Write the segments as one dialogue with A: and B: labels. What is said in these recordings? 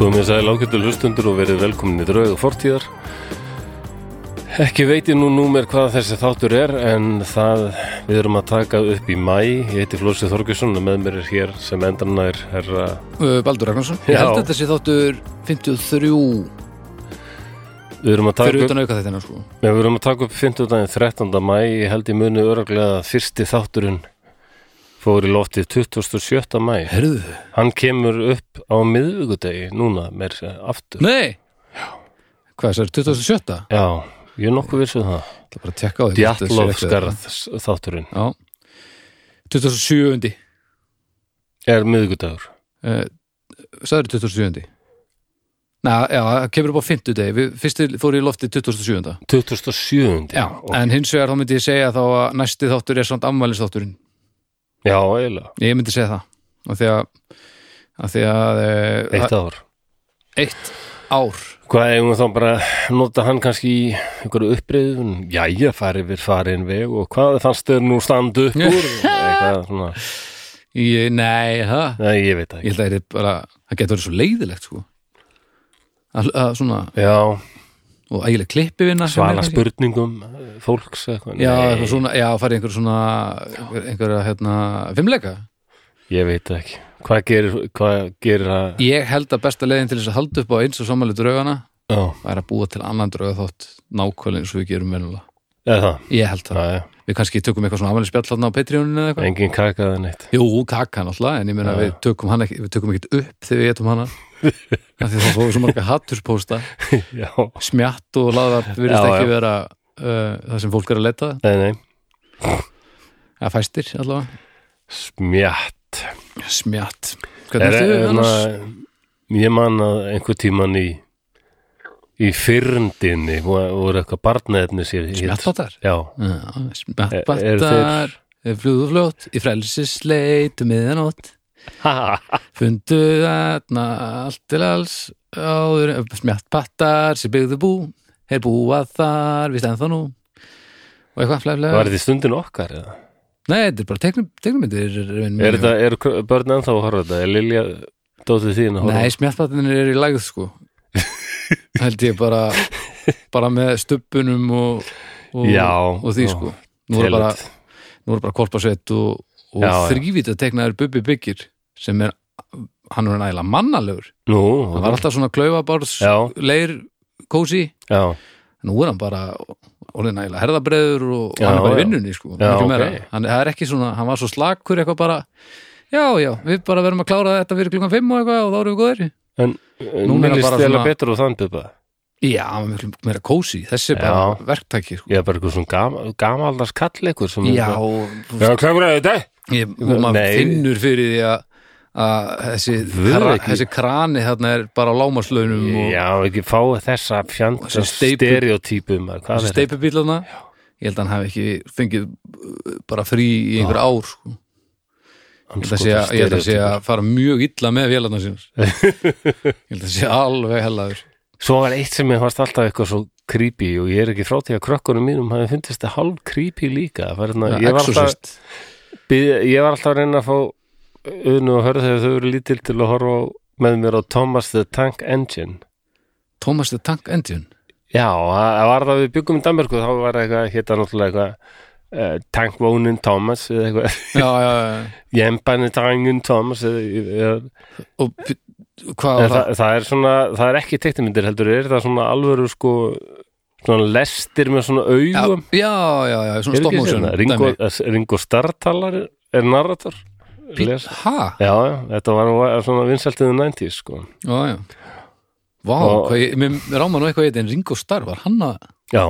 A: Komið sæl ágættu hlustundur og verið velkomin í draug og fortíðar. Ekki veiti nú númer hvað þessi þáttur er en það við erum að taka upp í mæ. Ég heiti Flósi Þorgesson og með mér er hér sem endrana er herra...
B: Ö, Uh, Baldur Ragnarsson
A: Já.
B: Ég held að þetta sé þáttur 53
A: Við erum að
B: fyrir
A: taka upp,
B: utan auka þetta sko.
A: Nei, við erum að taka upp 15. 13. mæ. Ég held ég muni öruglega að fyrsti þátturinn fór í loftið 27. mæ.
B: Herðu
A: Hann kemur upp á miðvíkudegi núna, mér sé, aftur.
B: Nei Hvað þessar, 2007?
A: Já, ég er nokkuð vissuð það.
B: Það er bara að tekka á því hvort þetta sé rétt eða
A: Djallovskarð þátturinn
B: eitthvað. Já 27.
A: er miðvíkudagur.
B: Uh, Sæður 27. Næ, já, það kemur upp á 50 degi Við fyrst fóru í lofti 27.
A: 27.
B: Já,
A: Og-
B: en hins vegar þá myndi ég segja þá að næsti þáttur er samt ammælisþátturinn
A: Já, eiginlega.
B: Ég myndi segja það Af því að, af því að
A: Eitt
B: eitt,
A: ár.
B: eitt ár
A: Hvað eigum við þá bara að nota hann kannski í einhverju uppriðun? Jæja, farið við farin veg og hvað fannst þér nú standu upp úr? Eitthvað svona.
B: Ég, nei, það
A: Nei, ég veit það
B: Ég
A: ekki.
B: held að það er bara, það getur verið svo leiðilegt sko að, að svona,
A: Já,
B: og ægileg klippi vinna
A: svara spurningum eh, fólks eitthvað.
B: Já,
A: Nei,
B: eitthvað svona, já, farið einhver svona einhverja, hérna, fimmleika
A: Ég veit það ekki. Hvað gerir, hvað gerir að...
B: Ég held að besta leiðin til þess að halda upp á eins og samanlega draugana
A: Já,
B: væri að búa til annan drauga þótt nákvæmlega eins og við gerum venulega
A: eða það.
B: Ég held það,
A: Já, já.
B: við kannski tökum eitthvað svona afmæli spjall hann á Patreoninu eða eitthvað
A: Engin kakaði neitt.
B: Jú, kakan alltaf, en ég meina
A: Já.
B: við tökum hann ekki, við tökum ekkit upp þegar við getum hana af því það fóðu svo marga hatturspósta
A: Já,
B: smjatt og laðvarp virðist
A: Já,
B: ekki
A: já.
B: vera uh, það sem fólk er að leta
A: nei, nei.
B: eða fæstir allavega
A: Smjatt.
B: smjatt
A: Er,
B: hvernig ertu
A: er, hérna,
B: annars?
A: ég man að einhver tíman í í fyrndinni voru voru eitthvað barnaefni sér hét.
B: smjattbattar
A: Já,
B: Já,
A: Eru
B: smjattbattar
A: þeir-
B: flugðu fljótt í frelsisleitu miðanótt fundu þarna allt til alls áður smjattbattar sem byggðu bú er búa þar, við stæðum þá nú og eitthvað flæf,
A: var
B: flæf
A: þetta í stundin okkar eða?
B: nei, þetta er bara teiknum, teiknumyndir
A: Er, þetta, er k- börn ennþá að horfa á þetta? Er Lilja dótið þín að horfa?
B: Nei, smjallbatnir eru í lægð sko held ég bara bara með stubunum og, og,
A: Já,
B: og því
A: já,
B: sko nú er bara,
A: Telut.
B: nú er bara korpasveit og, og
A: Já, já.
B: þrývít að teknaður Bubbi Byggir sem er, hann er nægilega mannalegur
A: Nú,
B: hann var alltaf svona klaufabárs
A: Já,
B: leir kósi,
A: já,
B: nú er hann bara orðin nægilega herðabreður og
A: Já,
B: hann er bara
A: já.
B: í vinnunni sko
A: Já,
B: miklu
A: ok.
B: meira. hann, það er ekki svona, hann var svo slakur eitthvað bara Já, já, við bara verðum að klára þetta fyrir klukkan 5 og eitthvað og þá erum við góðir.
A: en
B: Núna er hann
A: mér líst
B: bara
A: eða
B: svona-
A: betur á þann bubba
B: Já, hann var miklu meira kósi, þessi er bara verktæki sko.
A: Ég er bara eitthvað svona gam, gamaldars kalleikur sem er
B: Já,
A: bara-
B: og
A: Já, hvað er þetta?
B: ég, og maður
A: Nei.
B: finnur fyrir því að að þessi,
A: Guð
B: kra,
A: ekki.
B: þessi krani þarna er bara á lámaslaunum og
A: Já, ekki fá þessa fjand
B: Og þessi steypu-
A: stereotípum
B: þessi steipubílana ég held að hann hafi ekki fengið uh, bara frí í einhver ár sko. ég
A: Sko,
B: held að sé að- ég held að sé að fara mjög illa með vélarnar sínar ég held að sé alveg hellaður
A: Svo var eitt sem ég varst alltaf eitthvað svo creepy og ég er ekki frá því að krökkunum mínum hafi fundist það hálf creepy líka Það var hérna,
B: Ja,
A: ég, var alltaf,
B: Exorcist.
A: bið, ég var alltaf að reyna að fá unnu og hörðu þegar þau eru lítil til að horfa á- með mér á Thomas the Tank Engine
B: Thomas the Tank Engine
A: Já, það það var það við byggum í Danmarku þá var eitthvað, hétta náttúrulega eitthvað uh, Tankvónin Thomas eða eitthvað,
B: já, já, já.
A: Jembanni Tangin Thomas eða, eða,
B: og p- hvað
A: En
B: var það?
A: það, það er svona, það er ekki teiknumyndir heldur, er það svona alvöru sko svona lestir með svona
B: Já,
A: augum
B: já, já, já,
A: Er
B: svona
A: ekki
B: stoppmósun
A: svona? Ringo, eh, Ringo Starr talar er narrator Les-
B: Hæ?
A: Já, já, þetta var nú eh, svona vinsaltiðu 90 sko
B: Já, já. Vá,
A: Og-
B: hvað ég, mér mér ráma nú eitthvað eitt en Ringo Starr var hann að,
A: Já,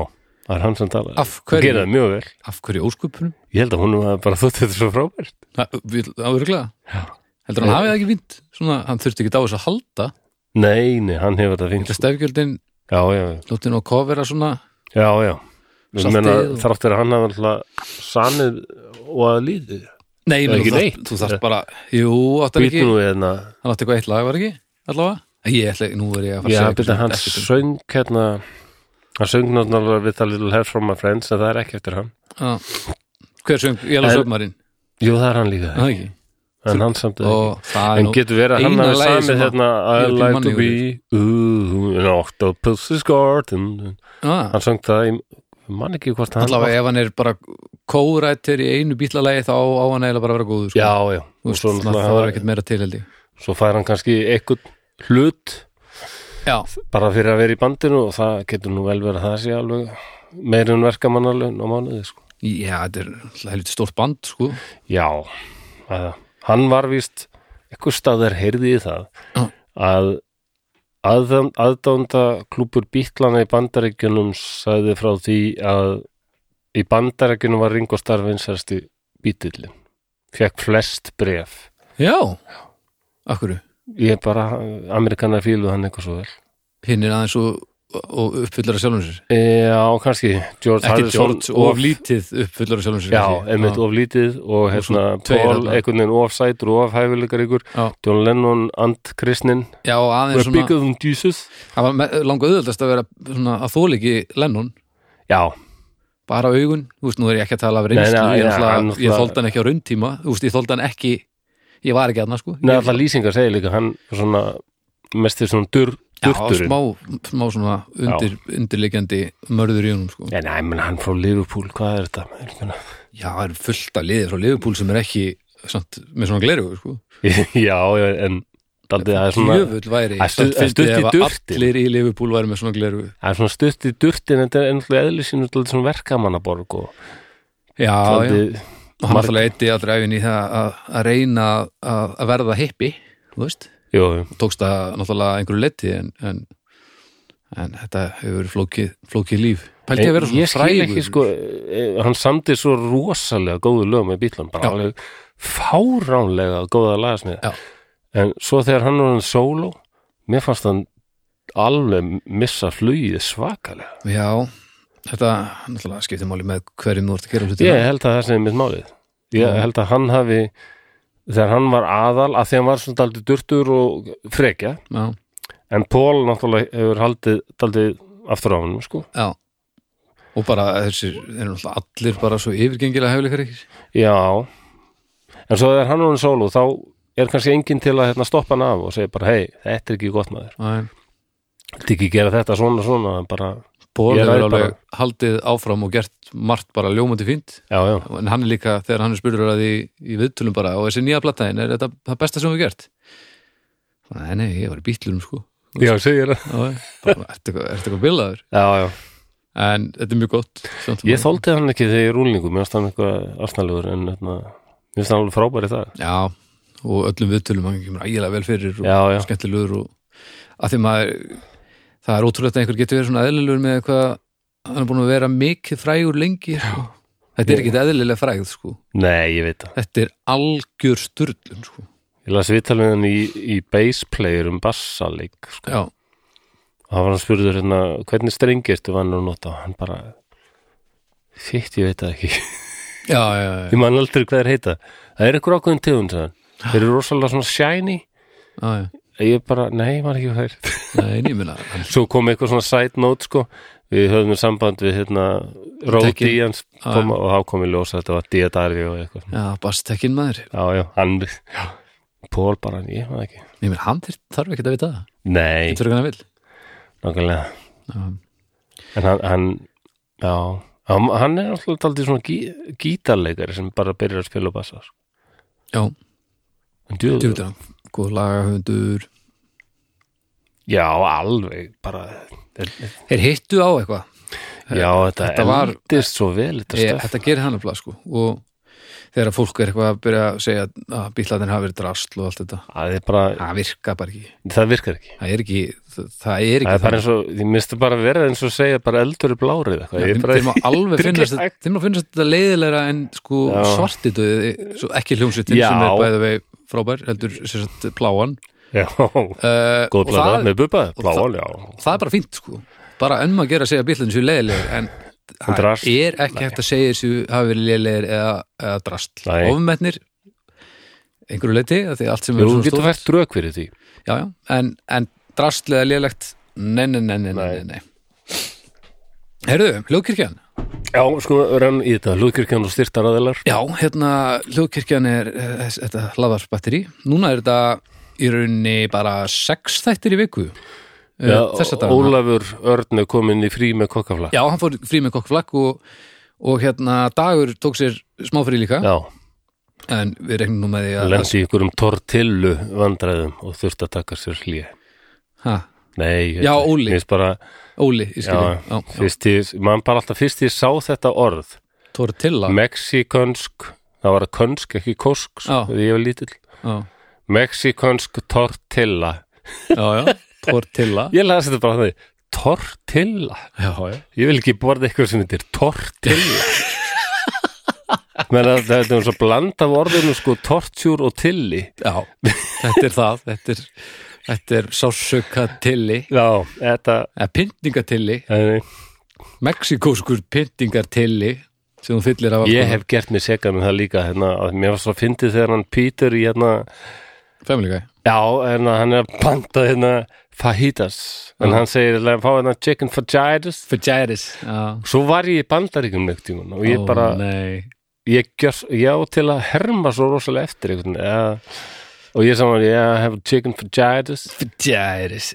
A: það er hann sem talar
B: af
A: Það
B: hverju,
A: gerði það mjög vel
B: af hverju óskupunum?
A: Ég held að hún var bara þótt þetta svo frábært
B: Það er örglega. Heldur hann
A: Já.
B: hafið það ekki vint, svona, hann þurfti ekki á þess að halda.
A: Nei, nei, hann hefur þetta fínt
B: Þetta
A: sko.
B: stefgjöldin,
A: Já, já,
B: lótið nú að kofera svona,
A: já, já Ég
B: Saltið
A: meina,
B: og-
A: þráttur að hann hafa alltaf sanið og að líði Það
B: nei,
A: er
B: menn,
A: ekki
B: þú,
A: neitt.
B: þarft, þú þarft bara, jú, áttan ekki,
A: Býtum við hérna
B: hann átti eitthvað eitt lag, var ekki, allavega? Ég ætla, nú er ég að fara
A: Já,
B: að
A: betur
B: segja
A: hann
B: eitthvað sem
A: söng hérna hann söng náttúrulega við það Little Help From My Friends en það er ekki eftir hann
B: ekkert um. Já. Hver söng, ég alveg
A: En-
B: sögmarinn,
A: Jú, það er hann líka
B: það ekki?
A: en hann samt ekki
B: og það er
A: En
B: nú
A: getur verið að hann
B: eina
A: hafi
B: lagið
A: samið
B: sem að-
A: hérna I
B: European
A: like to
B: Money
A: be ooh, an octopus is garden
B: ah,
A: Hann söng það í, mann ekki hvort hann
B: allavega ef hann er bara kórættur í einu bílalagi þá á hann eiginlega bara að vera góður sko.
A: Já, já,
B: Þú
A: og
B: veist,
A: svo
B: svona,
A: náttúrulega
B: það
A: hann-
B: er ekkert meira til held ég
A: svo fær hann kannski eitthvað hlut
B: já,
A: bara fyrir að vera í bandinu og það getur nú vel verið að það sé alveg meirun verkamannarlun á mánuði sko.
B: já, þetta er náttúrulega helviti stórt band sko.
A: Já, það er það. hann var víst eitthvað staðar heyrði í það
B: Já.
A: að aðdánda klúpur bítlana í bandarækjunum sagði frá því að í bandarækjunum var Ringo Starr vinsarsti bítillin fekk flest bref
B: já, akkur
A: ég bara, amerikanar fíluð hann eitthvað svo vel
B: hinn er aðeins og, og uppfyllara sjálfum sér
A: E, Já, kannski George
B: ekki
A: Harrison
B: George, of lítið uppfyllara sjálfum sér
A: Já, einmitt of lítið og
B: Og svo
A: hérna
B: tveir
A: Paul
B: þarna.
A: einhvern veginn of sætur og of hæfileikar ykkur
B: Já.
A: John Lennon and Kristnin
B: já, og aðeins
A: We're bigger
B: svona,
A: than Jesus
B: það var me- langa auðvöldast að vera svona að þóla ekki Lennon
A: Já,
B: bara augun, þú veist, nú er ég ekki að tala af
A: nei, nei,
B: reynslu, ég,
A: hann
B: náttúrulega-
A: náttúrulega-
B: ég þóldi hann ekki á rauntíma, þú veist, ég þóldi hann ekki ég var ekki aðna, sko
A: neða alltaf lýsingar segir líka hann svona mestir svona dur,
B: Já,
A: durturinn
B: smá, smá svona undir, undirleikjandi mörður í honum sko.
A: En næ, menn hann frá Liverpool, hvað er þetta? Ég meina-
B: Já, það er fullt af liðið frá Liverpool sem er ekki samt, með svona gleru sko.
A: Já, já, en daldið það er svona
B: Jöfull væri
A: Það er stutt-
B: samt
A: það er stutt í
B: fyndið ef að
A: durtinn.
B: Allir í Liverpool væri með svona gleru
A: það er svona stutt í durtin þetta er ennlega eðlisinn svona verkamannaborg og
B: Já, já,
A: daldið
B: og hann alltaf eitti allra æfin í það að, að reyna að, að verða hippi, þú veist
A: Jú, jú.
B: tókst það náttúrulega að einhverju leti en, en, en þetta hefur verið flókið, flókið líf Pældi ég að vera
A: Eh, Ég
B: svona
A: skil
B: frægur
A: ekki sko, eh, hann samdi svo rosalega góðu lög með bílum, bara
B: Já.
A: alveg fáránlega góða lagasmið
B: Já.
A: en svo þegar hann var hann solo mér fannst hann alveg missa flugið svakalega
B: Já, þetta náttúrulega skiptir máli með hverjum þú ert að gera hlutina
A: ég held að það sem er mitt málið
B: Já.
A: ég held að hann hafi þegar hann var aðal, að því hann var svona daldið durtur og frekja
B: Já,
A: en Pól náttúrulega hefur haldið daldið aftur á hann sko.
B: já Og bara þessir, þeir eru náttúrulega allir bara svo yfirgengilega hefleikar ekki
A: Já En svo þegar hann er hann solo þá er kannski enginn til að hérna, stoppa hann af og segja bara hei, þetta er ekki gott maður
B: Nei.
A: Þetta ekki gera þetta svona svona en bara,
B: Ból
A: Ég
B: hefur
A: ræð
B: alveg
A: bara-
B: haldið áfram og gert margt bara ljómandi fínt
A: já, já,
B: En hann er líka, þegar hann er spurður að því í viðtölum bara og þessi nýja plattaðin, er þetta það besta sem við gert? Nei, nei, ég var í bítlurum sko
A: já, segir það
B: Já, já. bara, Ertu eitthvað- ertu eitthvað bilaður?
A: Já, já,
B: En þetta er mjög gott samt
A: ég
B: sem áður.
A: þóldi hann ekki þegar ég rúlningu, mér finnst hann eitthvað afsnælugur en hérna, mér finnst hann alveg frábæri það
B: Já, og öllum viðtölum hann kemur ægilega vel fyrir og
A: Já, já,
B: skemmtilegur og að því maður það er ótrúlegt að einhver getur verið svona eðlilegur með eitthvað, hann er búin að vera mikið frægur lengi sko. þetta er ekki eðlilega frægð sko.
A: nei, ég veit það
B: þetta er algjör sturlun sko.
A: Ég las viðtalið hann í, í bass player um bassaleik sko.
B: já,
A: og hann var hann spurður hérna, hvernig strengirtu var hann að nota hann bara, þitt, ég veit það ekki
B: já, já, já,
A: ég man aldrei hvað þeir heita það er eitthvað ákveðin tegund sagði hann. þeir eru rosalega svona shiny
B: já, já.
A: ég bara, nei, maður ekki hvað þeir
B: Nei, en ég meina, hann-
A: svo kom eitthvað svona side note sko við höfðum samband við hérna Ródi
B: Tekin.
A: hans
B: Já,
A: kom, og þá kom í ljós að þetta var Diadari og eitthvað
B: já, bastekkin maður
A: já, já, hann já. Pól bara, ég maður ekki
B: ég meina, hann þyr- þarf ekki að vita það
A: nei,
B: þetta er hann vil
A: nákvæmlega
B: já,
A: en hann, hann já, hann, hann er alltaf taldið svona gí, gítarleikari sem bara byrjar að spila og bassa sko.
B: já,
A: en djöðu,
B: djúvitur hann góð lagahundur
A: já, alveg bara,
B: þeir hittu á eitthvað
A: já, þetta,
B: Þetta var-
A: eldist svo vel þetta
B: Ég,
A: stöf
B: þetta gerir hann nefnilega sko og þegar fólk er eitthvað að byrja að segja að bílaðin hafi verið drasl og allt þetta
A: að þið bara,
B: það virka bara ekki
A: það virkar ekki
B: það er ekki, það, það
A: það
B: er ekki
A: er bara eins og, ég minnst bara verið eins og segja bara eldur í blárið eitthvað Ég
B: þeim,
A: er
B: þeim
A: bara,
B: að alveg
A: þetta er
B: finnast
A: ekki hægt.
B: þeim að finnast þetta leiðilegra en sko
A: Já.
B: svartidauði, svo ekki hljómsveitin
A: Já.
B: sem er bæði vei frábær, heldur sem sagt pláan
A: já,
B: uh,
A: góð
B: og
A: bláða
B: það,
A: með bubba, bláðan, já
B: það er bara fínt sko bara önnum að gera að segja bílaðin séu leiðilegur en það
A: drasl,
B: er ekki hægt að segja þessu hafi verið leiðilegur eða, eða drasl
A: Nei.
B: ofmetnir einhverju leiti, af því að allt sem er
A: Jú, þú
B: svona
A: getur
B: stórt-
A: fært drög fyrir því
B: já, já, en, en drastlega lélegt nei, nei, nei, nei, nei,
A: Nei.
B: nei, nei. Herðu, hljóðkirkjan
A: Já, sko, rann í þetta, hlúðkirkjan og styrtaraðilar
B: Já, hérna, hljóðkirkjan er eh, þess- þetta hlaðvarsbatteri Núna er þetta í rauninni bara sex þættir í viku eh,
A: Já,
B: þessa dagana.
A: Ólafur Örn er komin í frí með kokkaflag
B: Já, hann fór frí með kokkflakk og, og hérna, Dagur tók sér smá frí líka
A: Já,
B: en við regnum nú með því að
A: lendi ykkur um tortillu vandræðum og þurft að taka sér hlýja
B: ha,
A: Nei, ég-
B: Já, Óli.
A: Mér finnst bara,
B: Óli, ég
A: já,
B: skilja já, já,
A: fyrst ég, mann bara alltaf fyrst ég sá þetta orð
B: Tortilla
A: Mexikonsk, það var að könsk, ekki kosk
B: Já.
A: þegar ég var lítill
B: já,
A: Mexikonsk tortilla
B: já, já, Tortilla
A: Ég las þetta bara þannig, tortilla
B: Já, já,
A: Ég vil ekki borða eitthvað sem heitir tortilla Menn að þetta er svo bland af orðinu sko tortjúr og tilli
B: já þetta er það þetta er, þetta er sásaukatilli
A: Já, þetta
B: eða pyntingatilli,
A: eh,
B: mexikóskur pyntingartilli sem hún fyllir af alls
A: Ég
B: konar.
A: hef gert mér seka með það líka hérna, að mér var svo fyndið þegar hann Peter í hérna
B: Family Guy
A: Já, en að hann er að panta hérna fajitas en
B: Já.
A: hann segir að fá hérna chicken fajitas
B: Fajiris Já,
A: Svo var ég í bandaríkjum neitt tíma og ég
B: Ó,
A: bara,
B: nei.
A: ég gjör, já til að herma svo rosalega eftir einhvern, ja, og ég saman, ég yeah, I have chicken fajitas
B: Fajiris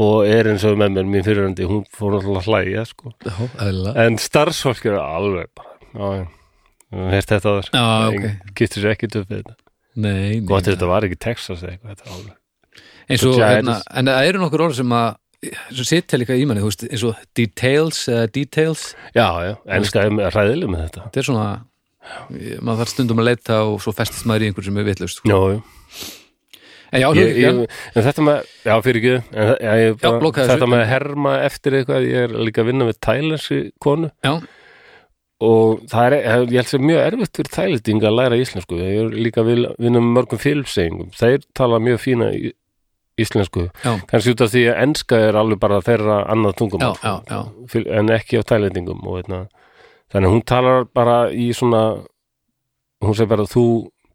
A: og er eins og með mér mín fyrirandi, hún fór alltaf að hlæja sko.
B: Já, eðlilega.
A: en starfsfólk er alveg bara já, já, hérst þetta þar
B: Já, ok
A: getur sér ekki upp við þetta
B: Nei, nei
A: gott ef þetta var ekki Texas eða eitthvað þetta er alveg
B: eins og
A: Vaginas.
B: hérna, en það eru nokkur orð sem að svo sitja líka í manni, þú veist, eins og details eða details,
A: já, já, enska er með- hræðileg með þetta
B: þetta er svona maður þarf stundum að leita og svo festist maður í einhver sem er vitlaust sko.
A: já, já,
B: en já,
A: ég,
B: hljóðkirkjan,
A: ég, en þetta með já, fyrir ekki, en, þa- já, ég,
B: Já, blokkaðu þessu.
A: þetta með að herma eftir eitthvað, ég er líka að vinna með tælensi konu
B: já,
A: og það er, eh, ég held sér mjög erfitt fyrir tælendinga að læra íslensku ég er líka að vil- vinna með mörgum fylfsegingum þeir tala mjög fína í- íslensku
B: já,
A: kannski út af því að enska er alveg bara þeirra annað tungumál
B: Já, já, já.
A: Fyl- en ekki á tælendingum og, veitna, þannig að hún talar bara í svona hún segir bara þú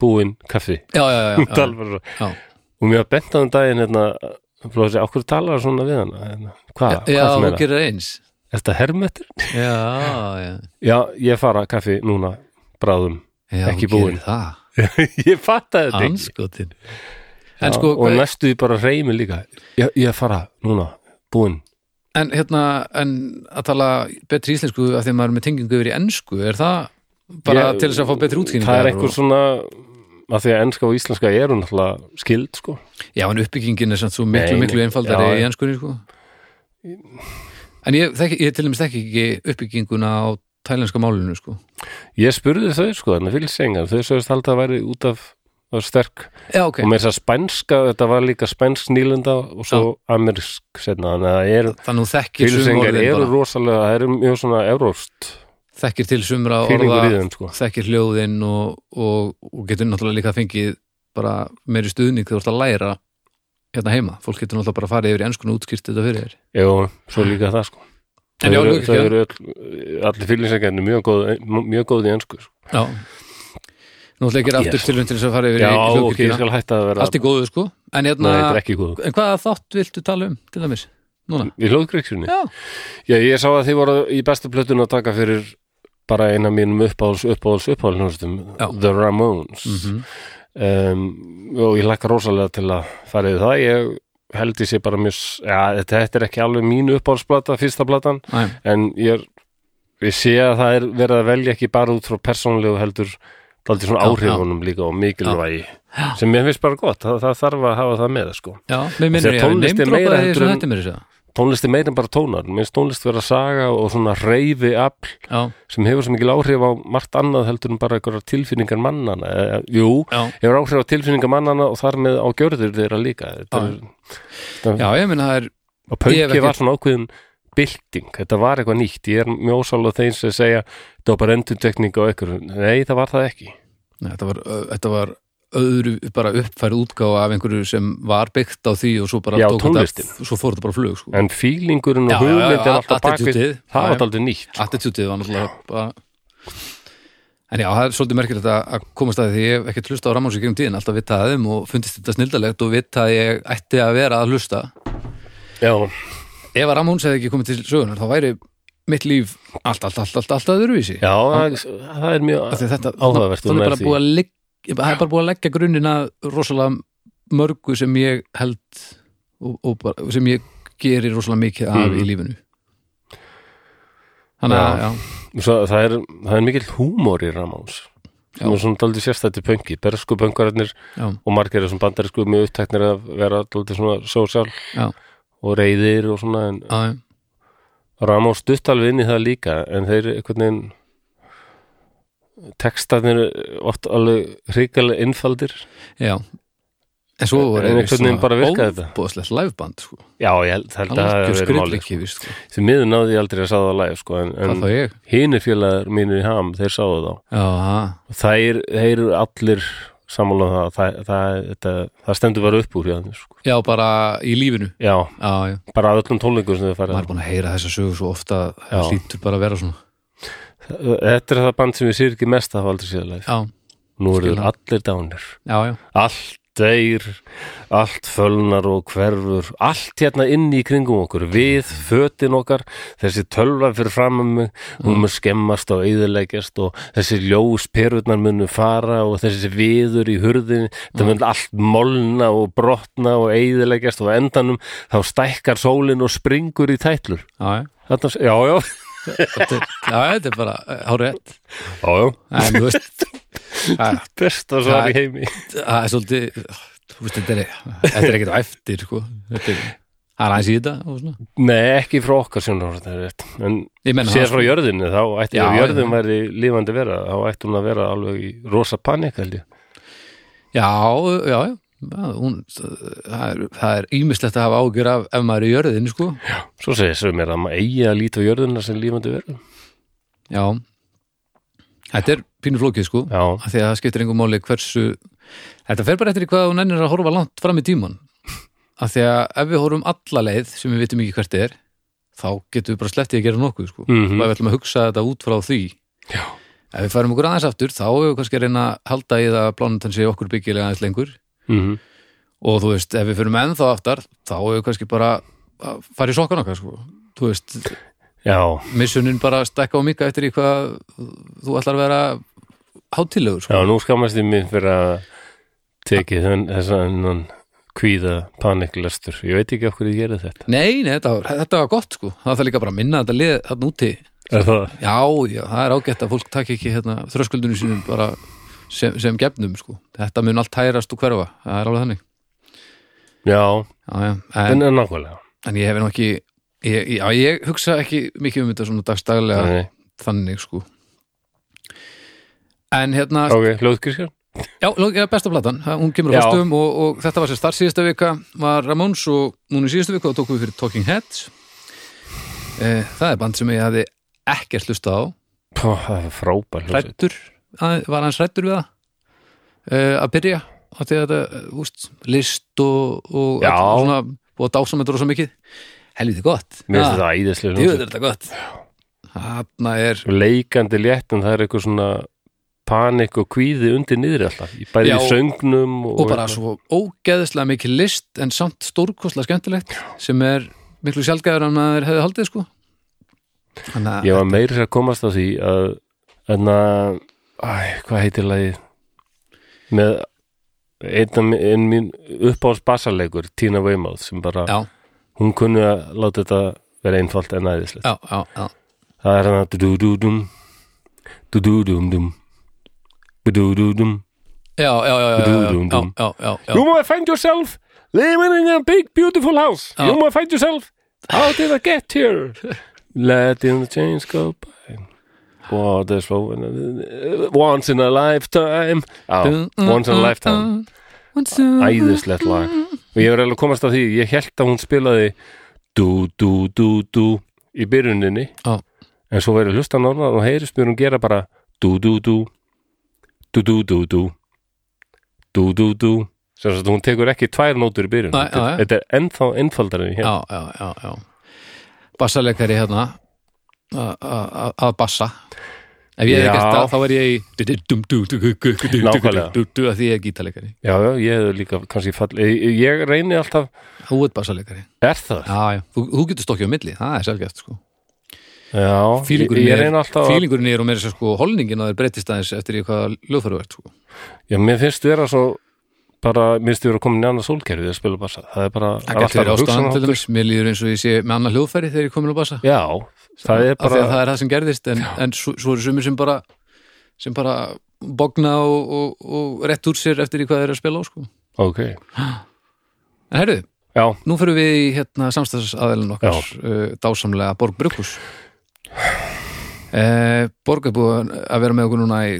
A: búinn kaffi
B: já, já, já,
A: Hún
B: já,
A: talar bara svo.
B: já.
A: og mér var bent á um daginn hérna, blóði, okkur talar það svona við hana hérna, hvað,
B: já,
A: hvað það
B: hún
A: meina,
B: gerir það eins
A: er þetta hermetur?
B: já, já,
A: já, ég fara kaffi núna bráðum,
B: já
A: Ekki
B: hún
A: búin.
B: gerir það
A: ég fatta þetta ekki
B: anskotin en
A: Já,
B: sko,
A: og næstu því bara reymi líka ég, ég fara núna, búinn
B: en hérna en að tala betri íslensku af því að maður er með tengingu yfir í ensku, er það bara
A: Ég-
B: til þess að fá betri útskýringar
A: það er
B: og-
A: einhver svona að því að enska og íslenska eru náttúrulega skild sko.
B: Já, en uppbyggingin er samt svo miklu,
A: Nei,
B: miklu
A: nei.
B: einfaldari
A: Já,
B: í
A: já.
B: ennskunni, sko. En ég, þekki, ég til dæmis þekki ekki uppbygginguna á tælenska málinu, sko.
A: ég spurði þau sko, þannig fyrir sengar þau sögðist alltaf að væri út af það var sterk
B: Já, ok.
A: og með þess að spænska, þetta var líka spænsk nýlenda og svo amerísk setna, þannig að það eru
B: Þannig þú þekkir sum
A: Fylsengar
B: orðin
A: eru
B: bara.
A: rosalega, það eru mjög svona evróst
B: Þekkir til sumra
A: fílingur í
B: orða,
A: þeim sko.
B: þekkir hljóðin og, og, og getur náttúrulega líka fengið bara meiri stuðning þegar þú ert að læra hérna heima. Fólk getur náttúrulega bara að fara yfir í ennskunu útskýrt þetta fyrir þér.
A: Jú, svo líka það sko. Það
B: En já,
A: eru,
B: Lúkas,
A: það
B: já.
A: eru öll, allir fylsengarnir mjög góð mjög góð í ennsku sko.
B: Já. Nú ætla ég að gera aftur
A: Yes.
B: tilraun til þess að fara yfir
A: Já,
B: í
A: ok, ég
B: hljóðkirkjuna.
A: skal hætta að vera
B: Allt í góðu, sko. En
A: Nei, þetta er
B: hérna,
A: ekki góð
B: en hvaða þátt viltu tala um, til dæmis? Núna?
A: Í hljóðgreiksunni?
B: Já.
A: Já, ég sá að þið voru í bestu plötun að taka fyrir bara eina mínum uppáhals, uppáhals, uppáhals hljóðstum,
B: Já. Mhm.
A: The Ramones um, og ég lakka rosalega til að fara yfir það ég held ég sé bara mjög s- já, þetta, þetta er ekki alveg mín uppáhalsplata, fyrsta platan
B: Æ,
A: en ég, er, ég sé að það er verið að velja ekki bara út frá persónlegu heldur daldið svona
B: Já,
A: áhrifunum líka og mikilvægi
B: Já.
A: sem mér finnst bara gott, það, það þarf að hafa það með sko.
B: já, mér
A: Þegar
B: minnir ég að
A: tónlist er meira
B: neymdrópaði
A: heldur
B: þessu
A: en-
B: þetta mér þessu
A: tónlist er meira en bara tónar minnst tónlist vera saga og svona reyfi afl
B: Já,
A: sem hefur svo mikil áhrif á margt annað heldur en bara einhverjar tilfinningar mannana eh, jú,
B: já,
A: hefur áhrif á tilfinningar mannana og þar með á gjörður þeirra líka þetta
B: Já.
A: er,
B: já, ég minna það er
A: og
B: Ég hef
A: pönki
B: ekki-
A: var svona ákveðin bylting, þetta var eitthvað nýtt ég er mjög ósálega þeim sem segja þetta var bara endurtekning á einhverju nei, það var það ekki
B: Nei, þetta var, ö, þetta var öðru bara uppfærið útgáfa af einhverju sem var byggt á því og svo bara
A: Já,
B: tók þetta-
A: tónlistin.
B: Svo fór þetta bara á flug, sko
A: en fílingurinn
B: Já,
A: og
B: já, já,
A: hugmyndin alltaf bakvið,
B: attitútið.
A: það
B: Já,
A: var
B: já.
A: aldrei nýtt
B: Attitútið var náttúrulega bara En já, það er svolítið merkilegt að að komast að því ég hef ekkert hlusta á Ramóns í gegnum tíðin alltaf vitað að þeim og fundist þetta snildalegt og vitað að ég ætti að vera að hlusta
A: já,
B: Ef að Ramóns hefði ekki komið til sögunar þá væri mitt líf allt, allt, allt, allt, allt öðruvísi
A: Já, það, það er
B: Af
A: mjög
B: því að þetta,
A: Áhugavert, þú
B: þannig
A: nærð
B: bara
A: því.
B: búið að ligg, það er bara búið að leggja grunnina rosalega mörgu sem ég held og, og bara, sem ég geri rosalega mikið af
A: Mm.
B: í lífinu þannig að já,
A: svo, það, er, það er mikill húmor í Ramáns sem
B: Já.
A: er svona daldið sérstætti pöngi bersku pöngararnir
B: já,
A: og margir er svona bandarisku mjög upptæknir að vera daldið svona sósal
B: Já.
A: og reyðir og svona en
B: já, já,
A: Ramón stutt alveg inn í það líka en þeir einhvern veginn textarnir oft alveg hrikalega innfaldir
B: já en svo var
A: En einhvern veginn bara virkaði þetta.
B: óbúðslegt læfband sko.
A: Já, ég held, held að það
B: algjör
A: er málið
B: skriðliki víst, sko.
A: Því miður náði ég aldrei að sá það á live sko, en,
B: það þá
A: en
B: ég
A: hinir félagar mínir í ham þeir sáu þá
B: já, ha,
A: og þeir, þeir eru allir sammála um það það, það, þetta, það stendur bara upp úr hjá, þeim, sko.
B: já, bara í lífinu
A: Já,
B: já, já,
A: bara að öllum tónleikum sem þau
B: maður
A: fara
B: er búin að heyra þessa sögu svo ofta
A: Já.
B: það hlýtur bara að vera svona
A: Þetta er það band sem ég sér ekki mest að hafa aldrei séð live
B: já,
A: Nú eru
B: Skil
A: þeir
B: það.
A: allir dánir
B: já, já,
A: allt deyr, allt fölnar og hverfur, allt hérna inn í kringum okkur, við, fötin okkar, þessi tölva fyrir framum mig, hún mun skemmast og eyðileggjast og þessi ljós perurnar munu fara og þessi viður í hurðin, það mun allt molna og brotna og eyðileggjast og á endanum þá stækkar sólin og springur í tætlur.
B: já, já.
A: Þetta, já, já,
B: Þetta er- já, þetta er bara hárétt
A: já, já,
B: en þú veist það
A: besta svar í heimi.
B: það er svolítið þú veist, þetta er, þetta er ekkert á eftir sko. þetta er það er aðeins í þetta og svona.
A: Nei, ekki frá okkar sjónarhórt, en sko-
B: ég menna
A: séð frá jörðinu þá ætti
B: Já,
A: ef jörðin
B: já.
A: væri lifandi vera þá ætti hún að vera alveg í rosa panik held ég
B: já, já, já Já, hún, það er- það er ímislegt að hafa ágjör af ef maður er í jörðin sko.
A: svo segir sem mér að maður eigi að líta á jörðina sem lifandi vera
B: já þetta er pínu flókið sko.
A: já,
B: af því að það skiptir engum máli hversu þetta fer bara eftir í hvað hún ennir að horfa langt fram í tíman af því að ef við horfum alla leið sem við vitum ekki hvert er þá getum við bara slepptið að gera nokkuð sko. mm
A: Mhm.
B: og ef við ætlum að hugsa þetta út frá því
A: Já.
B: ef við færum okkur aðeins aftur þá hefur við kannski að reyna að halda í það að plánutan sé okkur byggilega aðeins lengur
A: mm
B: og þú veist, ef við fyrum ennþá aftar þá hefur við kannski bara að fara í sokkan okkar sko. þú veist,
A: já,
B: missunin bara stekka og mika eftir í hvað þú ætlar að vera hátilegur sko.
A: já, nú skammast ég mér fyrir að teki þenn, þessan kvíða paniklestur ég veit ekki af hverju ég gerði þetta
B: Nei, nei þetta, var, þetta var gott sko Það þarf líka bara að minna þetta lið þarna úti
A: er það,
B: Já, já, það er ágætt að fólk takk ekki hérna, þröskuldunum sínum bara sem, sem gefnum sko Þetta mun allt hærast og hverfa, það er alveg þannig
A: já,
B: Já, já, en,
A: en er nákvæmlega
B: en ég hef nú ekki ég, Já, ég hugsa ekki mikið um þetta svona dagstaglega
A: Nei,
B: þannig sko En hérna,
A: ok, hljóðkirkja
B: já, ló- já besta platan það- hún kemur á
A: Já.
B: fyrstum og, og þetta var sér start síðasta vika var Ramóns og núna í síðasta vika og tókum við fyrir Talking Heads eh, Það er band sem ég hafði ekkert hlusta á
A: Pá, það er frábær hljóðsveit
B: hrættur var hans hrættur við það uh, að byrja að því að þetta, eh, úst, list og, og
A: Já.
B: allt svona, og dásamöndur og svo mikið helviti gott
A: mér finnst
B: Ah,
A: þetta æðislega
B: djöfull
A: hljóðsveit
B: er þetta gott þarna er
A: leikandi létt en það er eitthvað svona panik og kvíði undir niðri alltaf Í- bæði
B: Já,
A: í söngnum og,
B: og bara svo ógeðslega mikið list en samt stórkostlega skemmtilegt sem er miklu sjálfgæður en maður hefði haldið sko þannig
A: ég
B: að
A: var meira sér að komast að því að en að æ, hvað heitir lagið með einn af mi- einn mín uppáhalds basaleikur Tina Weymouth sem bara
B: Já.
A: hún kunni að láta þetta vera einfalt en aðeinslegt
B: já, já, já,
A: það er hérna, hann að du-du-dum du-du-dum-dum du-du-dum
B: já, já, já,
A: Dú,
B: já,
A: dú,
B: já,
A: dú.
B: já, já, já.
A: You must find yourself living in a big beautiful house
B: Já.
A: You must find yourself How did I get here? Letting the chains go by What is wrong uh, Once in a lifetime Já,
B: Oh.
A: Once in a lifetime
B: Once in a-
A: Æðislegt lag Og ég var alveg að komast að því Ég held að hún spilaði Du, du, du, du Í byrjuninni
B: Já.
A: En svo verið hlusta norðan og heyrist mér hún gera bara Du, du, du Du, du, du, du Du, du, du Sem sagt hún tekur ekki tvær nótur í byrjun
B: Nei,
A: Þetta
B: já,
A: er-
B: já.
A: þetta er ennþá einfaldar en ég hef
B: já, já, já, já. bassaleikari hérna a- a- a- að bassa ef
A: Já.
B: ég hefði gert það þá væri ég í
A: Nákvæmlega.
B: nákvæmlega að því ég er gítaleikari
A: Já, já, ég hef líka kannski fall Ég, ég reyni alltaf
B: þú ert bassaleikari
A: Er það?
B: Já, já, þú, þú getur stokkið á milli, það er sjálfgæft sko
A: Já, ég,
B: Fílingurinn
A: ég
B: er-
A: reyna alltaf að,
B: fílingurinn er og meira sér sko holningin að þeir breytist aðeins eftir í hvaða hljóðfæru verð sko.
A: já, mér finnst vera svo bara, mér finnst vera að koma inn í annað sólkerfið að spila bassa, það er bara
B: það gæti verið ástæðan til dæmis, mér líður eins og ég sé með annað hljóðfæri þegar ég komin á bassa
A: Já, það er
B: af því
A: bara
B: að það er það sem gerðist en, en svo, svo eru sumir sem bara sem bara bogna og, og, og rétt úr sér eftir í hvað þeir eru að spila á sko.
A: Ok,
B: en herru,
A: já,
B: nú fyrir við í hérna, samstæðsaðelin okkar uh, dásamlega Borg Brukus uh, Borg er búin að vera með okkur núna í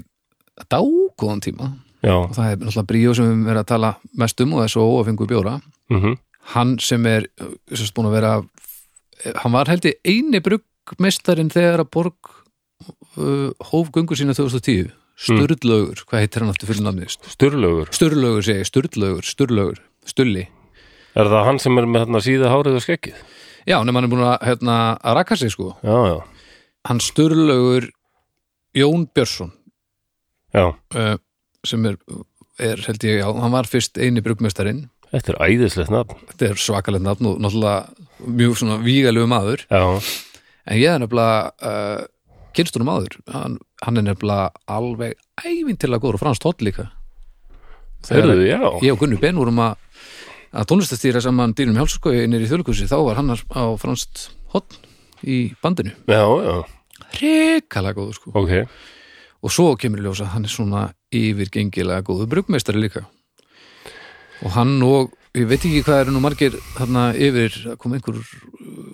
B: dágóðan tíma
A: já
B: og það er náttúrulega bríó sem við erum verið að tala mest um og þessu óafengur bjóra
A: mm
B: hann sem er uh, sem sagt, búin að vera hann var held ég eini bruggmestarin þegar að Borg uh, hóf göngu sína 2010 Sturlaugur, hvað heitir hann aftur fyrir namni
A: Sturlaugur,
B: Sturlaugur segi, ég, Sturlaugur, Sturlaugur Stulli,
A: er það hann sem er með þarna síða hárið og skeggið?
B: já, nema hann er búin að, hérna, að raka sig sko,
A: Já, já,
B: hann Sturlaugur Jón Björnsson
A: já,
B: uh, sem er, er held ég, já, hann var fyrst eini bruggmestarin,
A: þetta er æðislegt nafn
B: þetta er svakalegt nafn og náttúrulega mjög svona vígalegu maður
A: Já,
B: En ég er nefnilega uh, kynstunum áður, hann, hann er nefnilega alveg ævintilega góður og franskt hótt líka.
A: heyrðu, já
B: Ég og Gunni Ben vorum að, að tónlistastýra saman dýrum hjálpskoði innir í þjóðleikursi, þá var hann á franskt hótt í bandinu.
A: Já, já,
B: Ríkala góður sko.
A: ok
B: Og svo kemur í ljós að hann er svona yfirgengilega góður brugmeistari líka. Og hann og, ég veit ekki hvað eru nú margir þarna yfir, það kom einhver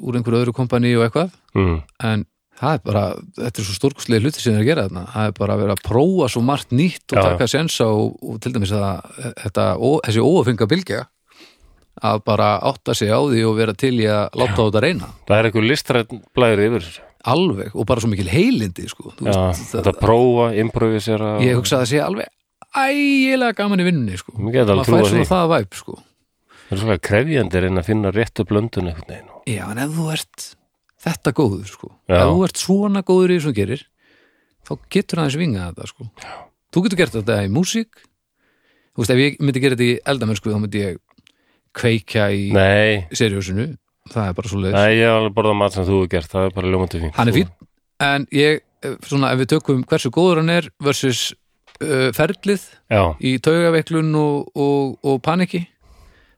B: úr einhverju öðru kompani og eitthvað
A: mm.
B: en það er bara, þetta er svo stórkustlega hluti sem þeir gera þarna, það er bara að vera að prófa svo margt nýtt og
A: Já, já.
B: taka sensa og, og til dæmis að þetta, ó, þessi óafenga bylgja að bara átta sig á því og vera til í að láta á þetta reyna
A: Það er einhver listrætt blæður yfir þessu
B: alveg og bara svo mikil heilindi sko, Þú
A: Já, þetta prófa, improvisera
B: ég hugsa að það sé alveg ægilega gaman í vinnunni sko.
A: Ég get alveg
B: maður fær
A: trúað
B: svona
A: því.
B: það væp sko.
A: Það er svolítið krefjandi að reyna að finna réttu blöndun einhvern veginn.
B: já, en ef þú ert þetta góður sko.
A: Já.
B: ef þú ert svona góður í þessum gerir þá getur aðeins vinga þetta sko. þú getur gert þetta í músík þú veist, ef ég myndi gera þetta í eldamennsku þá myndi ég kveikja í
A: Nei,
B: seriósinu, það er bara svo leiðis
A: nei, ég hef alveg borðað mat sem þú hefur gert, það er bara ljómandi fín.
B: hann er fín, en ég eh, svona, ef við tökum hversu góður hann er versus uh, ferlið
A: Já,
B: í taugaveiklun og, og, og paniki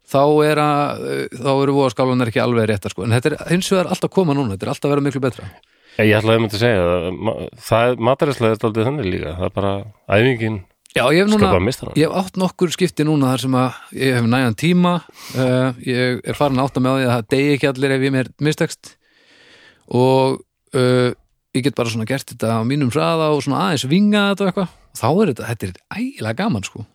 B: þá er að eh, þá eru voða skálanar ekki alveg réttar sko. en þetta er hins vegar alltaf að koma núna þetta er alltaf að vera miklu betra
A: ég, ég ætlaði að myndi að segja það, ma- það er mataræslega þetta aldrei þannig líka, það er bara æfingin
B: Já, ég hef
A: skapar
B: núna,
A: mistara.
B: ég hef átt nokkur skipti núna þar sem að ég hef nægan tíma uh, ég er farin að átta með á því að það degi ekki allir ef ég mér mistekst og uh, ég get bara svona gert þetta á mínum hraða og svona aðeins vinga þetta og eitthvað og þá er þetta, þetta er ægilega gaman sko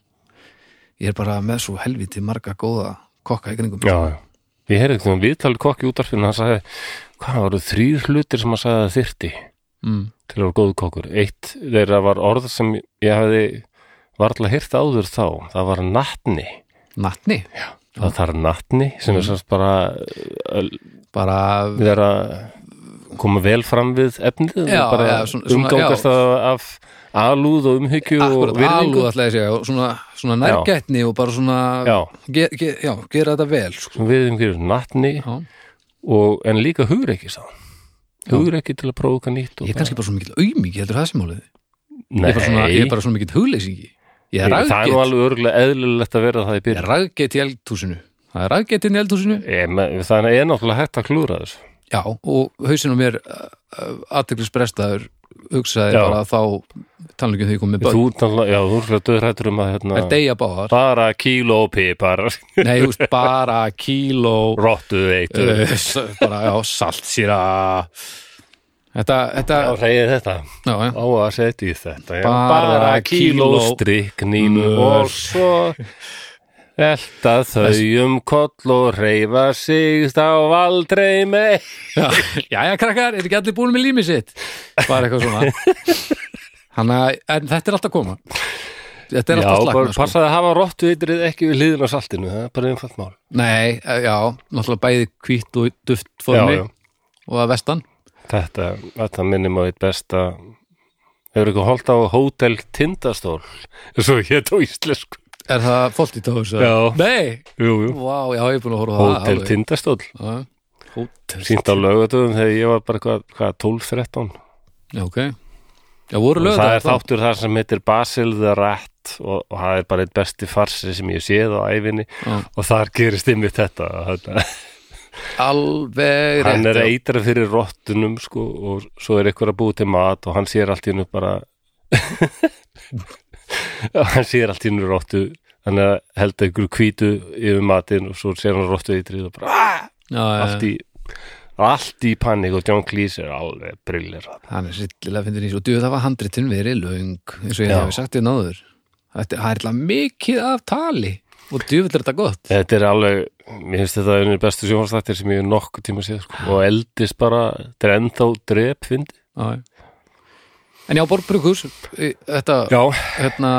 B: ég er bara með svo helviti marga góða kokka í kringum
A: Já, já. Ég heyrði eitthvað um viðtalið kokki í útvarfinu, hann sagði, hvað voru þrýr hlutir sem hann sagði að þyrti
B: mm.
A: til að vera góð kokkur. Eitt þeirra var orð sem ég hefði varla hýrt áður þá, það var natni.
B: Natni,
A: Það þarf natni sem er sérst bara uh,
B: bara
A: við erum að koma vel fram við efnið og
B: Já,
A: bara
B: já, svona- svona-
A: umgangast
B: já.
A: það af alúð og umhyggju
B: akkurat
A: og virðingu
B: alúð alltaf að segja og svona, svona nærgætni og bara svona
A: já,
B: ge, ge, já, gera þetta vel sko.
A: svona virðingu fyrir natni
B: Já.
A: og, en líka hugreiki sá hugreiki til að prófa eitthvað nýtt og
B: Ég er kannski bara svo mikill aumingi, heldur það sem málið
A: Nei,
B: ég, er bara svona, ég er bara svo mikill hugleysingi Ég er
A: það er nú
B: ræðgett
A: alveg örgulega eðlilegt að vera það í
B: Ég
A: byrjun
B: er ræðgett í eldhúsinu Það er ræðgettinn í eldhúsinu
A: Ég me- þannig að ég er náttúrulega hægt að klúra þessu
B: Já, og hausinn á mér aðteglisbrestaður hugsaði
A: Já.
B: bara þá talningum þau komið börn
A: þú, ert náttúrulega- já, þú er svona döðrættur um að
B: Það er
A: hérna,
B: deyja báðar
A: bara kíló pipar
B: Nei, þú veist, bara kíló
A: rottu veitur
B: eh, s- bara, já, salt síra Þetta, þetta
A: þá segir þetta
B: já, já,
A: á að setja í þetta já.
B: Bara
A: bara kíló
B: kíló Mm.
A: striknín
B: Mör.
A: og svo elta þau um koll og reyfa sig þá aldrei með
B: já, já, já, krakkar, er ekki allir búin með límið sitt bara eitthvað svona Hanna, en þetta er alltaf að koma þetta er
A: já,
B: alltaf
A: bara
B: slagna sko.
A: passaði að hafa rottu eitrið ekki við hliðin á saltinu það er bara einfalt mál
B: nei, eh, já, náttúrulega bæði hvít og duft formi
A: já, já.
B: og að vestan
A: þetta, þetta minnum á eitt besta hefur eitthvað holdt á hótel tindastól svo hétt á íslensku
B: er það fólkt í tóðs
A: Já.
B: nei,
A: jú, jú.
B: vá, já, ég er búin að horfa á það
A: hótel
B: alveg.
A: tindastól
B: Já. Hótel
A: sínt á lögatöðum þegar ég var bara hvað, hvað 12-13
B: Já, ok Já, voru
A: og
B: lög
A: það er þáttur þar sem heitir Basil the Rat og, og það er bara eitt besti farsi sem ég hef séð á æfinni
B: Já.
A: og þar gerist ymmið þetta þetta-
B: Alveg rétt
A: hann er
B: já.
A: eitra fyrir rottunum sko, og svo er ykkur að búi til mat og hann sér allt í hennu bara hann sér allt í hennu rottu þannig að held ykkur hvítu yfir matinn og svo sér hann rottu eitrið og bara "Ah!"
B: já, já,
A: allt
B: já.
A: í allt í panik og John Cleese er alveg brillir
B: Hann er sillilega fyndin í svo Djú, það var handritin verið löng eins og ég
A: Já.
B: hef sagt þér náður Þetta það er alltaf mikið af tali og djúvill er þetta gott
A: þetta er alveg, mér finnst þetta einu bestu sjónvarsþættir sem ég hef nokkuð tíma séð sko. og eldist bara, þetta er ennþá drep fyndi
B: já. já. En já, Borgbrukus Þetta,
A: já,
B: hérna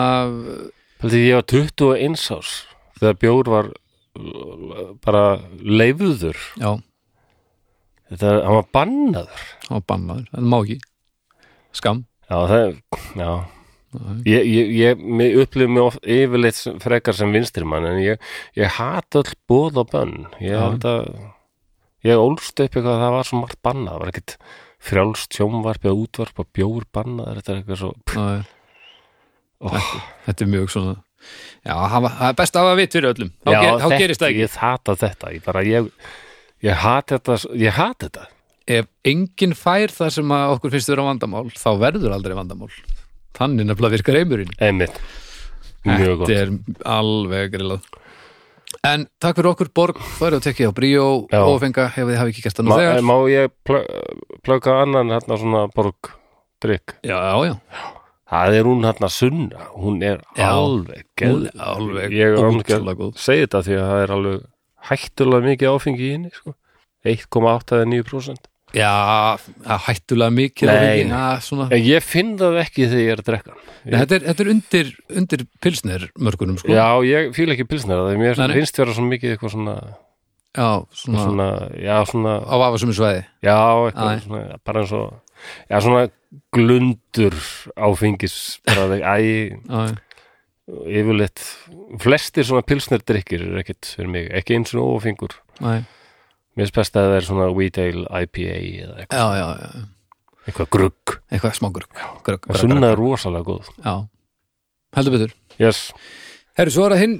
A: Haldi, ég var 21 árs þegar bjór var uh, bara leifuður
B: Já,
A: þetta, hann var bannaður
B: hann var bannaður, það má ekki Skam
A: já, það er, já ég, ég, ég, ég upplifði mig oft yfirleitt sem- frekar sem vinstrimann en ég, ég hata öll bóð og bönn ég
B: Já.
A: held að ég ólst upp eitthvað að það var svo margt bannað það var ekkit frjálst sjónvarp eða útvarp og bjór bannaður, þetta er eitthvað svo
B: Já, já.
A: Ó.
B: Þetta, þetta er mjög svona Já, hafa, það er best að hafa vitt fyrir öllum Þá,
A: Já,
B: ger, þá
A: þetta-
B: gerist það ekki
A: ég hata þetta, ég bara ég, ég hata þetta, s- ég hata þetta
B: Ef enginn fær það sem að okkur finnst vera vandamál þá verður aldrei vandamál Þannig nefnilega virkar heimurinn
A: einmitt, mjög gott
B: Þetta er alveg grillað En takk fyrir okkur Borg Það eru að tekja á Bríó
A: Já.
B: og fenga ef þið hafi ekki gæst hann
A: Ma,
B: og þegar
A: má ég plö- plugga annan hérna svona borg drikk
B: Já, já, já,
A: það er hún hérna sunna hún er
B: Já,
A: alveg geð
B: hún er alveg
A: ég er alveg
B: ótrúlega góð.
A: að segja þetta því að það er alveg hættulega mikið áfengi í henni sko. 1,8-9%
B: já það er hættulega mikið
A: Nei,
B: það er ekki-
A: nei.
B: Já, svona.
A: en ég finn það ekki þegar ég er að drekka hann.
B: Nei, Þetta er, þetta er undir, undir pilsnir mörgunum sko
A: já, ég fíla ekki pilsnir það mér
B: Nei, nei.
A: finnst vera svo mikið eitthvað svona,
B: Já, svona,
A: svona já, svona,
B: á vafasum svæði
A: Ah, já, eitthvað
B: Æ.
A: svona, bara eins og já, svona glundur áfengis bara, æ,
B: Já, já
A: yfirleitt flestir svona pilsnerdrykkir er ekkit fyrir mig, ekki eins og ófingur
B: Nei.
A: mér finnst best að það er svona Wheat Ale IPA eða eitthvað,
B: Já, já, já,
A: eitthvað grugg
B: eitthvað smá grugg grugg,
A: og
B: grugg,
A: sunna
B: grugg.
A: er rosalega góð
B: Já, heldur betur
A: yes.
B: Herru, svo er að hinn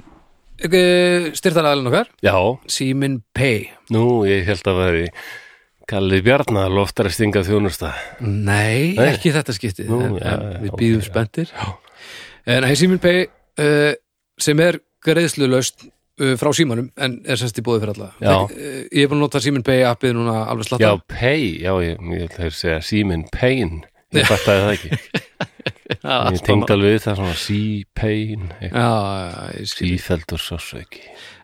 B: styrtaraðalinn okkar
A: já,
B: Simin Pay
A: nú ég held að veri Kalli Bjarnar loftara stinga þjónusta
B: Nei,
A: Nei.
B: ekki í þetta skiptið
A: Nú,
B: en,
A: já,
B: en
A: já,
B: Við
A: ok,
B: býðum
A: já.
B: spenntir En hei, Simin Pay uh, sem er greiðslulaust uh, frá símanum en er sérst í bóði fyrir alla
A: Já.
B: Þetta- uh, Ég er búin að nota Simin Pay appið núna alveg slatta
A: já, Pay, já, ég, ég held að segja Seaman Pain, ég fattaði það ekki ég tengd alveg við það svona Sea Pain eitthvað,
B: Já, já, ég skil
A: sífeldur sásauki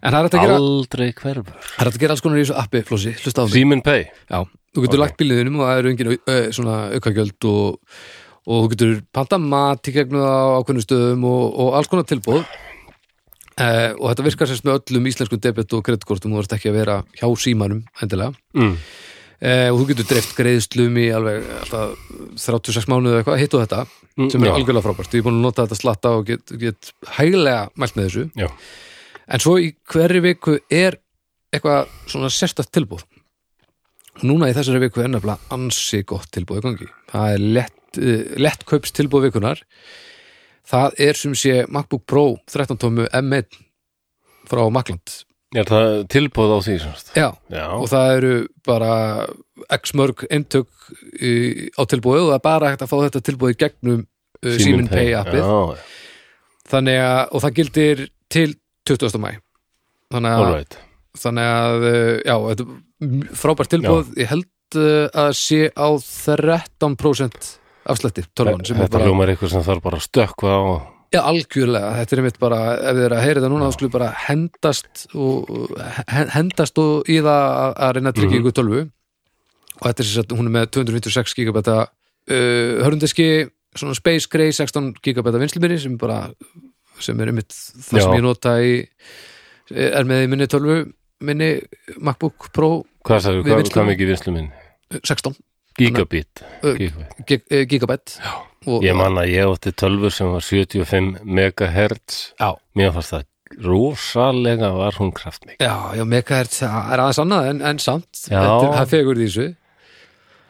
B: En það er hægt að gera,
A: aldrei hverfur
B: það er hægt að gera alls konar í þessu appi, Flósi, hlusta á mig
A: Seaman Pay,
B: Já, þú
A: Ok.
B: getur lagt bíliðinum og það eru engin ö, svona aukagjöld og, og þú getur panta mat í gegnum það á ákveðnum stöðum og, og alls konar tilbúð eh, og þetta virkar sérst með öllum íslenskum debet og kreditkortum, þú verðst ekki að vera hjá símanum endilega
A: mm.
B: eh, og þú getur dreift greiðslum í alveg alltaf 36 mánuði eða eitthvað, hitt og þetta
A: Mm,
B: sem er
A: já.
B: algjörlega frábært, ég er búin að nota þetta slatta og get, get hæglega mælt með þessu
A: já,
B: En svo í hverri viku er eitthvað svona sérstætt tilbúð. Og Núna í þessari viku er nefnilega ansi gott tilbúð í gangi. Það er lett, uh, lett kaups tilbúð vikunar. Það er sem sé MacBook Pro 13 tómu M1 frá Macland.
A: er það tilbúð á því semst
B: Já,
A: já,
B: og það eru bara x mörg eintök í- á tilbúðu og það er bara hægt að fá þetta tilbúð í gegnum uh, Simin Pay appið.
A: já,
B: Þannig að, og það gildir til 20. mæ. Þannig að
A: all right
B: þannig að uh, já, þetta er m- frábært tilbúð ég held uh, að sé á 13% afslætti tölvan sem er
A: Þetta
B: bara,
A: hljómar eitthvað sem þarf bara að stökkva á
B: já algjörlega þetta er einmitt bara, ef þið er að heyra þetta núna þá skulle bara hendast og, he- hendast og í það að, að reyna að
A: Mhm.
B: tryggja ykkur tölvu og þetta er sér að hún er með 256 gigabæta uh, hörundiski svona Space Gray 16 gigabæta vinsluminni sem bara sem er einmitt það
A: Já.
B: sem ég nota í er með í minni tölvu minni MacBook Pro
A: Hvað sagði,
B: Við
A: hvað,
B: vinnslum.
A: hvað mikið vinslu minn?
B: 16
A: Gigabit,
B: Ö,
A: gigabit.
B: gig, eh, gigabyte og,
A: Ég man að ég átti tölfur sem var 75 megahertz
B: já,
A: Mér fannst það rosalega var hún kraftmik
B: já, já, megahertz það er aðeins annað en, en samt
A: Já.
B: Þetta er- það fegur því þessu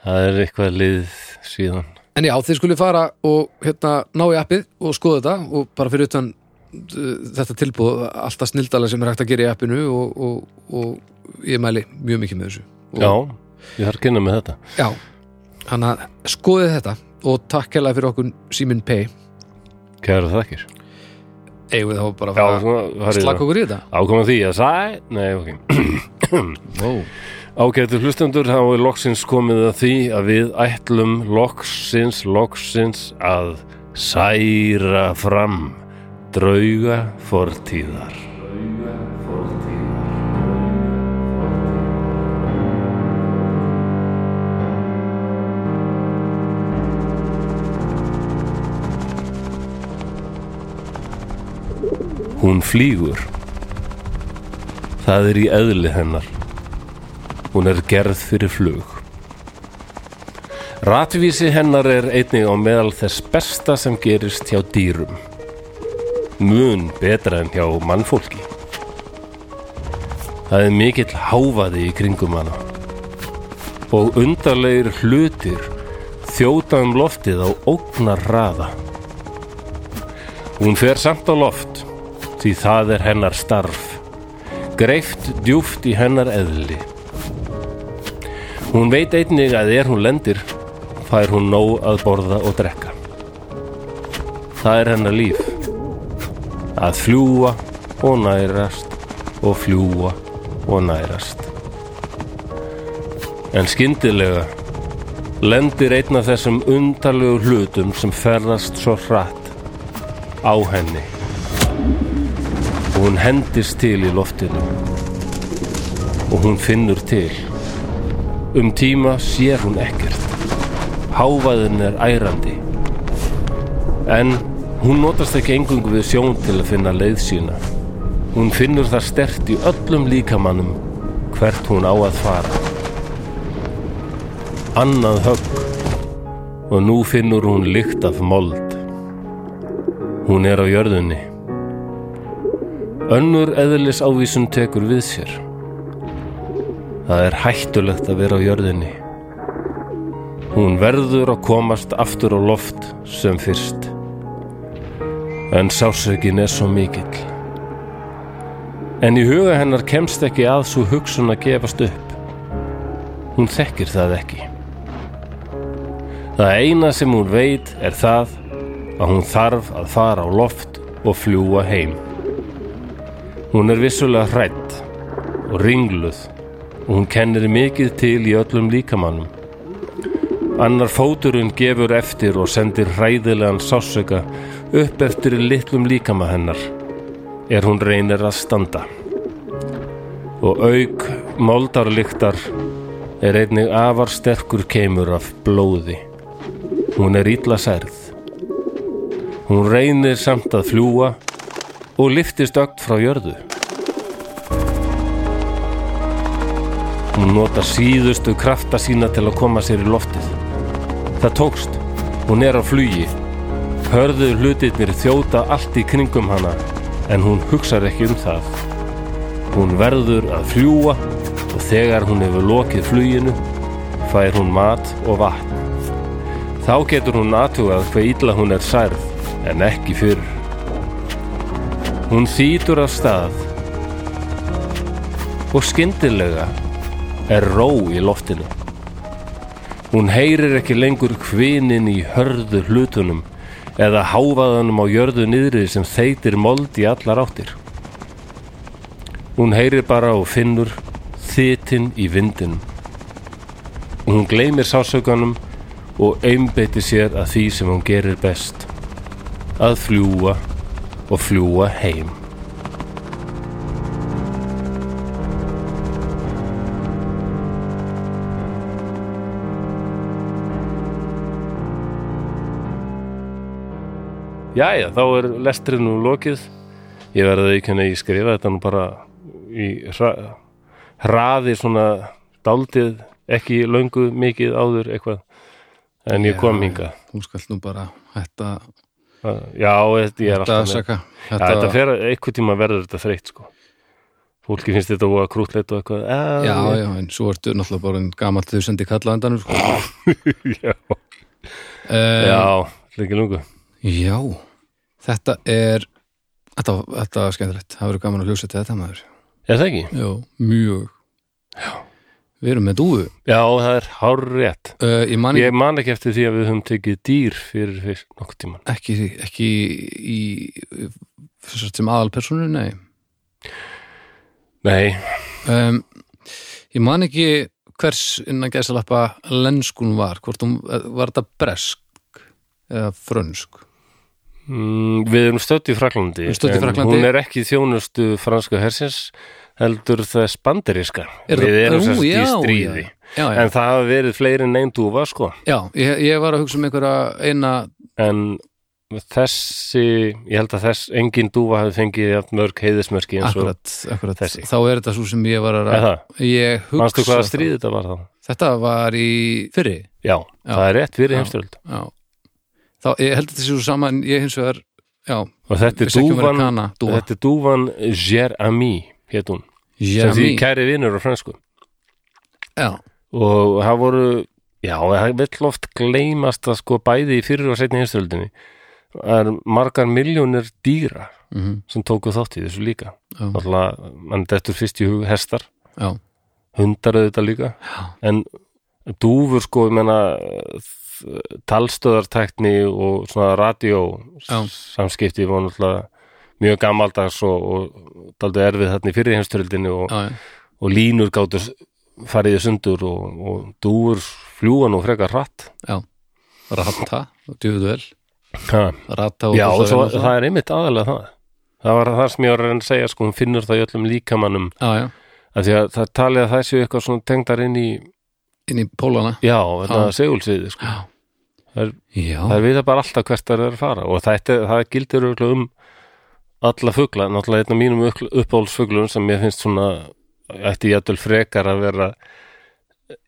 A: það er eitthvað lið síðan
B: En já, þið skulle fara og hérna, ná í appið og skoða þetta og bara fyrir utan uh, þetta tilbúð, alltaf snildala sem er hægt að gera í appinu og, og, og ég mæli mjög mikið með þessu. Og,
A: já, ég þarf að kynna með þetta
B: Já, hann að skoðið þetta og takk hérlega fyrir okkur Simin Pay.
A: kæra þakkir
B: Eigum við þá bara að fara að slaka
A: ákoma
B: okkur í þetta?
A: því að sæ nei, ok
B: Wow.
A: Ágætu hlustendur hafa við loksins komið að því að við ætlum loksins, loksins að særa fram drauga fortíðar. Hún flýgur. Það er í eðli hennar. Hún er gerð fyrir flug. Ratvísi hennar er einnig á meðal þess besta sem gerist hjá dýrum. Mun betra en hjá mannfólki. Það er mikill háfaði í kringum hana. Og undarlegir hlutir þjóta um loftið á ógnar raða. Hún fer samt á loft, því það er hennar starf. Greift djúft í hennar eðli. Hún veit einnig að er hún lendir fær hún nóg að borða og drekka. Það er hennar líf. Að fljúa og nærast og fljúa og nærast. En skyndilega lendir einn af þessum undarlegu hlutum sem ferðast svo hratt á henni. Og hún hendist til í loftinu og hún finnur til. Um tíma sér hún ekkert. Hávaðin er ærandi. En hún notast ekki engungu við sjón til að finna leið sína. Hún finnur það stert í öllum líkamannum hvert hún á að fara. Annað högg og nú finnur hún lykt af mold. Hún er á jörðunni. Önnur eðlis ávísun tekur við sér. Það er hættulegt að vera á jörðinni. Hún verður að komast aftur á loft sem fyrst. En sásökin er svo mikill. En í huga hennar kemst ekki að svo hugsun að gefast upp. Hún þekkir það ekki. Það eina sem hún veit er það að hún þarf að fara á loft og fljúa heim. Hún er vissulega hrætt og ringluð og hún kennir mikið til í öllum líkamannum. Annar fóturinn gefur eftir og sendir hræðilegan sásöka upp eftir í litlum líkama hennar er hún reynir að standa. Og auk moldarlyktar er einnig afar sterkur keimur af blóði. Hún er illa særð. Hún reynir samt að fljúa og liftist ögt frá jörðu. Hún nota síðustu krafta sína til að koma sér í loftið. Það tókst. Hún er á flugi. Hörðu hlutirnir þjóta allt í kringum hana en hún hugsar ekki um það. Hún verður að fljúa og þegar hún hefur lokið fluginu fær hún mat og vatn. Þá getur hún aðtugað hver illa hún er særð en ekki fyrr. Hún þýtur af stað og skyndilega er ró í loftinu. Hún heyrir ekki lengur kvinin í hörðu hlutunum eða hávaðanum á jörðu niðri sem þeitir mold í allar áttir. Hún heyrir bara og finnur þitin í vindinum. Hún gleymir sásökanum og einbeiti sér að því sem hún gerir best. Að fljúa og fljúa heim. Jæja, þá er lesturinn nú lokið. Ég verði ekki henni að ég skrifa þetta nú bara í hra, hraði svona daldið, ekki löngu mikið áður eitthvað. En ég kom hingað.
B: Hún skal nú bara hætta að
A: Já, þetta- ég er
B: Þetta
A: alltaf með
B: saka
A: Já,
B: Þetta,
A: Þetta fer einhvern tíma verður þetta þreytt sko Fólki finnst þetta voða krútlegt og eitthvað eh,
B: Já, já, en svo ertu náttúrulega bara en gamall þau sendi kalla endanum sko.
A: já
B: uh,
A: Já, þetta er ekki lungu
B: já, þetta er Þetta, þetta var skemmtilegt, það verður gaman að hljósa til þetta maður
A: Er það ekki?
B: Já, mjög Já Við erum með dúfu
A: Já, það er hárrétt
B: uh, Ég man
A: Ég man ekki eftir því að við höfum tekið dýr fyrir fyrst nokkuð tíman
B: ekki, ekki í, í sem aðalpersonu, nei
A: Nei,
B: um, Ég man ekki hvers innan gæsalappa lenskun var, hvort hún eh, var þetta bresk eða frönsk
A: mm, við erum stödd í Fraklandi
B: Við erum stödd í Frakklandi.
A: Hún er ekki í þjónustu franska hersins heldur þess banderiska
B: Er
A: Við
B: það-
A: erum
B: Ú,
A: sérst í
B: já,
A: stríði
B: já, já, já,
A: En það hafa verið fleiri en einn dúfa sko
B: já ég, ég var að hugsa um einhverja eina
A: en þessi, ég held að þess engin dúfa hafi fengið jafn mörg heiðismerki eins og
B: akkurat, akkurat
A: þessi.
B: þá er þetta svo sem ég var að
A: eða,
B: ég hugsa
A: manstu hvaða
B: það.
A: stríð þetta var þá?
B: þetta var í fyrri
A: Já, það er rétt fyrir
B: Já.
A: heimstöld
B: já. þá ég held að þetta sé svo saman ég hins vegar, já,
A: og þetta er
B: vissi ekki um
A: dúfan
B: Amerikana, dúfa.
A: þetta er dúfan Jér-Ami hétt hún, sem því
B: Jami,
A: kæri vinur á fransku
B: já,
A: og það voru já, það vill oft gleymast að sko bæði í fyrir og setni heimstöldinni það er margar miljónir dýra
B: mhm,
A: sem tóku þátt í þessu líka
B: Já.
A: alltaf, mann dettur fyrst í hug hestar
B: já,
A: hundar auðvitað líka
B: Já.
A: en dúfur sko ég menna þ- talstöðartækni og svona radió
B: Já.
A: samskipti var náttúrulega mjög gamaldags og, og daldi erfið þarna í fyrir heimstöldinni og,
B: já, já.
A: og línur gáttu s- farið í sundur og, og dúfur fljúan og frekar hratt
B: Rata, djúfuvel
A: ha.
B: Rata og
A: Já, og svo,
B: það,
A: það er einmitt aðalega það það var það sem ég var að reyna að segja sko hún finnur það í öllum líkamannum
B: já, já,
A: af því að það talið að það séu eitthvað svona tengdar inn í
B: inn í pólana
A: já, þetta segulsviði sko
B: Já,
A: Það er-
B: já,
A: það vita bara alltaf hvert það er að fara og þetta, það gildir auðvitað um alla fugla, náttúrulega einn af mínum uppáhaldsfuglum sem ég finnst svona ætti jættul frekar að vera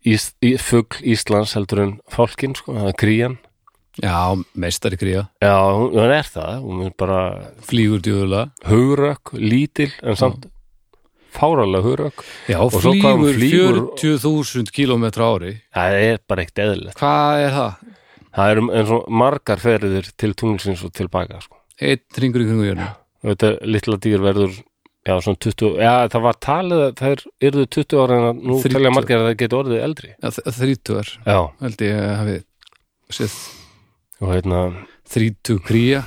A: ís, í, fugl Íslands heldur en fálkin, sko, það er krían
B: já meistari gríða
A: Já, hún, hún er það, hún er bara
B: Flýgur djúfulega
A: hugrök, lítil en samt fáralega hugrök
B: Já,
A: Og svo hvað hún
B: flýgur
A: flýgur-
B: 40.000 kílómetra á ári
A: það er bara eitt eðlilegt
B: Hvað er það?
A: það er eins og margar ferðir til tunglsins og tilbaka, sko
B: Eitt ringur í kringu jörnum
A: og þetta litla dýr verður já, svona 20, já, það var talið að þær yrðu 20 ára en að nú
B: 30.
A: telja margir að það geti orðið eldri
B: Þrítugar,
A: já,
B: held ég að hafi séð
A: og hérna,
B: þrítug kría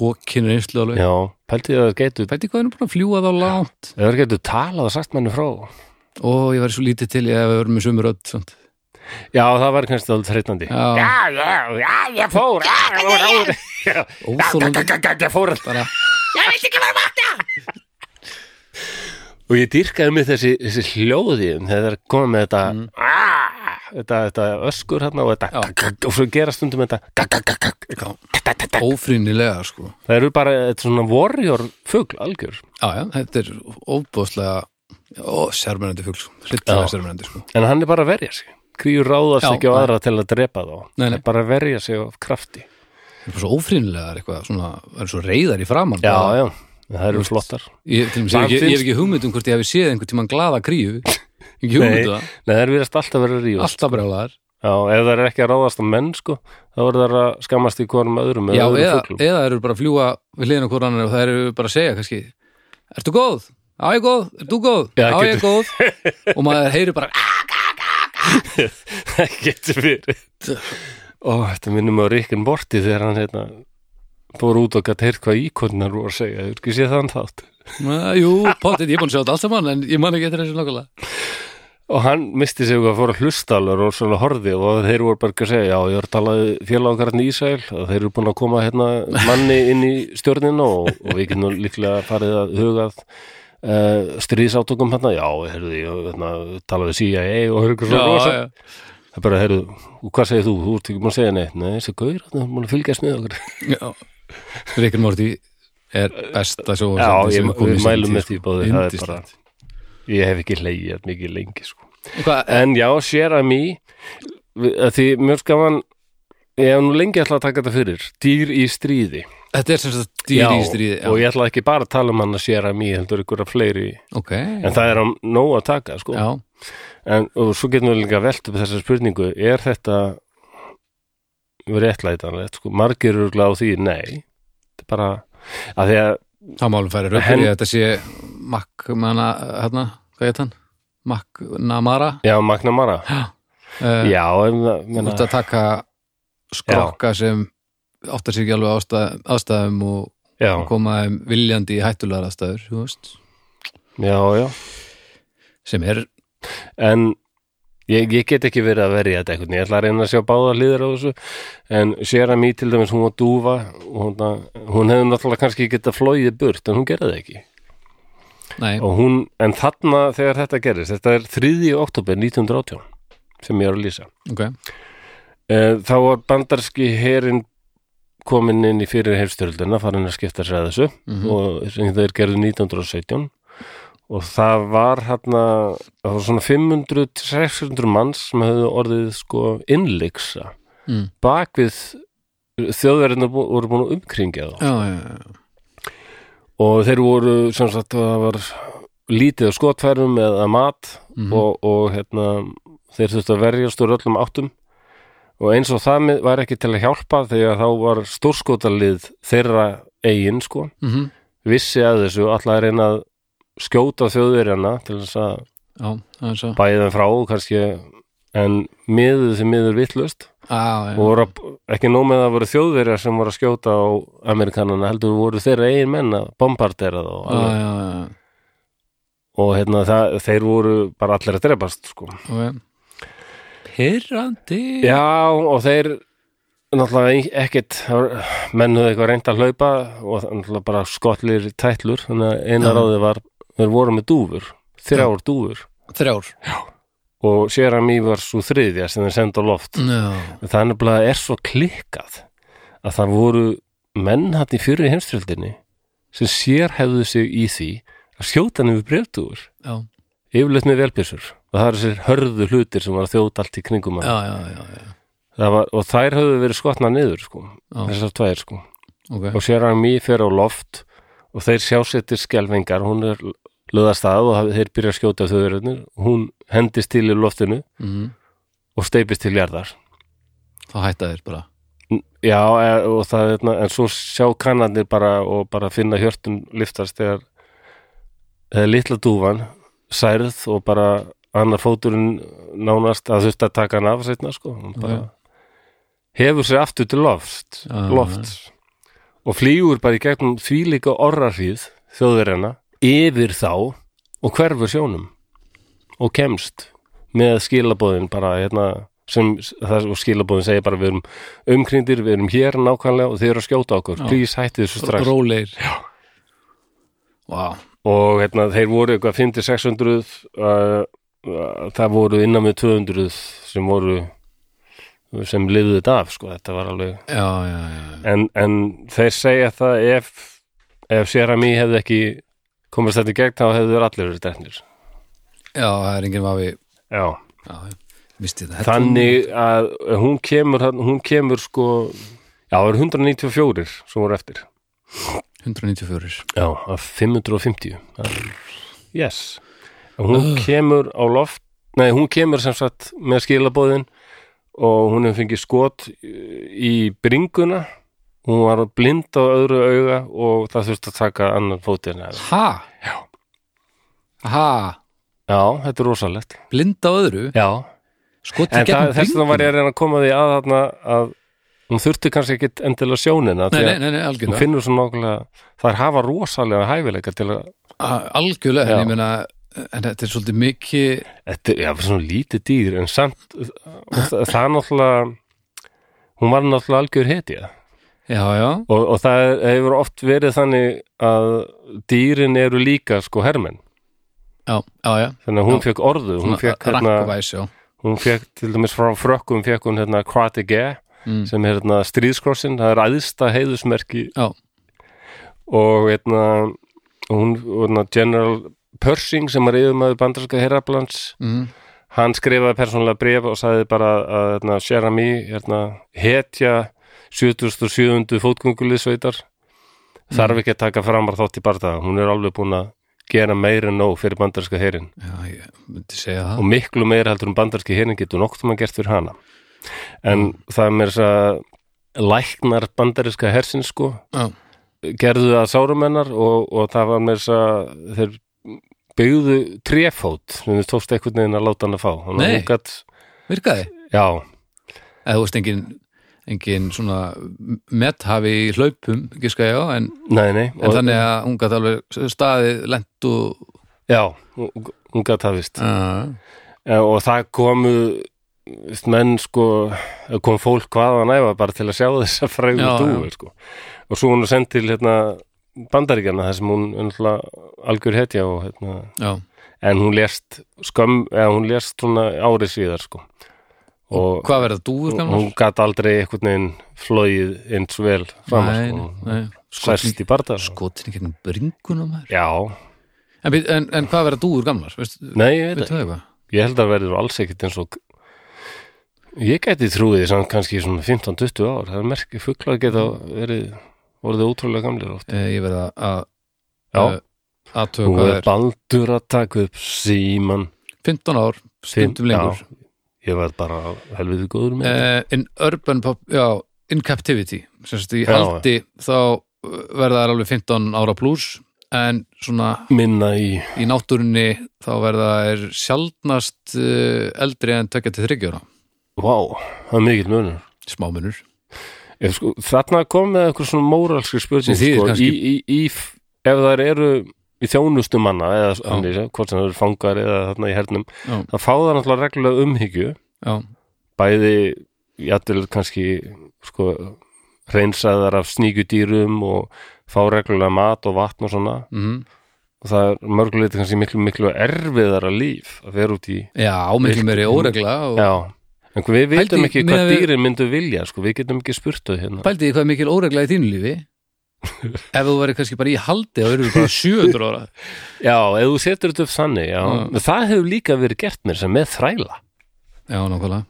B: Hókin er einslu alveg
A: já, pæltið að þær getu
B: Pæti hvað hann er búin að fljúa þá langt
A: ef þær getu talað og sagt manni frá
B: Ó, ég var svo lítið til ég að við verðum með sömur öll svont.
A: já, það var kannski alveg þreytandi
B: Já,
A: já, já, já, ég fór já, já, já, já,
B: óþólandi
A: já, já, ég fór
B: bara
A: og ég dýrkaði mig þessi, þessi hljóði um þegar þær komið með þetta
B: Mm.
A: "Ah", þetta, þetta öskur hérna og þetta og svo gera stundum þetta
B: ófrýnilega sko.
A: það eru bara þetta er svona warrior fugl algjör
B: Já, já, þetta er óbúðslega ó, sérmennandi fugl, sko. hryllilega
A: Já.
B: sérmennandi sko.
A: en hann er bara að verja sig kríur ráðast
B: Já,
A: ekki á
B: nei.
A: aðra til að drepa þá
B: Nei,
A: Það
B: nei.
A: er bara að verja sig af krafti
B: Það er bara svo ófrýnilegar eitthvað, svona, það er svo reyðar í framann
A: já,
B: bara.
A: já, það eru flottar
B: Ég, til dæmis, ég,
A: Hvað
B: hef ekki- ég hef
A: finnst-
B: ekki hugmynd um hvort ég hefði séð einhvern tímann glaða kríu ekki hugmynd um það,
A: nei, það er verið alltaf verið að rífast
B: alltaf brjálaðar
A: já, ef það er ekki að ráðast á menn sko, þá eru það að skammast í hvorum öðrum
B: Já,
A: öðrum
B: eða,
A: fuglum.
B: eða eru bara að fljúa við hliðina hvort annar og það eru bara að segja kannski Ertu góð? Á ég góð? Er þú góð?
A: Já,
B: á ég góð? og maður heyri bara "Ah!"
A: það getur verið ó, þetta minnum á Ríkin Borti þegar hann hérna fór út og gætt heyrt hvað íkonnar voru að segja, þú ekki séð þann þátt
B: "Ah, Jú, potið, ég er búin að sjá þetta allt saman en ég man ekki eftir þessu nokkulega
A: og hann misti sig og fór að hlusta alveg og svona horfði og þeir voru bara ekki að segja já, ég var að tala félagarn í Ísæl og þeir eru búin að koma hérna manni inn í stjórnina og, og við getum nú líklega farið að hugað uh, stríðsátökum hérna já, heyrðu, ég hérna, tala við CIA og hörðu eitthvað
B: Já,
A: svona rosa
B: já,
A: það er bara, heyrðu, og hvað segir þú? Þú ert ekki búin að segja neitt, nei, þessi gaur það er búin að fylgjast með okkur
B: Já, Rickard Morty er besta
A: já,
B: sjóvarstandi
A: ég, við mælum með
B: sko.
A: því bóði það er bara,
B: Yndislegt.
A: ég hef ekki hleyið mikið lengi, sko
B: Hvað,
A: En já, Share a Me að því mjög skaman ég hef nú lengi alltaf að taka þetta fyrir dýr í stríði
B: Þetta er sem sagt dýr í stríði
A: og ég ætla ekki bara að tala um hann að sér að mér heldur ykkur að fleiri
B: Ok,
A: en það er á nóg að taka sko.
B: já,
A: en, og svo getum við líka velt upp þessa spurningu er þetta réttlætanlegt sko? margir eru gláð því, nei þetta er bara að því að
B: þá málum færi rökkur
A: Hen-
B: Henn... Þetta sé Mac, manna, hérna, hvað heit hann? Mac Namara
A: já, Magnamara,
B: uh,
A: já en, það-
B: Þú
A: menna,
B: ert að taka skrokka sem áttar sér ekki alveg ástæð, aðstæðum og
A: já,
B: koma þeim viljandi í hættulegar aðstæður, þú veist
A: já, já
B: sem er,
A: en ég, ég get ekki verið að verja þetta einhvern, ég ætla að reyna að sjá báða hlýðir á þessu en Sera Mí til dæmis hún var dúfa og hún, hún hefði náttúrulega kannski geta flóið burt en hún gerði það ekki
B: nei,
A: og hún, en þarna þegar þetta gerist þetta er 3. oktober 1918 sem ég er að lýsa
B: ok
A: Eh, þá var bandarski herin komin inn í fyrir heimstyröldina farin að skipta sér að þessu
B: Mhm.
A: og sem þeir gerðu 1917 og það var hérna það var svona 500-600 manns sem höfðu orðið sko innlyksa
B: Mm.
A: bak við þjóðverðinu voru búin að umkringja þá
B: já, já, já,
A: og þeir voru sem sagt það var lítið á skotfærum eða mat
B: Mhm.
A: og, og hérna, þeir þurftu að verjast úr öllum áttum og eins og það með- var ekki til að hjálpa þegar þá var stórskotalið þeirra eigin sko
B: mm
A: vissi að þessu allar að reyna að skjóta þjóðverjana til þess að
B: já, það er svo
A: bæða þeim frá og kannski en miðuð þeim miður vittlust
B: á, já,
A: og voru að, ekki nóg með að voru þjóðverjar sem voru að skjóta á amerikanana heldur voru þeirra eigin menn að bombardera þá
B: já,
A: alveg.
B: já, já,
A: og hérna það, þeir voru bara allir að drepast sko.
B: ok Pirrandi
A: Já, og þeir náttúrulega ekkit mennuðu eitthvað reynd að hlaupa og náttúrulega bara skollir tætlur þannig að eina
B: Já.
A: ráðið var, þeir voru með dúfur þrjár dúfur
B: Þrjár
A: og Sera Mí var svo þriðja sem þeir senda á loft
B: Já,
A: mm. það er nefnilega er svo klikkað að það voru menn hann í fyrir heimströldinni sem sér hefðu sig í því að skjóta hann yfir brefdúfur
B: já,
A: yfirleitt með velbyrsur og það eru sér hörðu hlutir sem var að þjóta allt í kringum hann
B: já, já, já, já.
A: Það var, og þær höfðu verið skotna niður sko,
B: Já.
A: þessar tvær sko
B: ok
A: og sér hann mjög fyrir á loft og þeir sjásettir skelvingar hún er löðast að og haf- þeir byrja að skjóta þauðurinnir, hún hendist til í loftinu
B: mm.
A: og steipist til jarðar
B: Þá hætta þér bara
A: N- já, e- og það er en svo sjá kannarnir bara og bara finna hjörtum liftast þegar þegar litla dúfan særð og bara annar fóturinn nánast að þurft að taka hann af seinna sko, hún bara hefur sér aftur til loft
B: Já,
A: loft og flýgur bara í gegnum því líka orrarhýð þjóðverjana yfir þá og hverfur sjónum og kemst með skilabóðin bara hérna sem það, og skilabóðin segja bara við erum umkrindir, við erum hér nákvæmlega og þeir eru að skjóta okkur,
B: Já.
A: please hætti þessu strax
B: Róleir Já Vá,
A: og hérna, þeir voru eitthvað 50-600 uh, uh, það voru innan með 200 sem voru sem lifðu þetta af sko, þetta var alveg
B: já, já, já
A: en, en þeir segja það ef, ef Sérami hefði ekki komast þetta í gegn þá hefðu þeir allir verið drefnir
B: Já, það er enginn vafi
A: Já,
B: Já, já, misti þetta
A: þannig að hún kemur, þarna- hún kemur sko já, það eru 194 sem voru eftir
B: 194
A: Já, af 550 Það- Yes Og Hún kemur á loft Nei, hún kemur sem sagt með skilabóðin og hún hefur fengið skot í bringuna hún var blind á öðru auga og það þurfti að taka annan fótinn af henni.
B: Ha?
A: Já.
B: Ha?
A: Já, þetta er rosalegt
B: Blind á öðru?
A: Já,
B: Skot í
A: en það,
B: gegnum
A: þess vegna var ég
B: bringuna?
A: að reyna að koma því að þarna að hún þurfti kannski ekki endilega sjónina
B: Nei,
A: því
B: nei,
A: að
B: nei, nei,
A: hún
B: algjörlega
A: finnur svo nákvæmlega þær hafa rosalega hæfileika til að
B: A- Ah, Algjörlega,
A: Já.
B: en ég meina En þetta er svolítið mikið
A: Þetta er já, svona lítið dýr en samt það, það er náttúrulega hún var náttúrulega algjör hetja
B: Já, já,
A: og, og það er- hefur oft verið þannig að dýrin eru líka sko hermenn
B: já, já, já
A: þannig að hún fekk orðu hún fekk, hérna,
B: Rakkavæs, já
A: hún fekk til dæmis frá frökkum fekk hún hérna kratige
B: Mm.
A: sem er hérna stríðskrossin það er aðsta heiðusmerki
B: Já.
A: og hérna hún, hérna General Pershing sem er yfirmaður bandarska herraplans
B: mm.
A: hann skrifaði persónulega bref og sagði bara að hérna, Sherami hérna, hetja 77. fótgöngulisveitar
B: Mm.
A: þarf ekki að taka framar þátt í barða hún er alveg búin að gera meira en nóg fyrir bandarska herin
B: Já, ég myndi segja það
A: og miklu meira heldur um bandarski herin getur nokkuð maður gert fyrir hana en það er mér þess að læknar bandariska hersin sko
B: Já,
A: gerðu það sárumennar og, og það var mér þess að þeir byggðu trefót sem þeir tókst einhvern veginn að láta hann að fá Þannig að
B: Nei.
A: hún gat,
B: virkaði
A: já,
B: eða þú veist engin, engin svona methafi í hlaupum giska ég á, en,
A: nei, nei
B: en þannig að hún gæti alveg staðið lent og
A: já, hún- hún gat það vist
B: uh,
A: Eh, og það komu veist, menn sko, kom fólk hvaðan æfa bara til að sjá þessa fræðu
B: Já,
A: dúi sko. og svo hún er send til hérna, bandaríkjana þar sem hún önnlega, algjör hetja og hérna,
B: já,
A: en hún lést skömm, eða hún lést svona árið síðar sko og
B: hvað verða dúfur gamlar?
A: hún gat aldrei einhvern veginn flóið eins vel fram
B: Nei,
A: sko.
B: nei,
A: sest
B: skotin,
A: í barða sko.
B: skotin í gegnum bringunum maður.
A: já,
B: en, bíddu, en, en hvað verða dúfur gamlar? Veist,
A: nei, ég veit
B: veit
A: ekki
B: það eitthvað?
A: ég held að verður alls ekkit eins og ég gæti trúið samt kannski svona 15-20 ár það er merki fuglar geta verið voruð ótrúlega gamlir oft
B: Eh, Ég verða að
A: já,
B: aðtöga
A: hún
B: hvað
A: er
B: er
A: baldur að taka upp síman
B: 15 ár, stundum
A: Fimm-
B: lengur
A: já, ég verð bara helviti góður með þetta.
B: uh, in urban pop, já, in captivity sem sagt í
A: Já,
B: haldi þá uh, verða þær alveg 15 ára pluss en svona
A: minna í
B: í náttúrunni þá verða þær sjaldnast uh, eldri en tökja til þryggjóra
A: Vá, það er mikill munur
B: smámunur
A: Ef, sko, þarna kom með eitthvað svona móralski spurning
B: Sem þýðir
A: sko,
B: kannski-
A: í, í, í, ef þær eru í þjónustu manna eða þannig, hvort sem það eru fangar eða þarna í hernum
B: Já.
A: það fá það náttúrulega reglulega umhyggju
B: já,
A: bæði jættil kannski sko, reynsaðar af sníkudýrum og fá reglulega mat og vatn og svona
B: mm,
A: og það er mörguleiti kannski miklu miklu erfiðara líf að vera út í
B: já ámengli meiri óregla og
A: já, en við
B: Pældi
A: vitum
B: í-
A: ekki
B: miðað
A: hvað
B: við-
A: dýrin myndu vilja sko, við getum ekki spurt þau hérna
B: pældi því hvað er mikil óregla í þínu lífi ef þú verður kannski bara í haldi þá verður þú bara 700 ára
A: Já, ef þú setur þetta upp þannig, já.
B: Já.
A: Það hefur líka verið gert mér sem með þræla.
B: já, nákvæmlega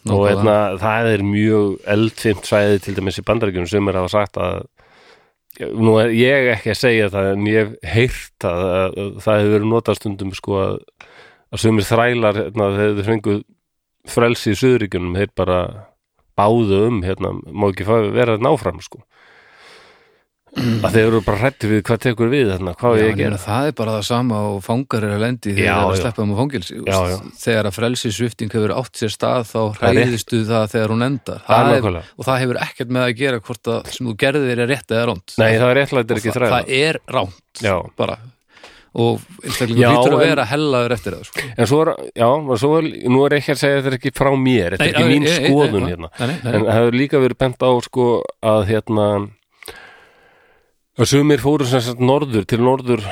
A: Og
B: Nákvæmlega.
A: einna, það er mjög eldfimt svæði til dæmis í bandaríkjunum sem er hafa sagt að nú er ég ekki að segja það en ég hef heyrt að, að, að það hefur verið notað stundum sko að, að sumir þrælar hérna, þegar þau fengu frelsi í söðuríkjunum þeir bara báðu um hérna, má ekki fá, vera þetta náfram sko að þeir eru bara hrætti við hvað tekur við hérna, hvað á
B: Já,
A: ég að
B: en ég
A: gera
B: meina, það er bara það sama og fangar er að lendi
A: Já,
B: þegar það er að
A: já.
B: sleppa um á fangilsi þú
A: Já,
B: veist.
A: já.
B: þegar að frelsisvifting hefur átt sér stað þá
A: er rétt.
B: hræðistu það þegar hún endar
A: Það er
B: það
A: nákvæmlega.
B: og það hefur ekkert með að gera hvort að sem þú gerðir þér er rétt eða rámt
A: Nei, það er réttlætt
B: það,
A: ekki þræla
B: það er rámt
A: Já.
B: bara og
A: Já,
B: einstaklega hlýtur að
A: en-
B: vera hellaður eftir það sko.
A: En svo er, já, og svo er, nú er ekki að segja þetta er ekki frá mér, þetta er ekki
B: Nei,
A: mín
B: nei, nei,
A: skoðun
B: nei,
A: hérna.
B: nei, nei, nei.
A: En það hefur líka verið bent á sko að hérna að sumir fóru sem sagt norður til norður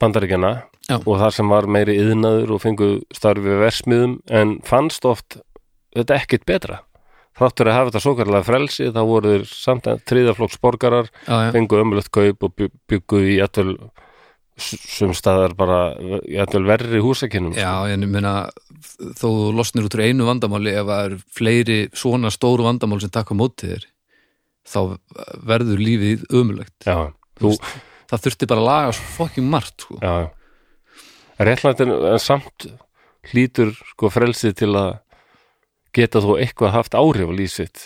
A: bandaríkjana
B: Já.
A: og þar sem var meiri yðnaður og fengu starfi við versmiðum en fannst oft þetta ekkit betra. Þáttur að hafa þetta svo kallega frelsi, þá voru þeir samt að þriðaflokks borgarar
B: já, já.
A: fengu ömulegt kaup og bygg- byggu í jættul sum staðar bara jættul verri húsakinnum
B: já, en ég meina þó þú losnir út úr einu vandamáli ef það eru fleiri svona stóru vandamál sem takk á móti þér þá verður lífið ömulegt
A: Já, þú,
B: það þurfti bara að laga svo fucking margt sko.
A: já, já. Réttlættin en samt hlýtur sko frelsið til að geta þú eitthvað haft áhrif á lífsitt.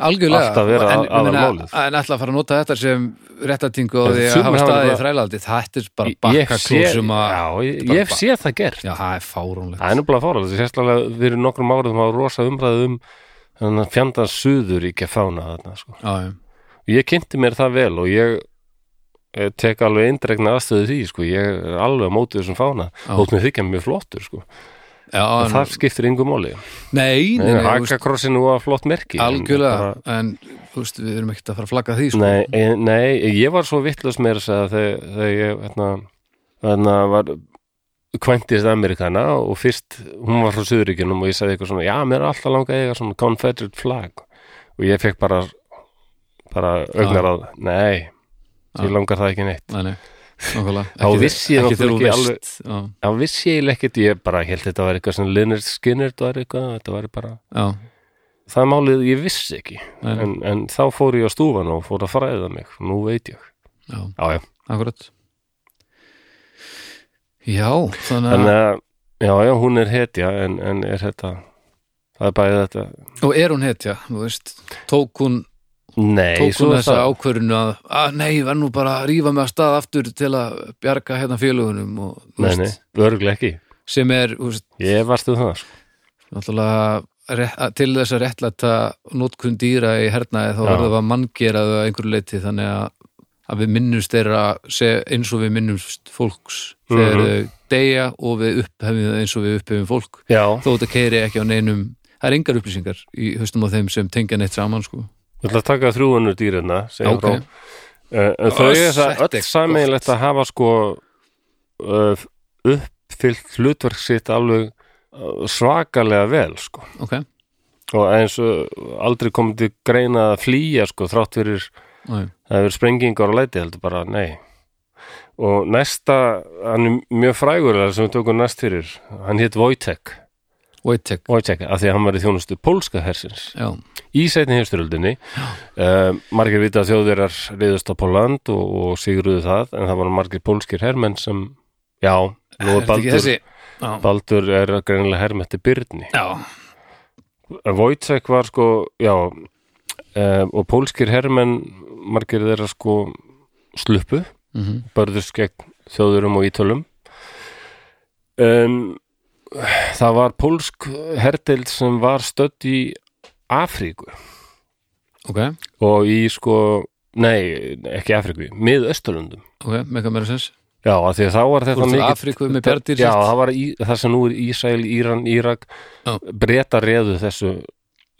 B: algjörlega
A: Allt að vera
B: en,
A: aðal
B: ég meina,
A: málið.
B: en ætla að fara að nota þetta sem réttatingu og
A: En
B: því að
A: sumir
B: hafa
A: hafa
B: staðið í
A: bara-
B: þrælaldi þetta er bara
A: Ég sé,
B: bakkaklúr sem að
A: já, ég,
B: bara
A: ég
B: ba-
A: sé það gert.
B: já, það er fáránlegt
A: Það er nefnilega fárað, sérstaklega fyrir nokkrum árum þá var rosa umræðu um þannig að fjanda suður ekki að fána þarna sko.
B: já, já.
A: Ég kynnti mér það vel og ég eh, tek alveg eindregna aðstöðu því sko, ég er alveg á mótið þessum fána,
B: Já.
A: þótt mér þykja mjög flottur sko,
B: Já, en,
A: það skiptir yngu máli.
B: nei, nei, nei, þú veist,
A: Hakakrossinu var flott merki. en
B: algjörlega
A: bara-
B: en þú veist, við erum ekkert að fara að flagga því sko.
A: Nei, eh, nei, ég var svo vitlaus með þess að þegar, þegar ég hérna, hérna var kvæntist Amerikana og fyrst hún var frá Suðuríkjunum og ég sagði eitthvað svona já, mér er alltaf langað að eiga svona Confederate flag og ég fekk bara bara augnar
B: Ah.
A: að nei, ég langar það ekki neitt
B: nei, nei. nákvæmlega.
A: Þá
B: Ekki-
A: vissi ég
B: ekki þegar
A: náttúrulega
B: þú
A: ekki
B: veist. já,
A: þá vissi ég eiginlega ekkert, ég bara held þetta var eitthvað sem Leonard Skinner var eitthvað, þetta var bara
B: já,
A: það er málið, ég vissi ekki
B: Nei, nei.
A: en, en þá fór ég á stúfan og fór að fræða mig, nú veit ég
B: já,
A: já, já.
B: akkurat Já, þannig að
A: En, uh, já, já, hún er hetja en, en er þetta það er bæði þetta
B: og er hún hetja, þú veist tók hún,
A: Nei,
B: tók hún
A: svo er
B: þessa
A: það
B: ákvörun að, að nei, ég verð nú bara að rífa mig að stað aftur til að bjarga hérna félugunum og, þú
A: Nei, nei, örgulega ekki
B: sem er, þú veist,
A: Ég varstu það sko.
B: náttúrulega rétt- að- til þess að réttlæta nótkun dýra í hernaði þá
A: Já.
B: verður það manngeraðu að einhverju leiti þannig að, að við minnumst þeirra se- eins og við minnumst fólks þegar
A: Mhm.
B: þau deyja og við upphefum þau eins og við upphefum fólk
A: Já,
B: þó þetta keiri ekki á neinum það er engar upplýsingar í höstum á þeim sem tengja neitt saman sko
A: ég ætla að taka þrjúunur dýrina
B: Já,
A: segjum
B: ok.
A: frá. Uh, en Þau
B: Ó,
A: er það
B: þetta
A: öll
B: er
A: sameiginlegt að hafa sko uh, uppfyllt hlutverk sitt alveg uh, svakalega vel sko
B: ok,
A: og eins og aldrei komið til greina að flýja sko þrátt fyrir
B: Nei.
A: það hefur sprengingar og læti heldur bara nei og næsta, hann er mjög frægur það sem við tókum næst fyrir hann hétt Wojtek,
B: Wojtek
A: Wojtek af því að hann var í þjónustu pólska hersins
B: já,
A: í setni heimstyröldinni uh, margir vita að þjóðverjar reyðust á Póland og, og sigruðu það en það var margir pólskir hermenn sem já, nú
B: er
A: er
B: þetta ekki
A: Baldur
B: þessi já,
A: Baldur er greinilega hermetti Byrni
B: já,
A: Eh, Wojtek var sko, já uh, og pólskir hermenn margir þeirra sko sluppu,
B: mm
A: börðust gegn þjóðurum og ítölum um, það var pólsk herdeild sem var stödd í Afríku
B: ok
A: og í sko, nei, ekki Afríku miðausturlundum,
B: ok, mega meira sens
A: já, af því að þá var þetta
B: Úr til
A: mikið
B: Afríku með bjarndýr
A: Já,
B: sitt.
A: það var í, það sem nú er Ísæl, Íran, Írak
B: Já.
A: breyta reðu þessu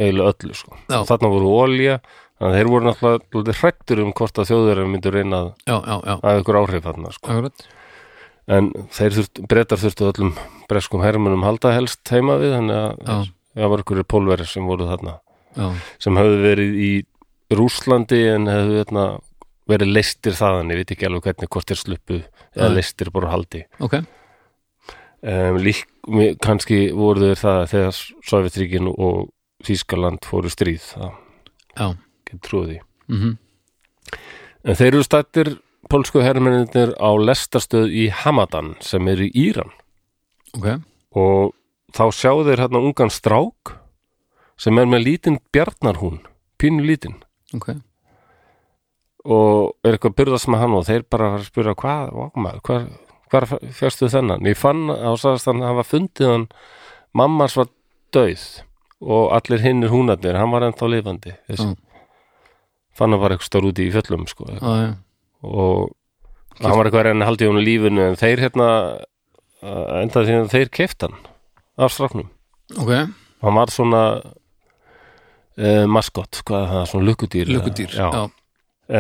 A: eiginlega öllu sko.
B: Já.
A: Og Þarna voru olja þannig að þeir voru náttúrulega dálítið hrættur um hvort að þjóðverðar myndu reyna að
B: já, já, já,
A: að ykkur áhrif þarna sko.
B: akkurat
A: en þeir þurft, breytar þurftu öllum breskum hermunum halda helst heima við þannig að
B: já,
A: það var ykkur pólverið sem voru þarna
B: já,
A: sem höfðu verið í Rúslandi en hefðu þarna verið leistir þaðan, ég veit ekki alveg hvernig hvort þeir sluppu eða
B: Nei.
A: leistir bara úr haldi
B: ok
A: um, lík, mi- kannski voru þeir það þegar Sovjetríkin og Þískaland fóru í stríð það
B: já,
A: getur trúið því
B: mhm,
A: en þeir eru stættir pólsku hermenninir á lestarstöð í Hamadan sem er í Íran
B: ok
A: og þá sjá þeir hérna ungan strák sem er með lítinn bjarnarhún pínu lítinn
B: ok, og
A: og er eitthvað að burðast með hann og þeir bara fara að spura hvað, vá, maður, hvar, hvar fjastu þennan? Ég fann á sagðast hann hafa fundið hann, mammas var döið og allir hinnir húnarnir, hann var ennþá lifandi þessi.
B: Já.
A: fann hann bara eitthvað stór úti í fjöllum sko,
B: já, já,
A: og hann var eitthvað að reyna að haldi hún í lífinu en þeir hérna eh, endaði því að þeir keift hann af strafnum,
B: ok,
A: hann var svona uh, maskott, hvað er það, svona lukkudýr
B: lukkudýr
A: já.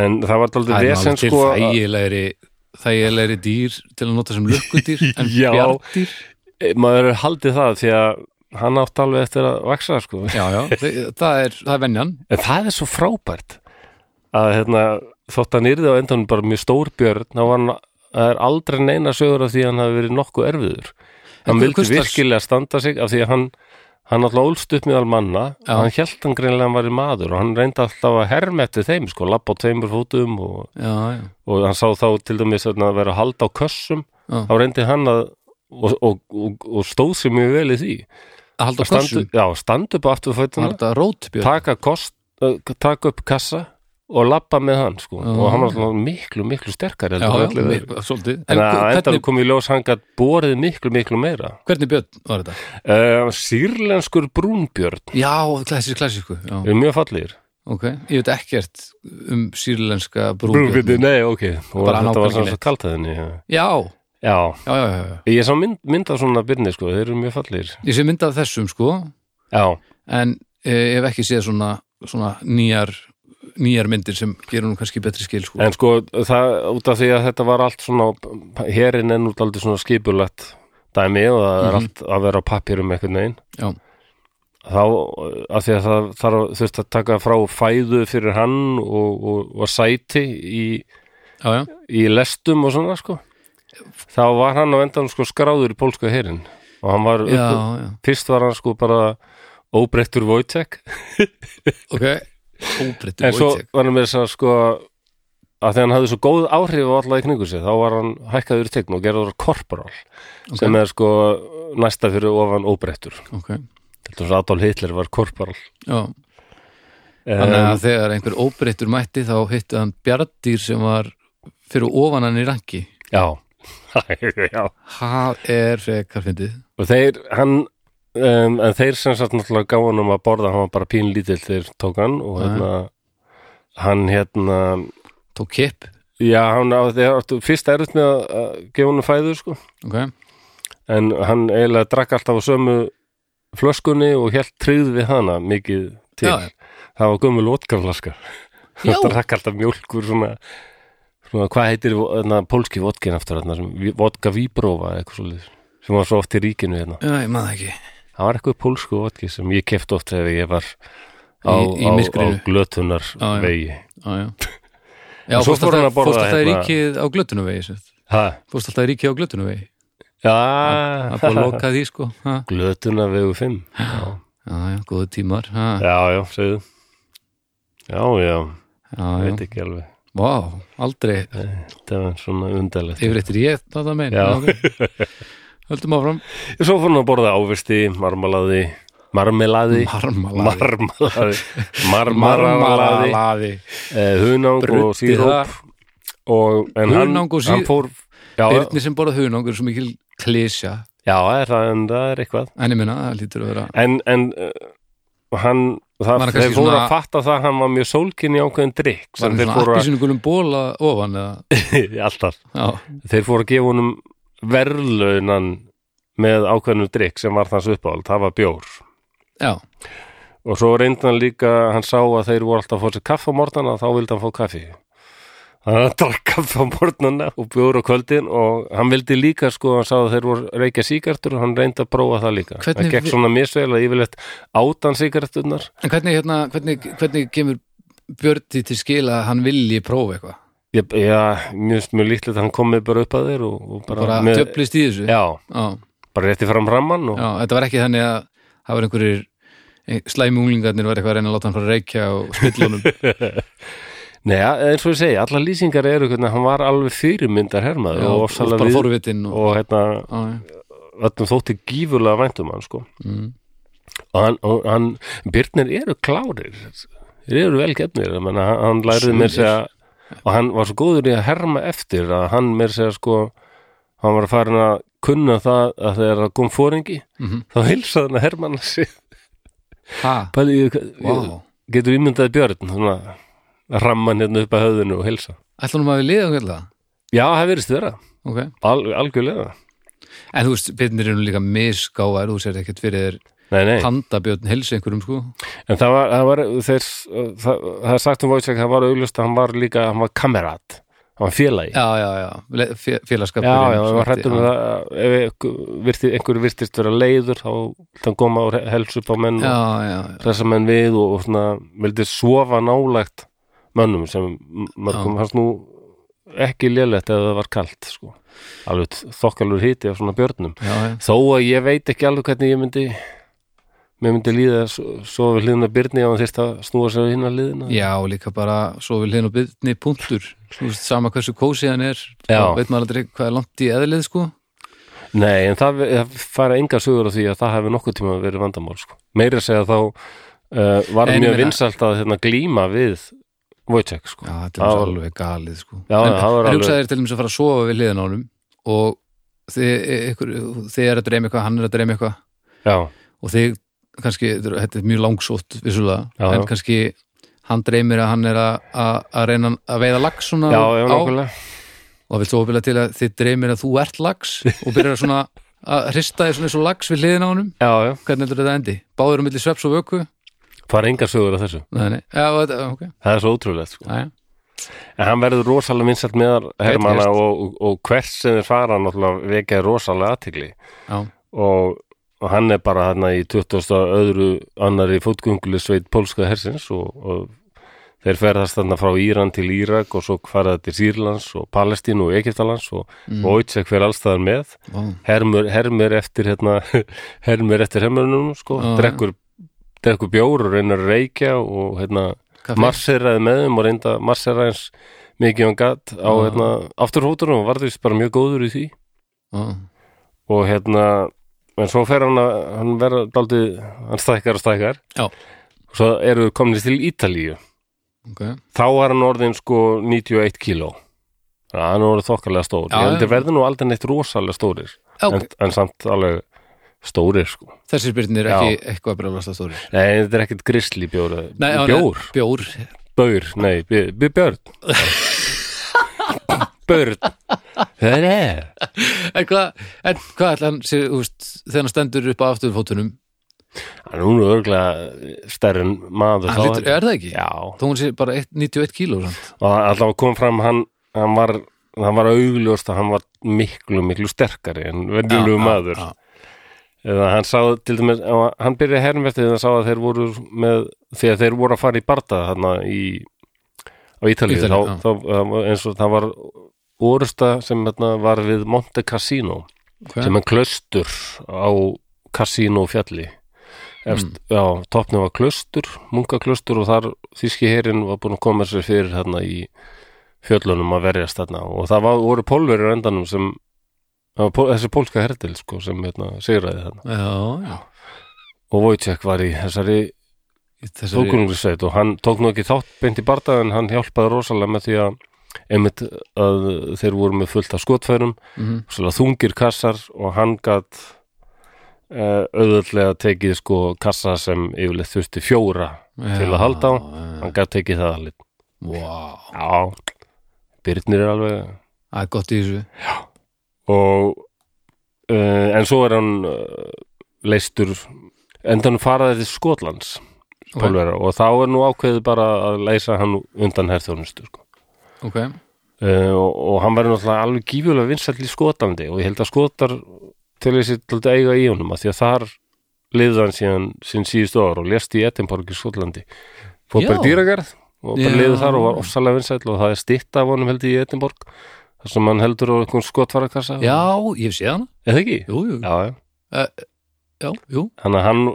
A: en það var
B: það
A: aldrei
B: er
A: vesen
B: náttúrulega
A: sko að-
B: þægilegri þægilegri dýr til að nota sem lukkudýr en
A: Já.
B: bjarndýr
A: Eh, maður er haldið það því að hann átt alveg eftir að vaksa sko.
B: já, já, þe- það er, það er venjan
A: en það er svo frábært að hérna, þótt hann yrði á endanum bara mjög stór björn þá var hann, það er aldrei neina sögur af því að hann hafi verið nokkuð erfiður hann
B: En
A: vildi
B: hvers slags-
A: virkilega standa sig af því að hann, hann alltaf ólst upp meðal manna
B: Já.
A: hann held hann greinilega að hann var í maður og hann reyndi alltaf að herma eftir þeim sko, labba á tveimur fótum og,
B: já, já,
A: og hann sá þá til dæmis þarna að vera að halda á kössum
B: Já.
A: þá reyndi hann að og, og, og, og stóð sér mjög vel í því
B: að halda á
A: standu,
B: kossum
A: já, standu upp aftur
B: var
A: fötuna,
B: þetta rótbjörn
A: taka, kost, uh, taka upp kassa og labba með hann sko.
B: Já.
A: og hann var alltaf miklu, miklu sterkari
B: já,
A: heldur en
B: já,
A: allir þeir.
B: mi- svolítið en
A: en að endan
B: hvernig,
A: kom í ljós hann gætt borið miklu, miklu meira
B: hvernig björn var þetta?
A: uh, sýrlenskur brúnbjörn
B: já, klassísk, klassísku já.
A: er mjög fallegir
B: ok, ég veit ekkert um sýrlenska
A: brúnbjörni,
B: brúbjörn
A: nei, ok og
B: Bara
A: þetta var
B: nákvæmlega.
A: sem svo kalt að henni já.
B: já,
A: já,
B: já, já, já, já
A: ég sá mynd, mynd af svona byrni sko, þeir eru mjög fallegir
B: ég sé mynd af þessum sko
A: já,
B: en eh, ef ekki séð svona, svona nýjar nýjar myndir sem gerum nú kannski betri skil sko.
A: en sko það, út af því að þetta var allt svona herin enn út aldrei svona skipulegt dæmi og það er
B: Mhm.
A: allt að vera á pappirum einhvern veginn
B: já,
A: þá, af því að það þarf þurft að taka frá fæðu fyrir hann og, og, og sæti í,
B: já, já,
A: í lestum og svona sko þá var hann á endan sko skráður í pólska herin og hann var,
B: já,
A: upp,
B: já.
A: fyrst var hann sko bara óbreyttur Wojtek
B: ok, óbreyttur
A: en svo
B: Wojtek
A: var hann með þess að sko að þegar hann hafði svo góð áhrif á alla í kningu sig, þá var hann hækkaður í tegn og gerður korporal sem er sko næsta fyrir ofan óbreyttur
B: ok,
A: þetta var svo Adolf Hitler var korporal
B: já Þannig
A: um,
B: að þegar einhver óbreyttur mætti þá hitti hann bjardýr sem var fyrir ofan hann í rangi.
A: já. já
B: Það er frekar fyndið.
A: og þeir, hann um, en þeir sem satt náttúrulega gáði hann um að borða hann var bara pínlítill þeir tók hann og
B: Já.
A: hérna hann hérna
B: Tók kipp,
A: já, hann á þeir áttu fyrst erut með að að gefa hann fæðu sko
B: ok?
A: en hann eiginlega drakk alltaf á sömu flöskunni og helt tryggð við hana mikið til
B: Já, já.
A: það var gömul vodkaflaska
B: Já.
A: hann drakk alltaf mjólkur svona, svona hvað heitir na, pólski vodkin aftur þarna, sem, vi- vodka víbrófa eitthvað svolítið sem var svo oft í ríkinu hérna.
B: Já, ég maður ekki.
A: það var eitthvað pólsku vodki sem ég kefti oft þegar ég var á,
B: Í- í
A: á, á
B: myrkrinu.
A: glötunar
B: Já, já.
A: vegi
B: Já, já. Já,
A: Og svo
B: fórst
A: fór hann
B: alltaf,
A: að borða
B: fórst alltaf í
A: hérna-
B: ríkið á glötunuvegi, sem sagt.
A: ha,
B: Fórst alltaf í ríkið á glötunuvegi. Það er búið að
A: já,
B: loka því, sko. Ha?
A: glötunar vegu 5 já,
B: Já, já, góðu tímar. Ha?
A: já, já, segðu já, já,
B: Já, já.
A: veit ekki alveg
B: Vá, aldrei.
A: Það var svona undarlegt.
B: Yfir eittir ég, það það meina.
A: Já.
B: ok. Höldum áfram.
A: Svo fór hann að borða ávisti, marmalaði, marmelaði,
B: Marmalaði.
A: marmalaði, marmalaði, eh, hunang og
B: Bruddi það.
A: síróp. Og, en hann,
B: Hunang og sí-
A: hann fór, já,
B: Byrnir sem borða hunangur er svo mikil klísja
A: já það er það, en það er eitthvað.
B: en ég minna, það lítur að vera
A: En, en uh, hann,
B: Var
A: það,
B: hann
A: þeir
B: kannski
A: fóru að
B: svona-
A: fatta það að hann var mjög sólkinn í ákveðin drikk
B: var
A: sem
B: hann
A: þeir
B: svona
A: fóru að,
B: appísinu gulum bóla ofan eða,
A: alltaf,
B: já,
A: þeir fóru að gefa honum verðlaunan með ákveðinu drikk sem var þans uppáhald, það var bjór.
B: já,
A: og svo reyndi hann líka hann sá að þeir voru alltaf að fá sér kaffe á morgnana þá vildi hann fá kaffi þannig að hann drakk kaffe á morgnana og bjóður á kvöldin og hann vildi líka sko, hann sá að þeir voru að reykja síkartur og hann reyndi að prófa það líka
B: Hvernig
A: það gekk
B: vi-
A: svona misvel að yfirleitt átan síkarturnar
B: en hvernig hérna hvernig, hvernig kemur Björdi til skila að hann vilji prófa eitthvað
A: já, já, mjög, mjög líklegt að hann komið bara upp að þeir og, og bara,
B: bara
A: með,
B: djöflist í þessu
A: já,
B: Já,
A: bara rétti fram ramman og,
B: já, þetta var ekki þannig að það var einhverjir ein- slæmi unglingarnir var eitthvað að reyna að láta hann fara að reykja og spillunum
A: neða, eins og ég segi, allar lýsingar eru hvernig hann var alveg fyrirmyndar hermaður og,
B: og
A: ofsalega
B: bara
A: við-
B: fórvitinn og,
A: og hérna,
B: á, já,
A: öllum þótti gífurlega væntum hann sko
B: Mm.
A: og hann, og hann Byrnir eru klárir þeir eru vel gefnir ég meina, hann, hann læriði mér segja og hann var svo góður í að herma eftir að hann mér segja sko hann var farin að kunna það að þegar það kom fóringi
B: Mhm.
A: þá heilsaði hann að herma hann sig
B: ha,
A: Pæli, ég, ég,
B: wow
A: getur ímyndaði Björn svona, að ramma hann hérna upp að höfðinu og heilsa
B: ætlanum að við liða um hvernig
A: já, það verðist vera,
B: það ok
A: Al, algjörlega
B: En þú veist, björnir eru nú líka misgáðar, þú sér ekkert fyrir þér
A: nei, nei.
B: pandabjörn helsi einhverjum, sko.
A: En það var, það var þeir, það, það er sagt um Vojtsek, það var auglust að hann var líka, hann var kamerat, hann var félagi.
B: Já, já, já, Le- fé- félagskapur.
A: já, já, hann var hrættur með það, að ef einhver- virti, einhverju virtist vera leiður, þá þann koma og helst upp á menn
B: Já,
A: og
B: já, já,
A: pressa menn við og, og svona, vildi sofa nálægt mönnum sem mörgum hans nú ekki lélegt ef það var kalt, sko. Alveg þokkalur hiti af svona björnum.
B: já, já.
A: Þó að ég veit ekki alveg hvernig ég myndi, mér myndi líða svo, svo við hliðina byrni á hann þyrst að snúa sér við hinn að liðina.
B: Já, og líka bara svo við hlinn og byrni punktur. Þú veist, sama hversu kósi hann er,
A: Já.
B: þá veit maður aldrei hvað er langt í eðlið, sko.
A: Nei, en það, það fara enga sögur á því að það hefði nokkuð tíma verið vandamál sko. meira að segja þá uh, var
B: En ég
A: mjög
B: meina-
A: vinsælt að hérna, glíma við Wojciech sko.
B: Já,
A: já.
B: þetta er
A: Já.
B: alveg, alveg galið, sko.
A: Já,
B: en,
A: já, það var
B: en
A: alveg-
B: hugsaði þér til þess að fara að sofa við hliðin á honum og þið, ykkur, þið er að dreyma eitthvað, hann er að dreyma eitthvað
A: Já,
B: og þig kannski, þetta er mjög langsótt vissulega,
A: Já,
B: en
A: já.
B: kannski hann dreymir að hann er að- að að reyna að veiða lax svona
A: já,
B: á,
A: nákvæmlega
B: og vil svo opila til að þið dreymir að þú ert lax og byrjar að svona að hrista þið svona eins og lax við hliðin á honum,
A: Já, já,
B: hvernig heldur þetta endi? Báður um milli sveps og vöku?
A: fara enga sögur á þessu
B: Nei, nei, já, þetta, ok,
A: það er svo ótrúlegt sko.
B: aðja
A: en hann verður rosalega vinsælt meðar hermana
B: Heyrist.
A: og, og, og hvers sem þeir fara náttúrulega vekja rosalega athygli
B: Já,
A: og, og hann er bara þarna í 20. öðru annari fótgunglu sveit pólska hersins og, og þeir ferðast þarna frá Íran til Írak og svo faraða til Sýrlands og Palestínu og Egyptalands og mm. Oitsek fyrir allstæðar með
B: vá,
A: hermur, hermur eftir hérna, hermur eftir hermurnum sko,
B: Já, já.
A: drekkur, drekkur bjór og reynir að reykja og hérna
B: kaffi
A: marseraði með þeim og reynda marseraði eins mikið hann gatt á
B: Já.
A: hérna, afturhóttunum og var því bara mjög góður í því
B: já,
A: og hérna en svo fer hann að hann verða daldið, hann stækkar og stækkar
B: Já.
A: og svo eru við komnir til Ítalíu
B: ok
A: þá var hann orðin sko 91 kíló þannig að hann er orðið þokkalega stór
B: Já,
A: ég
B: já.
A: heldur verður nú aldrei neitt rosalega stórir
B: Ok.
A: en, en samt alveg stórir sko
B: Þessi spyrnir er
A: Já.
B: ekki eitthvað brjálasta stóri
A: nei, þetta er ekkert grisli bjór
B: Nei, já, nei,
A: bjór,
B: Bjór,
A: baur, nei, b- b- björn börn það er
B: En hvað, en hvað ætla hann sér, úst, þegar hann stendur upp á afturfótunum
A: hann er nú örgulega stærri en maður
B: hann
A: þá
B: lítur, er það ekki?
A: já,
B: Þó hún sé bara 1, 91 kíló samt.
A: og allavega kom fram hann, hann var hann var augljóst að hann var miklu, miklu sterkari en venjulegu
B: Já, já,
A: maður
B: já.
A: eða hann sá til dæmis, ef hann byrjaði hermvertið þegar hann sá að þeir voru með þegar þeir voru að fara í barða þarna í á Ítalíu,
B: Ítalíu, já.
A: þá, þá, þá eins og það var orusta sem hérna, var við Monte Cassino
B: Hvað?
A: sem er klaustur á Cassino fjalli Efst, já, toppnum var klaustur munkaklaustur og þar þíski herin var búin að koma sér fyrir þarna í fjöllunum að verjast þarna og það var, voru pólverið endanum sem það var pól, þessi pólska herdil sko sem hérna, sigraði þarna
B: Já,
A: og Wojciech var í þessari
B: já Þessari,
A: þókununglisveit og hann tók nú ekki þátt beint í barða en hann hjálpaði rosalega með því að einmitt að þeir voru með fullt af skotfærum
B: Mhm.
A: svona þungir kassar og hann gat uh, auðvöldlega tekið sko kassa sem yfirleitt þurfti fjóra til að halda á,
B: Já, já.
A: hann gat tekið það alveg
B: Vá,
A: já, Byrnir er alveg
B: það er gott í þessu
A: og uh, en svo er hann uh, leistur endan faraði til Skotlands
B: Ok.
A: pólvera, og þá er nú ákveðið bara að leysa hann undan herþjónustu sko.
B: Ok,
A: uh, og, og hann verður náttúrulega alveg gífulega vinsall í skotandi og ég held að skotar til þessi til að eiga í honum að því að þar liðið hann síðan sín síðustu ára og lést í Edinborg í Skotlandi fór
B: Já.
A: bara í dýragarð og bara
B: Já.
A: liðið þar og var ofsalega vinsall og það er stytta af honum held ég í Edinborg þar sem hann heldur á einhvern skotvarakassa
B: já, ég hef séð hana
A: eða ekki?
B: Jú, jú,
A: Já, já.
B: já, jú
A: þannig að hann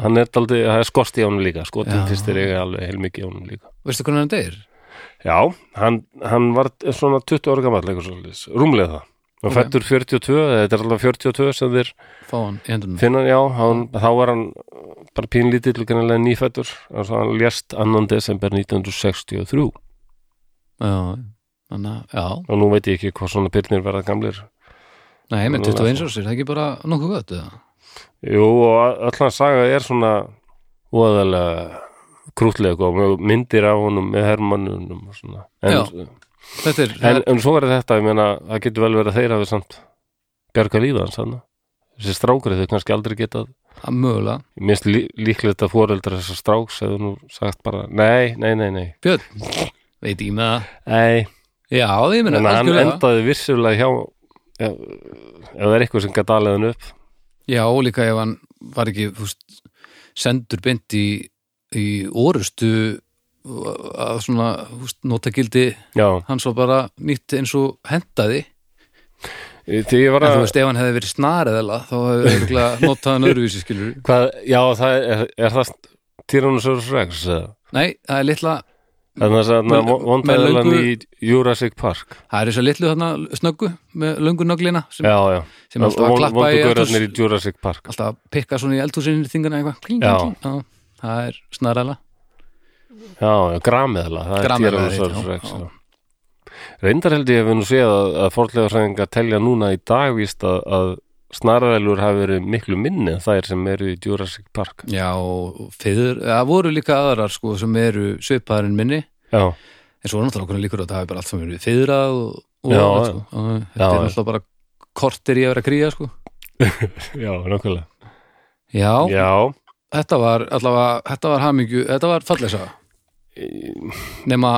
A: hann er daldið, það er skost í honum líka skotin
B: Já.
A: fyrstir eiga alveg heilmikið í honum líka
B: Veistu hvernig hann deyr?
A: Já, hann, hann var svona 20 ára gamall, eitthvað svolítið, rúmlega það. Hann
B: Ok.
A: fættur 42, eða þetta er alveg 42 sem þeir
B: Fá hann í hendunum
A: finna, já, hann, þá var hann bara pínlítill og kannilega nýfættur, en svo hann lést 2. desember 1963
B: Já, þannig, að- já,
A: og nú veit ég ekki hvað svona pyrnir verða gamlir.
B: nei, menn
A: Nú,
B: 21 árs er það ekki bara nokkuð gott eða?
A: Jú, og öll hans saga er svona óðalega krútlega góð, mjög myndir af honum með hermannunum og svona. En,
B: Þetta er,
A: en, en svo er þetta, ég meina, það getur vel verið að þeir hafi samt bjarga lífa hans hann. Þessi strákari þau kannski aldrei getað
B: að mögulega
A: Mér finnst lí líklegt að fóreldra þessar stráks hefur nú sagt bara, nei, nei, nei, nei
B: Björn, veit ekki með það
A: Nei,
B: Já, ég meina,
A: en hann
B: algjörlega.
A: endaði vissulega hjá ef, ef það er eitthvað sem gæti aðlega hann upp
B: Já, og líka ef hann var ekki fúst, sendur beint í, í orustu að svona fúst, notagildi
A: Já,
B: hans var bara nýtt eins og hendaði
A: því ég var
B: en
A: að
B: þú veist, ef hann hefði verið snar eða eitthvað, þá hefði örugglega notað hann öðruvísi skilur
A: hvað, Já, það er, er það Tyrannosaurus Rex eða?
B: Nei, það er litla
A: Þannig að
B: Með-
A: það
B: með
A: vondaði hann í
B: löngu-
A: Jurassic Park
B: það er þess að litlu þarna snöggu með löngunöglina sem,
A: Já, já,
B: sem alltaf að klappa í eldhús
A: vondaðurarnir í Jurassic Park
B: alltaf að pikka svona í eldhúsinu þingana eitthvað kling,
A: Já.
B: kling, kling. Já, það er snarala
A: Já, já, grameðla, það er
B: Grameðla,
A: Tyrannosaurus
B: já,
A: Rex
B: já.
A: já. Reyndar held ég að við nú séð að, að fórlega hræðinga telja núna í dag víst að, að snarðælur hafi verið miklu minni en þær sem eru í Jurassic Park
B: Já, og fiður, það voru líka aðrar sko sem eru svipaðarinn minni
A: Já,
B: en svo er náttúrulega okkur líkur á að það er bara allt sem verið fiðrað og, og
A: Já,
B: allt, sko. Og þetta
A: Já,
B: er
A: já.
B: náttúrulega bara kortir í að vera að kríja sko.
A: já, nákvæmlega
B: já,
A: Já,
B: þetta var allavega, þetta var hamingju, þetta var fallesa
A: í-
B: nema,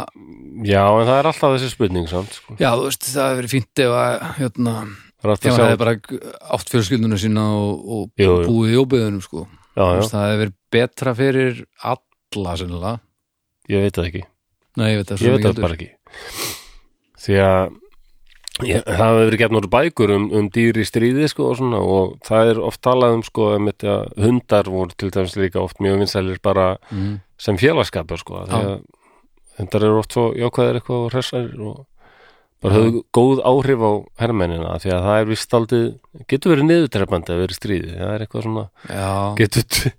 A: já, en það er alltaf þessi spurning samt sko.
B: já, þú veist, það hefði verið fínt ef að, hérna,
A: Það er
B: ef
A: alltaf
B: hann
A: sjá
B: hefði bara átt fjölskyldunum sína og, og
A: Jú, jú,
B: búið í óbyðunum sko.
A: já,
B: Þú
A: já,
B: veist, það hefði verið betra fyrir alla sennilega,
A: ég veit það ekki
B: nei, ég veit það
A: Ég
B: svo
A: veit það
B: heldur.
A: bara ekki Því að ég, það hefur verið gefnur bækur um, um dýr í stríði sko og svona og það er oft talað um sko um þetta hundar voru til dæmis líka oft mjög vinsælir bara
B: Mhm.
A: sem félagskapur sko því að hundar eru oft svo jákvæðir eitthvað og hressar og bara höfðu góð áhrif á hermennina því að það er vist aldrei getur verið niðurtrefandi að vera í stríði það er eitthvað svona,
B: já,
A: getur,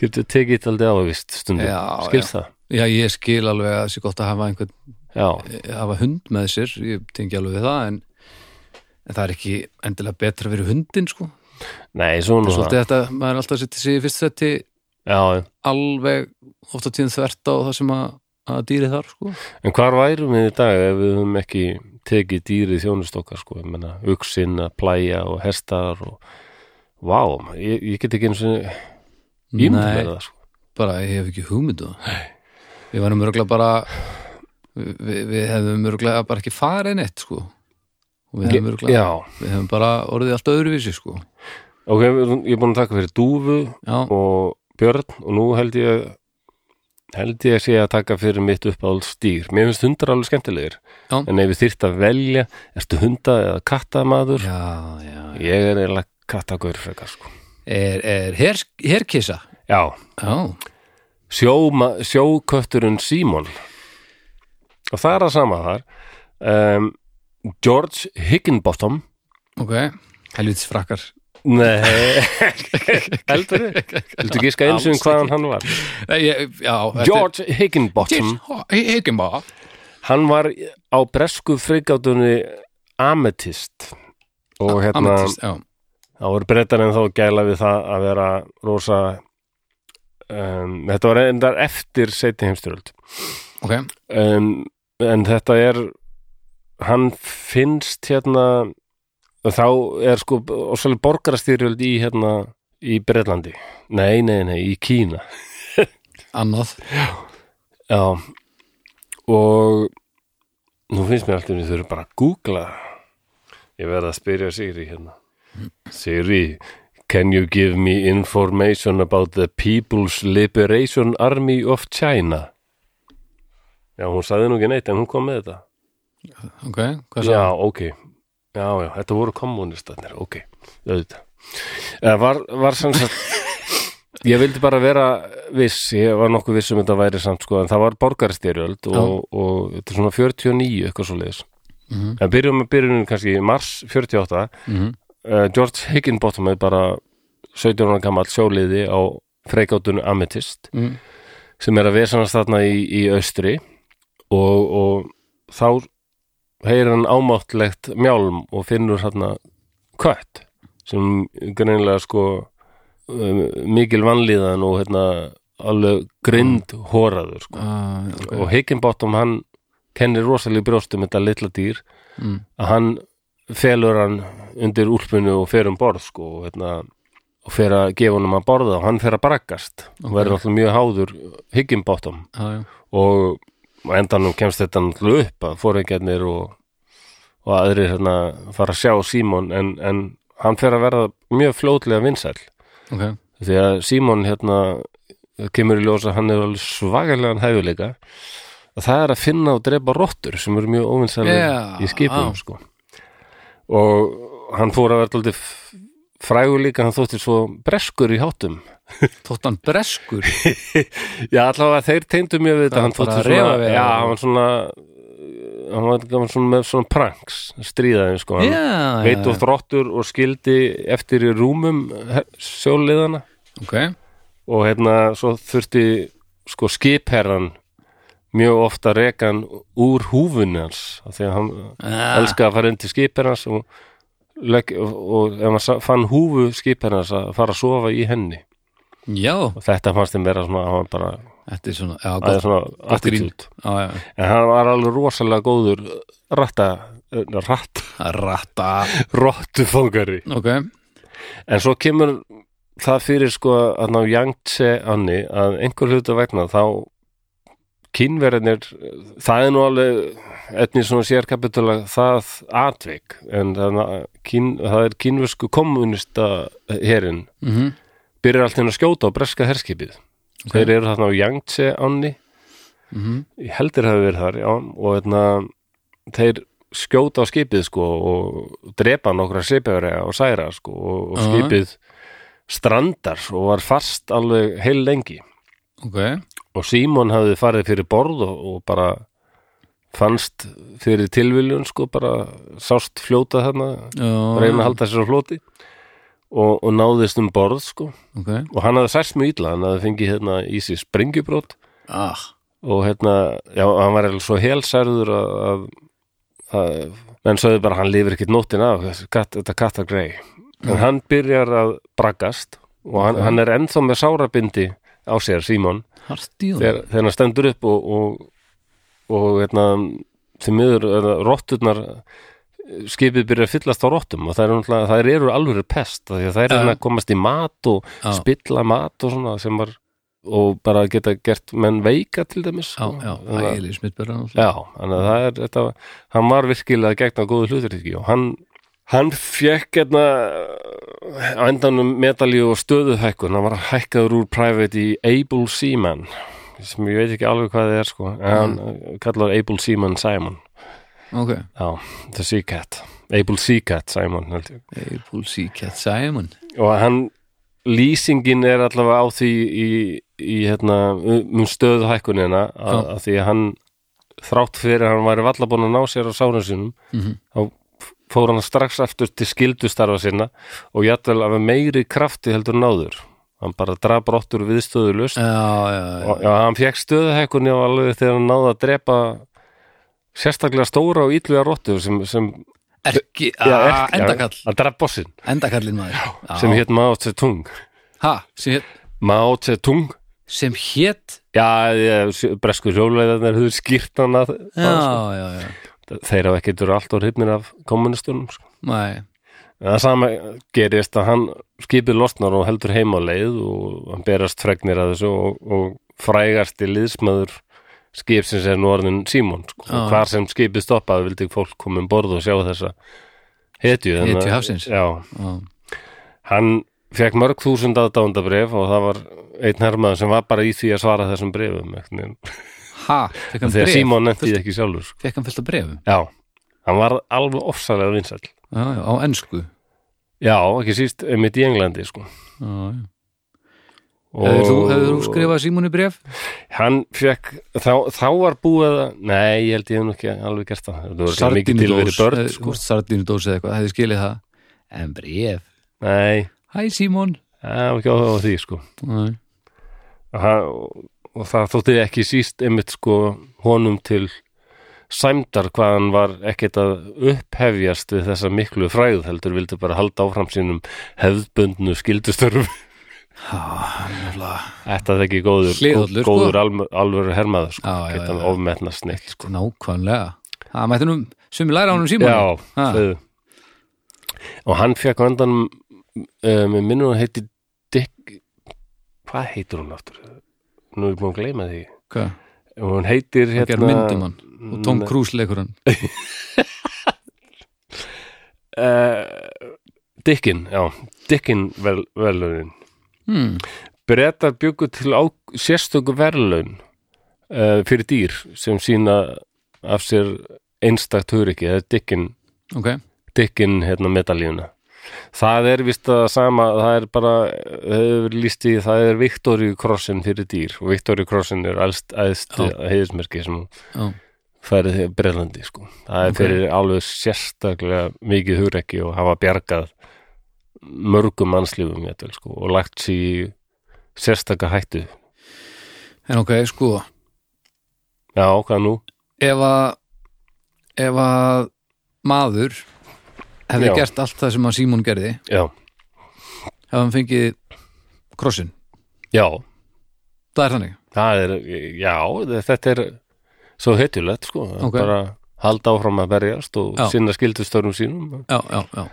A: getur tekið aldrei á vist stundum,
B: Já,
A: skilst það
B: já, ég skil alveg að það sé gott að hafa einhvern
A: já,
B: hafa hund með sér, ég tengi alveg við það en, en það er ekki endilega betra fyrir hundin sko
A: nei, svona
B: svolítið þetta, maður er alltaf að setja sig í fyrst setti
A: já,
B: alveg oft á tíðum þvert á það sem að, að dýri þar sko
A: en hvar værum við í dag ef við höfum ekki tekið dýrið þjónustokkar sko, ég menna, uksin að plæja og hestar og vá, ég, ég get ekki eins og ímynd
B: Nei.
A: með það sko
B: bara ég hef ekki hugmyndu við varum örgulega bara við, við hefum örgulega bara ekki farið neitt sko og við hefum örgulega,
A: já,
B: við hefum bara orðið allt öðruvísi sko
A: ok, ég er búin að taka fyrir dúfu
B: já,
A: og björn og nú held ég held ég að sé að taka fyrir mitt uppáhalds dýr. Mér finnst hundar alveg skemmtilegir
B: Já.
A: en ef ég þyrt að velja ertu hunda eða kattamaður
B: já, já
A: ég er eiginlega kattagaur frekar sko.
B: er, er her, herkissa
A: Já,
B: já,
A: sjóma, sjókötturinn Simon og það er að sama þar um, George Higginbottom
B: ok helvitis frakkar
A: Nei, heldur þið? Viltu giska eins og hvaðan hann var?
B: Nei, ég, já, þetta er-
A: George Higginbottom
B: George Higginbottom
A: Hann var á bresku frigátunni Amethyst og hérna,
B: Amethyst, já.
A: þá voru brettar en þá gæla við það að vera rosa um, þetta var endar eftir seinni heimstyröld
B: ok,
A: um, en þetta er hann finnst hérna þá er sko og svolítið borgarastyrjöld í hérna í Bretlandi, nei, nei, nei, í Kína
B: annað
A: Já og nú finnst mér alltaf að þau eru bara að googla ég verða að spyrja Sigri hérna Sigri, can you give me information about the People's Liberation Army of China Já, hún sagði nú ekki neitt en hún kom með þetta
B: ok, hvað svo?
A: Já, ok Já, já, þetta voru kommunistarnir, ok auðvitað Eh, var, var sem sagt ég vildi bara vera viss ég var nokkuð viss um þetta væri samt sko en það var borgarstyrjöld og, og þetta er svona 49 eitthvað svo leiðis
B: Mhm.
A: en byrjum með byrjunum kannski í mars 48
B: Mhm.
A: uh, George Higginbottom er bara 17 ára gamall sjóliði á freikáttunum Amethyst
B: Mm.
A: sem er að vesanast þarna í, í austri og, og þá heyrir hann ámáttlegt mjálm og finnur þarna kött sem greinilega sko um, mikil vanlíðan og hérna alveg grind hóraður sko.
B: Ah, ok.
A: og Higginbottom hann kennir rosalega í brjóstum þetta litla dýr
B: Mm.
A: að hann felur hann undir úlpunni og fer um borð sko og, hérna, og fer að gefa honum að borða og hann fer að braggast og verður alltaf mjög háður Higginbottom
B: Já, já.
A: og á endanum kemst þetta náttúrulega upp að fóringjarnir og, og aðrir hérna fara að sjá Símon en, en hann fer að verða mjög fljótlega vinsæl
B: ok,
A: því að Símon hérna kemur í ljós að hann er alveg svagalegan hæfuleika og það er að finna og drepa rottur sem eru mjög óvinsæli
B: Já,
A: í skipum
B: á.
A: sko. og hann fór að verða aldrei frægur líka hann þótti svo breskur í hátum
B: þótt hann breskur
A: Já, allavega þeir teyndu mjög við þetta
B: Það
A: hann
B: var bara
A: þótti
B: að refa
A: svona,
B: við
A: já,
B: það.
A: hann var svona hann var gaman svona með svona pranks stríðaði, sko, hann
B: Já,
A: veit
B: já,
A: oft rottur og skildi eftir í rúmum her- sjóliðana
B: ok
A: og hérna svo þurfti sko skipherran mjög ofta rekan úr húfunni hans af því að hann
B: Ah,
A: elskaði að fara inn til skipherrans og, legg, og, og ef hann sa- fann húfu skipherrans að fara að sofa í henni
B: Já,
A: og þetta fannst þeim vera svona, hann var bara
B: þetta er svona Já,
A: aðeins
B: gott,
A: svona
B: gott grín.
A: attitút
B: já, já
A: en hann var alveg rosalega góður uh, ratta, uh, ratt,
B: Ratta,
A: rottufangari
B: ok
A: en svo kemur það fyrir sko að ná Yangtze anni að einhver hluta vegna þá kínverðinir það er nú alveg etnir svona sérkapitula það atvik en það, uh, kín, það er kínversku kommunista herin
B: mm -hmm.
A: byrjar allt hérna að skjóta á breska herskipið þeir eru þarna á Yangtze anni
B: Mm -hmm.
A: ég heldur hafi verið þar, já og hérna, þeir skjóta á skipið sko og drepa nokkra skipjörega og særa sko og, og
B: Já.
A: skipið strandar og var fast alveg heil lengi
B: Ok,
A: og Símon hafði farið fyrir borð og, og bara fannst fyrir tilviljun sko bara sást fljóta þarna reyna að halda sér á flóti og, og náðist um borð sko
B: Ok,
A: og hann hafði særst mjög illa hann hafði fengið hérna í sig springjubrót
B: ah,
A: og hérna, já, hann var eiginlega svo helsærður að, að, að menn sögðu bara hann lifir ekkert nóttin af þessi katt- þetta katta grei en hann byrjar að braggast og hann,
B: Ok.
A: hann er ennþá með sárabindi á sér, Símon
B: harti og
A: þegar, þegar hann stendur upp og og, og hérna, því miður eða, rotturnar skipið byrja að fyllast á rottum og þær, eru náttúrulega- þær eru alvöru pest af því að þær
B: Já.
A: eru að komast í mat og
B: Já.
A: spilla mat og svona sem var og bara geta gert menn veika til dæmis
B: Já, já,
A: Þannig að-
B: ægileg smittbæra
A: Já, þannig að það er þetta, hann var virkilega að gegna góðu hluturiki og hann, hann fekk hérna á endanum medalju og stöðuhækkun hann var hækkaður úr private í Able Seaman sem ég veit ekki alveg hvað það er sko en hann
B: Mm.
A: kallar Able Seaman Simon
B: Ok,
A: já, the Sea Cat Able Sea Cat Simon held ég
B: Able Sea Cat Simon
A: og hann lýsingin er allavega á því í, í hérna, um stöðuhækkunina að,
B: Já.
A: að því að hann þrátt fyrir að hann væri valla búin að ná sér á sárun sínum
B: Mhm.
A: þá f- fór hann strax aftur til skildustarfa sinna og jættel af meiri krafti heldur en áður hann bara draf brottur viðstöðu lust
B: Já, já, já,
A: og já, hann fekk stöðuhækkunni á alveg þegar hann náði að drepa sérstaklega stóra og ítluga rottu sem, sem
B: erki,
A: já,
B: ah,
A: erk- já,
B: endakall
A: að draf bossinn
B: Endakallin maður
A: sem
B: Já.
A: hétt Mao Tse Tung
B: Ha, sem hét,
A: Mao Tse Tung
B: sem hét
A: Já, ég- sjö- bresku sjólæðarnir höfðu skýrt hann að
B: Já,
A: sko.
B: já, já,
A: þeir hafa ekkert verið alltaf hrifnir af kommunistunum sko.
B: mæ
A: En það sama gerist að hann skipið losnar og heldur heim á leið og hann berast fregnir að þessu og, og frægasti liðsmaður skipsins er nú orðin Símon sko.
B: Já.
A: hvar sem skipið stoppaði vildi fólk koma um borð og sjá þessa hetju þannig að-
B: Hetju hafsins.
A: Já,
B: Já,
A: hann fekk mörg þúsund aðdándabref og það var einn hermaður sem var bara í því að svara þessum brefum einhvern veginn.
B: Ha, fekk hann
A: þegar
B: bref
A: Símon nefndi því ekki sjálfur sko.
B: Fekk hann fullt af brefum
A: Já, hann var alveg ofsalega vinsæll.
B: Já, já, á ensku
A: Já, ekki síst mitt í Englandi, sko.
B: Já, já Hefur þú, hefur þú skrifað Símoni bref?
A: Hann fekk, þá, þá var búið að, nei, ég held ég hef nú ekki alveg gert það. Það voru ekki mikið til verið börn, sko.
B: Sardinudós eða eitthvað, hefði skilið það En bref
A: Nei,
B: Hæ Símon
A: það var ekki áhuga á því, sko.
B: Nei.
A: Og hann, og það þótti ekki síst einmitt, sko, honum til sæmdar hvað hann var ekkert að upphefjast við þessa miklu fræð heldur vildi bara halda áfram sínum hefðbundnu skildustörfum
B: Já, nefnilega
A: Þetta er ekki góður,
B: Hliðhollur, sko.
A: góður alveg, alveg hermaður sko,
B: Já, já,
A: geta
B: já.
A: ofmetna snill sko.
B: Nákvæmlega Það mætti nú sumi læra á honum Símoni
A: Já,
B: Ha.
A: þau Og hann fekk á endanum uh, með minnum hann heiti Dick Hvað heitir hún aftur? Nú er ég búin að gleyma því
B: Hvað?
A: Hún heitir
B: Það ger
A: hérna Mm,
B: myndum hann Og Tom Cruise leikur hann
A: uh, Dickin, já Dickin vel, velunin
B: hmm.
A: Bretar byggu til á, sérstöku verðlaun uh, fyrir dýr sem sína af sér einstakt huriki, það er Dickin
B: Ok,
A: Dickin hérna, medaljuna það er vist að sama það er bara, það hefur líst í það er Victoria Crossin fyrir dýr og Victoria Crossin er alst æðst
B: Já.
A: heiðismerki sem
B: já,
A: færið þegar Breðlandi sko. það er
B: Ok.
A: fyrir alveg sérstaklega mikið hugrekki og hafa bjargað mörgum mannslífum jætvel, sko, og lagt sér í sérstaka hættu
B: en ok, sko
A: já, hvað nú?
B: ef að ef að maður hefði
A: Já.
B: gert allt það sem að Símon gerði
A: já,
B: ef hann fengið krossin
A: já,
B: það er þannig,
A: það er já, þetta er svo heitjulegt sko, Það er
B: Ok.
A: bara halda áfram að berjast og
B: Já.
A: sinna skildustörum sínum
B: já, já, já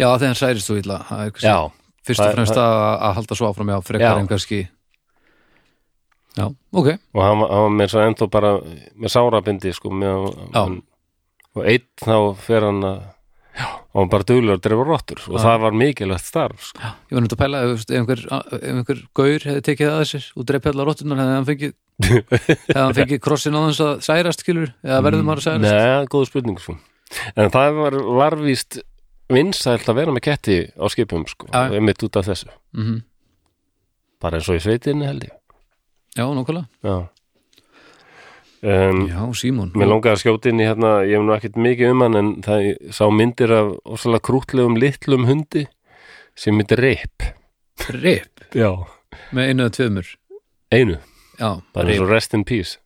B: já, þegar hann særist þú illa það er kannski
A: já,
B: fyrst
A: það
B: og
A: er-
B: fremst að, að halda svo áfram já,
A: Já.
B: frekar en kannski já, ok,
A: og hann, var- hann var með svo ennþá bara með sárabindi sko með,
B: Já.
A: hann, og einn þá fer hann að og hann bara duglur að drefa rottur sko. og það var mikilvægt starf sko.
B: ég var nefnt að pæla ef, ef, einhver, ef einhver gaur hefði tekið það að sér og dreipið allar rottunar hefði hann fengið hefði hann fengið krossin á þess að særast skilur, eða
A: Mm,
B: verður maður að særast
A: neða, góð spurning sko. en það var, var víst vinsælt að vera með ketti á skipum sko,
B: Já.
A: einmitt út af þessu
B: mm
A: bara eins og í sveitinni held ég
B: já, nokkulega
A: Já um,
B: Já, Símon
A: Mér langaði að skjóta inn í hérna, ég hef nú ekkert mikið um hann en það ég sá myndir af ósala krútlegum litlum hundi sem myndi rip.
B: Rip
A: Já.
B: með einu eða tveimur
A: Einu,
B: Já,
A: það er
B: rip
A: svo rest in peace.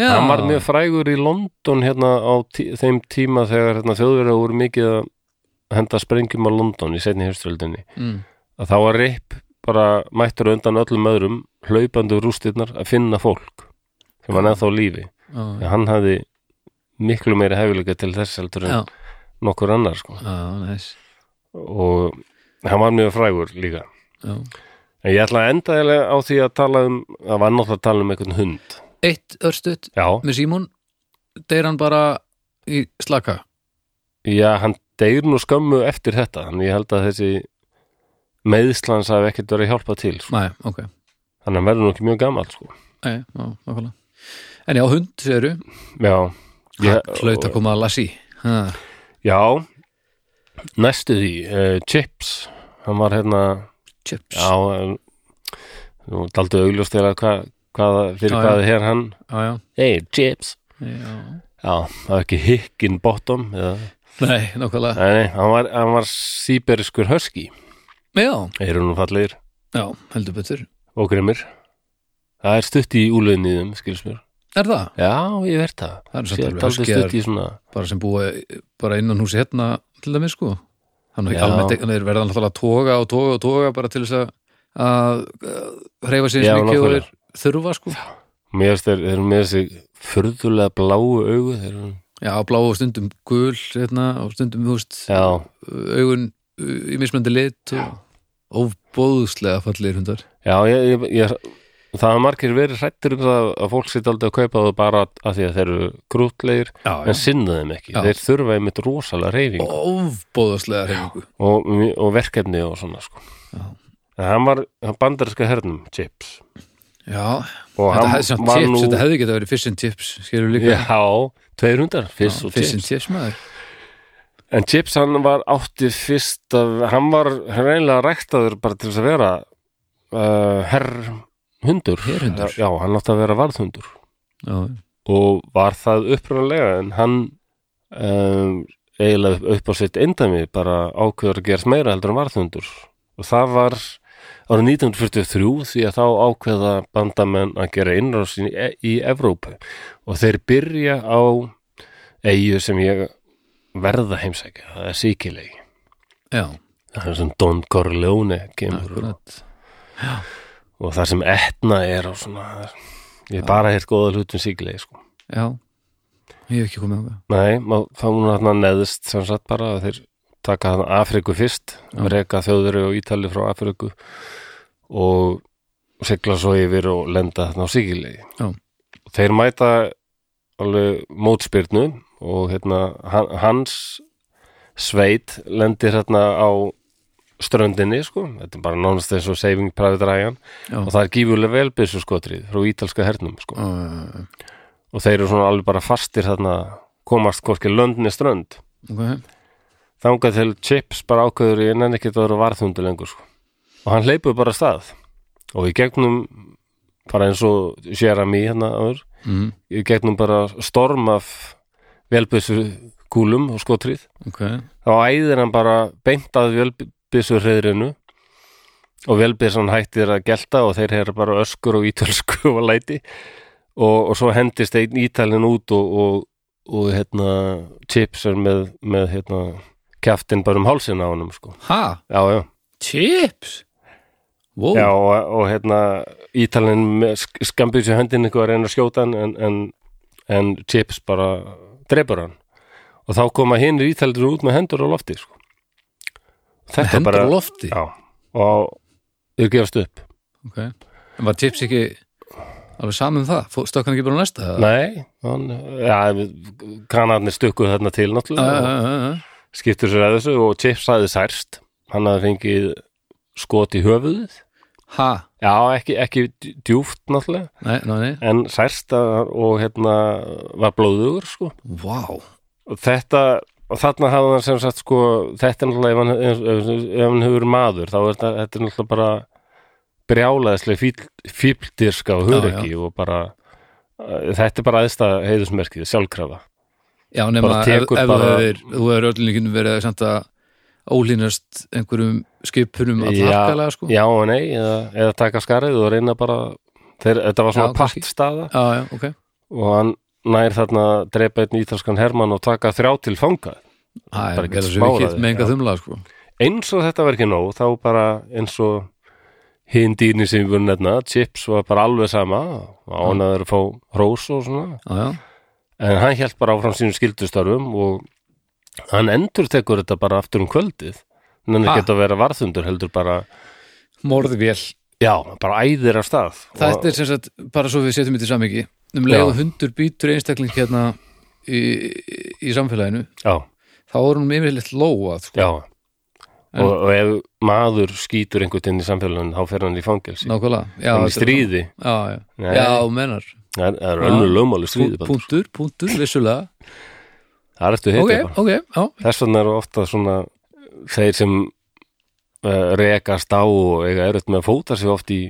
B: Já,
A: Hann var mjög frægur í London hérna á tí þeim tíma þegar hérna, þjóðverða voru mikið að henda sprengjum á London í setni hefstöldinni.
B: mm,
A: Að þá var rip bara mættur á undan öllum öðrum hlaupandi úr rústirnar að finna fólk sem var ennþá á lífi.
B: já,
A: En hann hafði miklu meiri hefilega til þess heldur en
B: já,
A: nokkur annar sko.
B: já, næs
A: og hann var mjög frægur líka
B: já.
A: en ég ætla að enda eiginlega á því að tala um það var náttúrulega að tala um einhvern hund
B: Eitt örstuðt
A: já,
B: með Símon deyr hann bara í slaka
A: já hann deyr nú skömmu eftir þetta en ég held að þessi meðslans hafi ekkert verið að hjálpa til sko.
B: Nei, ok,
A: þannig að hann verður nú ekki mjög gammal sko.
B: Nei, já, nokkulega En já, hund, segirðu,
A: já, ég,
B: hlaut að koma að lasi ha,
A: já næstu því, uh, Chips hann var hérna
B: Chips
A: já, en- nú daldið augljóst þegar hvað, hvað, fyrir
B: Já, já.
A: hvað er hann
B: já,
A: hey, Chips
B: já, já.
A: já, það er ekki Higginbottom eða
B: Nei, nokkulega
A: Nei, nei, hann var, hann var síberiskur hörski
B: Já,
A: Eyrun og fallegir
B: já, heldur betur
A: og grimmir Það er stutt í úlöðniðum, skils mér
B: Er það?
A: Já, ég verð það
B: Það er
A: Sér
B: svolítið alveg
A: taldi stutt
B: hörskjar
A: í svona
B: bara sem búa bara innan húsi hérna til dæmis sko hann er
A: Já.
B: ekki almennt hann er verðan alltaf að toga og toga og toga bara til þess að- að að hreyfa sér
A: Já,
B: eins mikið og
A: nákvæmlega.
B: er þurfa sko
A: Mér finnst þeir, þeir eru með þessi furðulega bláu augu þeir, eru-
B: já, blá og stundum gul hérna, og stundum húst
A: Já,
B: augun uh, í mismöndi lit og óbóðslega fallir hundar
A: já ég, ég, ég, það hafa margir verið hrættir um það að fólk sitt aldrei að kaupa þau bara að því að þeir eru grútlegir
B: já,
A: en sinna þeim ekki,
B: Já.
A: þeir þurfa einmitt rosalega reyfingu
B: óbóðslega hreyfingu
A: og, og verkefni og svona sko.
B: Já.
A: En hann var hann bandarska hernum, Chips
B: já,
A: og
B: þetta
A: hann
B: hefði samt
A: var
B: tips,
A: nú
B: þetta hefði getað verið fish and tips skilur líka
A: Já, tveir hundar,
B: Já,
A: Fizz og
B: fish and
A: Chips
B: tips maður
A: En Chips hann var átti fyrst af, hann var reynilega ræktaður bara til þess að vera uh, herr hundur
B: Herhundur.
A: Já, hann átti að vera varðhundur
B: já,
A: og var það upprunalega en hann um, eiginlega upp á sitt endami bara ákveður að gerast meira heldur en varðhundur og það var árið 1943 því að þá ákveða bandamenn að gera innrásin í, í Evrópu og þeir byrja á eigu sem ég verða heimsækja, það er síkilegi
B: já,
A: það er sem Don Corleone kemur og,
B: akkurat
A: og það sem etna er og svona það er- ég hef bara heilt góða hlutum síkilegi sko
B: Já, ég hef ekki komið á það
A: Nei, má- þá hún hann að neðist sem sagt bara að þeir taka hann Afriku fyrst,
B: Já.
A: reka þjóðveri og Ítali frá Afriku og sigla svo yfir og lenda þarna á Sigilegi.
B: Já.
A: Þeir mæta alveg mótspyrnu og hérna han- hans sveit lendir hérna á ströndinni sko, þetta er bara nánast eins og Saving Private Ryan
B: Já.
A: og það er gífurlega velbyrsu skotrið frá ítalska hernum sko
B: uh,
A: og þeir eru svona alveg bara fastir þarna komast hvorki löndni strönd
B: Ok,
A: þangað til chips bara ákveður ég nenni ekki að vera varðhundu lengur sko. og hann hleypur bara af stað og í gegnum bara eins og Jeremy hérna áður
B: mm,
A: í gegnum bara storm af velbyssu kúlum og skotrið
B: ok
A: þá æðir hann bara beint að velbyssu hreðrinu og velbyssan hættir að gelta og þeir heyra bara öskur og ítölsku og læti og, og svo hendist einn ítalinn út og, og, og hérna chips er með, með hérna kjaftin bara um hálsinn á honum sko.
B: Ha,
A: já, já,
B: chips Wow,
A: já og, og hérna ítalinn skambið sér höndin eitthvað að reyna að skjóta hann en, en, en chips bara drepur hann og þá koma hinn ítalinn út með hendur á lofti sko.
B: með
A: þetta
B: hendur
A: bara
B: á lofti
A: já, og þau gefast upp
B: Ok, en var chips ekki alveg saman um það? Fó- Stökk hann ekki bara á næsta? eða?
A: nei, hann, ja, kanarnir stukkuð þarna til
B: Já, já,
A: náttúrulega
B: já, já, já.
A: og skiptur sér að þessu og Chips hafði særst hann hafði fengið skot í höfuðið
B: Ha,
A: já, ekki, ekki dj- djúpt náttúrulega
B: nei, nei, nei
A: en særst að- og hérna var blóðugur sko
B: Vá, wow.
A: og þetta og þarna hafði hann sem sagt sko þetta er náttúrulega ef hann, ef, ef, ef hann hefur verið maður þá er þetta, þetta er náttúrulega bara brjálaðislega fíl, fíldirska og hugreiki og bara eh, þetta er bara aðsta heiðusmerkið, sjálfkrafa
B: Já, nema
A: Bara
B: ef,
A: tekur
B: ef
A: bara-
B: þú hefur, þú hefur öllin verið samt að ólínast einhverjum skipunum
A: Já,
B: allharkalega sko.
A: já og nei, eða, eða taka skarið og reyna bara þeir, þetta var
B: Já,
A: svona
B: kannski.
A: partstaða
B: já, já, ok
A: og hann nær þarna að drepa einn ítalskan hermann og taka þrjá til fanga
B: Það
A: Bara
B: er
A: ekkert
B: gerða svo
A: smáræði,
B: vikið með enga
A: já.
B: þumla sko.
A: eins og þetta verki nóg, þá bara eins og hinn dýrni sem við vorum nefna, chips var bara alveg sama og hann að þeir að fá hrós og svona
B: Já, já,
A: en hann hjælt bara áfram sínum skildustörfum og hann endur tekur þetta bara aftur um kvöldið en hann
B: Ha?
A: er gett að vera varðundur heldur bara
B: morðvél
A: já, bara æðir af stað
B: Þetta
A: og,
B: er sem sagt, bara svo við setjum þetta í samviki um leið
A: Já.
B: og hundur býtur einstakling hérna í, í- í samfélaginu
A: já,
B: þá er hún yfirleitt lóað sko.
A: já og, og ef maður skýtur einhvern veginn í samfélaginu þá fer hann í fangelsi
B: Nákvæmlega já,
A: hann í
B: þetta er-
A: stríði,
B: Já, já,
A: Nei.
B: já þú menar
A: það er- það er
B: Já.
A: önnur lögmáli stríði bara.
B: Púntur, púntur, vissulega
A: það er eftir
B: Ok,
A: heiti bara
B: ok, já,
A: þess vegna eru ofta svona þeir sem uh, rekast á og eiga erut með að fóta sig oft í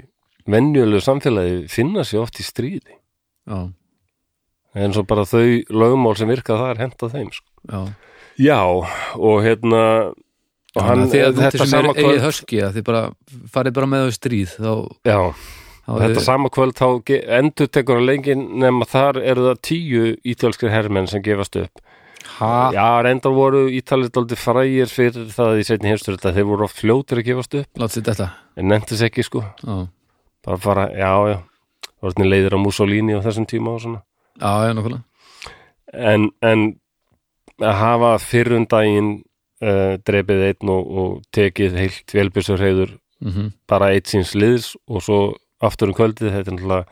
A: venjulegu samfélagi finna sig oft í stríði
B: já,
A: en svo bara þau lögmál sem virka það er henda þeim sko.
B: já.
A: Já, og hérna og hann,
B: Þannig að þið-
A: þetta
B: þið sem
A: sama
B: er eigið
A: kvöld
B: höski að þið bara farið bara með þau í stríð þá,
A: já,
B: þá
A: þetta
B: þið,
A: sama kvöld þá ge- endur tekur að lengin nema þar eru það tíu ítölskir hermenn sem gefast upp
B: ha,
A: Já, reyndar voru ítalið aldrei frægir fyrir það í seinni heimsturita þeir voru oft fljótir að gefast upp
B: látt sér þetta
A: en nefntis ekki sko
B: já,
A: bara fara, já, já orðin leiðir á Mussolini á þessum tíma og svona
B: já, já, nákvæmlega
A: en, en að hafa fyrrum daginn uh, drepið einn og, og tekið heilt velbjörsarheyður
B: mm -hmm.
A: bara eitt síns liðs og svo aftur um kvöldið þetta er náttúrulega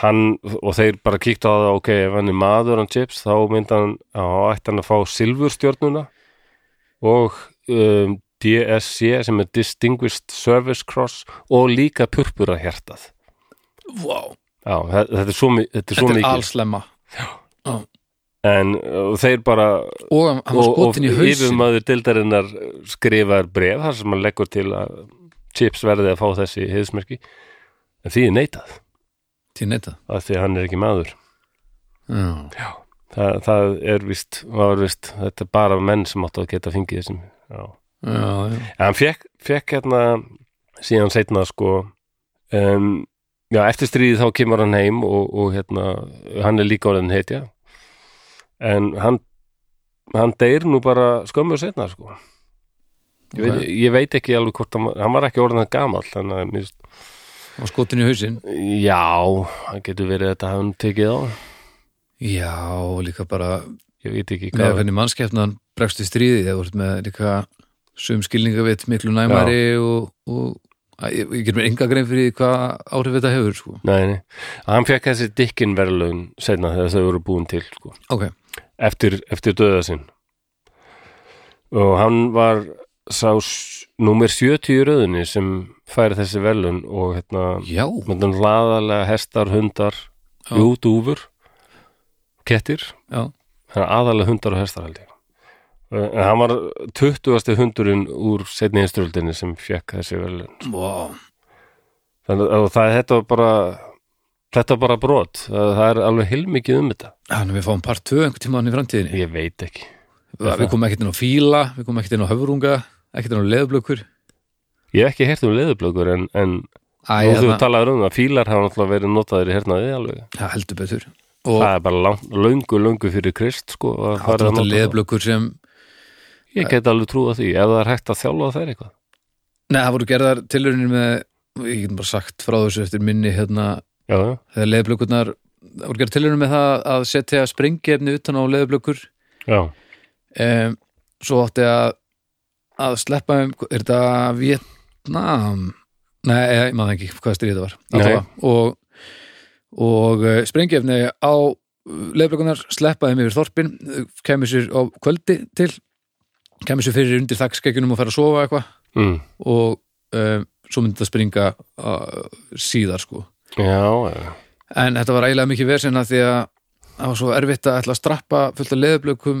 A: hann og þeir bara kíktu á það ok, ef hann er maður hann chips þá myndi hann á ætti hann að fá silfurstjörnuna og um, DSC sem er Distinguished Service Cross og líka purpura hjartað
B: wow,
A: Já, þe- þetta er svo, mi- þetta er svo
B: Þetta er
A: mikið
B: allslemma
A: en uh, þeir bara
B: og hann hann var
A: og, og
B: skotin í hausin
A: yfirmaður dildarinnar skrifar bref þar sem hann leggur til að chips verði að fá þessi heiðsmerki en því er neitað
B: til netta
A: af því að hann er ekki maður
B: já,
A: Þa, það er vist, var vist þetta er bara menn sem áttu að geta fengið þessum já.
B: já, já,
A: en hann fekk, fekk hérna síðan seinna sko um, já, eftir stríðið þá kemur hann heim og, og hérna, hann er líka orðin heitja en hann hann deyr nú bara skömmu seinna sko ég, veit,
B: Ok.
A: ég veit ekki alveg hvort hann, var- hann var ekki orðin það gamall þannig að, mér-
B: hann var skotin í hausin
A: já, hann getur verið þetta hann tekið á
B: já, og líka bara
A: ég veit ekki
B: með
A: hvað
B: hvernig mannskeppnan bregst í stríði þegar þú ert með líka sum skilningavitt miklu næmari og, og að, ég, ég ger mér enga grein fyrir því hvað áhrif þetta hefur sko.
A: Nei, nei, hann fekk þessi dikkin verðlaun seinna þegar þau voru búin til sko.
B: ok,
A: eftir, eftir döða sinn og hann var sá s- númer 70 í röðunni sem færi þessi velun og hérna
B: já,
A: myndan laðalega hestar, hundar
B: Já.
A: jú, dúfur kettir,
B: já
A: hann aðalega hundar og hestar held ég Eh, en hann var 20. hundurinn úr setni einströldinni sem fekk þessi velun
B: wow.
A: þannig að og það, þetta var bara þetta var bara brot, það það er alveg heilmikið um þetta,
B: Þannig að við fáum part 2 einhvern tímann í framtíðinni
A: ég veit ekki
B: Við komum ekkert inn á fíla, við komum ekkert inn á höfurunga ekkert inn á leðblökkur
A: Ég hef ekki heyrt um leðublökur en, en
B: Æ,
A: nú þú
B: hérna,
A: talaður um það, fílar hafa náttúrulega verið notaðir hérna í hernaði alveg.
B: það heldur betur Og
A: það er bara lang, löngu, löngu fyrir krist, sko. að fara að
B: þetta
A: nota það.
B: leðblökkur sem
A: Ég get alveg trúa því, ef það er hægt að þjálfa þær eitthvað.
B: Nei, það voru gerðar tilurinn með Ég getum bara sagt frá þessu eftir minni hérna,
A: Já, já,
B: Þegar leðblökkurnar Það voru gerðar tilurinn með það að setja sprengjefni utan á leðblökkur
A: já.
B: um, Svo átti að að sleppa um, er þetta Vietnam? Nei, ég, ég maður ekki hvað stríð þetta var
A: Nei.
B: Allavega. og, og eh, sprengjefni á leifblökunar sleppa þeim yfir þorpin kemur sér á kvöldi til kemur sér fyrir undir þakkskekjunum og fara að sofa eitthvað
A: Mm.
B: og um, svo myndi það springa uh, síðar sko
A: Já, já.
B: en þetta var eiginlega mikið versinna því að það var svo erfitt að ætla að strappa fullt af leifblökum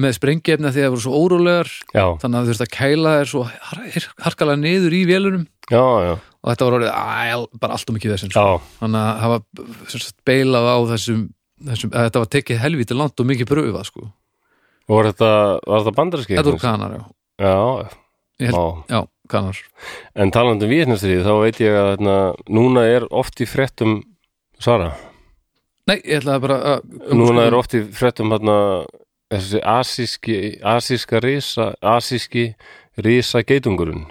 B: með sprengjefni af því að það voru svo órólegar
A: Já,
B: þannig að þú þurft að kæla þér svo har- harkalega niður í vélunum
A: já, já.
B: og þetta var orðið æl, bara allt og mikið þessum
A: já,
B: þannig að hafa sem sagt, beilað á þessum, þessum að þetta var tekið helvítið langt og mikið pröfa sko.
A: og var þetta, var þetta bandaríski?
B: þetta voru kanar, já,
A: Já,
B: Ég held-
A: já.
B: já kanar
A: En talandi um Víetnamstríð, þá veit ég að hérna, núna er oft í fréttum Sara,
B: nei, ég ætlaði bara að
A: núna er oft í fréttum hérna, þessi asíski asíska risa asíski risa geitungurinn